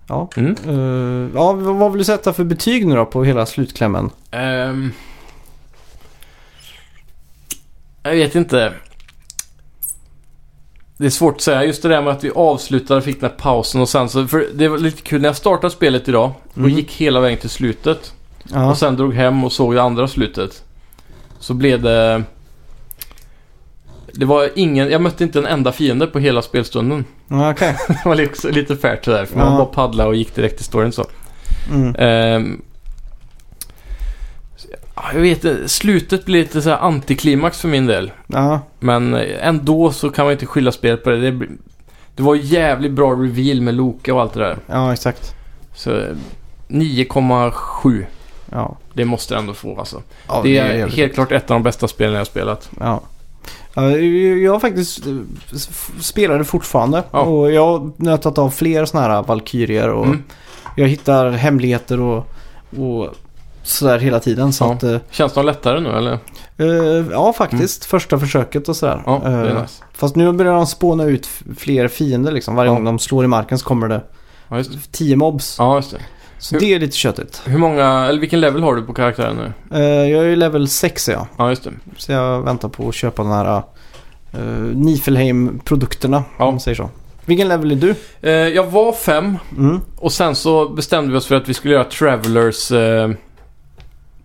Speaker 1: Ja.
Speaker 2: Mm.
Speaker 1: Eh, ja, vad vad vill du sätta för betyg nu då på hela slutklämmen?
Speaker 2: Ehm. jag vet inte. Det är svårt att säga. Just det där med att vi avslutade och fick den här pausen och sen så... För det var lite kul när jag startade spelet idag och
Speaker 1: Mm.
Speaker 2: gick hela vägen till slutet.
Speaker 1: Ja,
Speaker 2: Och sen drog hem och såg det andra slutet. Så blev det... Det var ingen... Jag mötte inte en enda fiende på hela spelstunden.
Speaker 1: ja okej.
Speaker 2: Det var liksom lite färt sådär. För man
Speaker 1: Ja.
Speaker 2: bara paddla och gick direkt till storyn så.
Speaker 1: Mm.
Speaker 2: Ehm, så- ja, jag vet inte, slutet blir lite så här antiklimax för min del.
Speaker 1: Ja,
Speaker 2: Men eh, ändå så kan man inte skylla spelet på det. Det, blir- det var ju jävligt bra reveal med Loka och allt det där.
Speaker 1: ja, exakt.
Speaker 2: Så eh, 9,7.
Speaker 1: Ja.
Speaker 2: Det måste jag ändå få alltså.
Speaker 1: Ja,
Speaker 2: det är
Speaker 1: jävligt-
Speaker 2: helt klart ett av de bästa spelen jag har spelat.
Speaker 1: Ja. Ja, Jag har faktiskt eh, f- spelar det fortfarande.
Speaker 2: Ja.
Speaker 1: Och jag har nötat av fler sådana här Valkyrier och
Speaker 2: Mm.
Speaker 1: jag hittar hemligheter och, och sådär hela tiden. Så
Speaker 2: Ja.
Speaker 1: att, eh,
Speaker 2: Känns de lättare nu eller?
Speaker 1: eh, ja, faktiskt. Första försöket och sådär.
Speaker 2: Mm. Ja, det
Speaker 1: Eh,
Speaker 2: är nice.
Speaker 1: Fast nu börjar de spåna ut f- fler fiender liksom. Varje
Speaker 2: Ja.
Speaker 1: gång de slår i marken så kommer det
Speaker 2: Ja, just det.
Speaker 1: tio mobs.
Speaker 2: Ja, just det.
Speaker 1: Så det är lite köttigt.
Speaker 2: Hur många, eller vilken level har du på karaktären nu?
Speaker 1: Eh, jag är ju level 6 är jag.
Speaker 2: Ja, just det.
Speaker 1: Så jag väntar på att köpa den här uh, Nifelheim-produkterna.
Speaker 2: Ja.
Speaker 1: Om man säger så. Vilken level är du?
Speaker 2: Eh, jag var fem
Speaker 1: Mm.
Speaker 2: Och sen så bestämde vi oss för att vi skulle göra Travelers... Eh,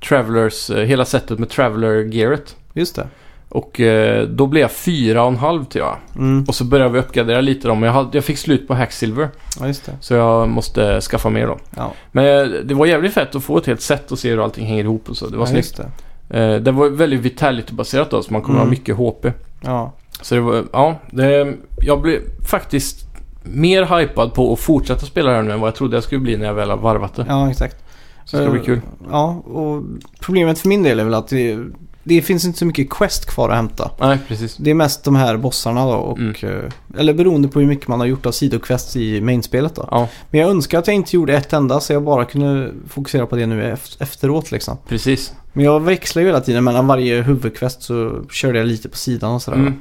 Speaker 2: Travelers, eh, hela sättet med Traveler-gearet.
Speaker 1: Just det.
Speaker 2: Och eh, då blev jag fyra och en halv till jag.
Speaker 1: Mm.
Speaker 2: Och så började vi uppgradera lite dem. Jag, hade, jag fick slut på Hacksilver.
Speaker 1: Ja, just det.
Speaker 2: Så jag måste skaffa mer då.
Speaker 1: Ja.
Speaker 2: Men eh, det var jävligt fett att få ett helt set och se hur allting hänger ihop och så. Det var
Speaker 1: ja,
Speaker 2: snyggt.
Speaker 1: just det.
Speaker 2: Eh, det var väldigt Vitality-baserat då, så man kommer
Speaker 1: Mm.
Speaker 2: ha mycket HP.
Speaker 1: Ja.
Speaker 2: Så det var, ja. Det, jag blev faktiskt mer hypad på att fortsätta spela det här nu än vad jag trodde jag skulle bli när jag väl har varvat det.
Speaker 1: ja, exakt.
Speaker 2: Så det ska bli
Speaker 1: Eh,
Speaker 2: kul.
Speaker 1: Ja, och problemet för min del är väl att det, det finns inte så mycket quest kvar att hämta.
Speaker 2: Nej, precis.
Speaker 1: Det är mest de här bossarna då och...
Speaker 2: Mm.
Speaker 1: eh, Eller beroende på hur mycket man har gjort av sidoquests i mainspelet då.
Speaker 2: Ja,
Speaker 1: Men jag önskar att jag inte gjorde ett enda så jag bara kunde fokusera på det nu ef- efteråt liksom.
Speaker 2: precis.
Speaker 1: Men jag växlar ju hela tiden mellan varje huvudquest så körde jag lite på sidan och sådär.
Speaker 2: Mm.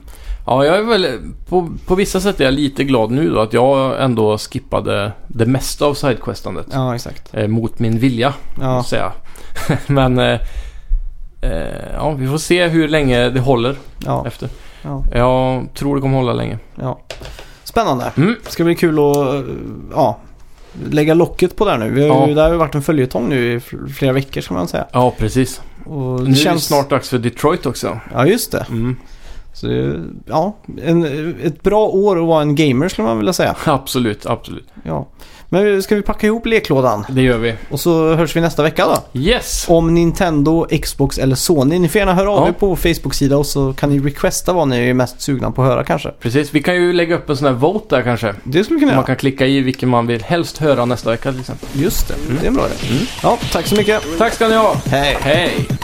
Speaker 2: Ja, jag är väl... På, på vissa sätt är jag lite glad nu då att jag ändå skippade det mesta av sidequestandet.
Speaker 1: Ja, exakt.
Speaker 2: Eh, mot min vilja,
Speaker 1: Ja,
Speaker 2: måste jag säga. Men... Eh, eh, ja, vi får se hur länge det håller
Speaker 1: ja,
Speaker 2: efter.
Speaker 1: ja,
Speaker 2: Jag tror det kommer hålla länge.
Speaker 1: ja. Spännande.
Speaker 2: Mm.
Speaker 1: Ska bli kul att eh, ja, lägga locket på där nu. Vi har ju,
Speaker 2: Ja.
Speaker 1: Det har ju varit en följetong nu i fl- flera veckor kan man säga.
Speaker 2: Ja, precis.
Speaker 1: Och
Speaker 2: Nu är det snart dags för Detroit också.
Speaker 1: Ja, just det.
Speaker 2: Mm.
Speaker 1: Så, det- ja, en, ett bra år att vara en gamer skulle man vilja säga.
Speaker 2: Absolut, absolut.
Speaker 1: Ja. Men ska vi packa ihop leklådan?
Speaker 2: Det gör vi.
Speaker 1: Och så hörs vi nästa vecka då.
Speaker 2: Yes!
Speaker 1: Om Nintendo, Xbox eller Sony. Ni får gärna höra av
Speaker 2: Ja.
Speaker 1: er på vår Facebook-sida och så kan ni requesta vad ni är mest sugna på att höra kanske.
Speaker 2: Precis, vi kan ju lägga upp en sån här vote där kanske.
Speaker 1: Det skulle vi kunna
Speaker 2: Man
Speaker 1: göra.
Speaker 2: kan klicka i vilken man vill helst höra nästa vecka till exempel.
Speaker 1: Just det, det är en bra idé. Ja, tack så mycket.
Speaker 2: Tack ska ni ha!
Speaker 1: Hej!
Speaker 2: Mm. Hej!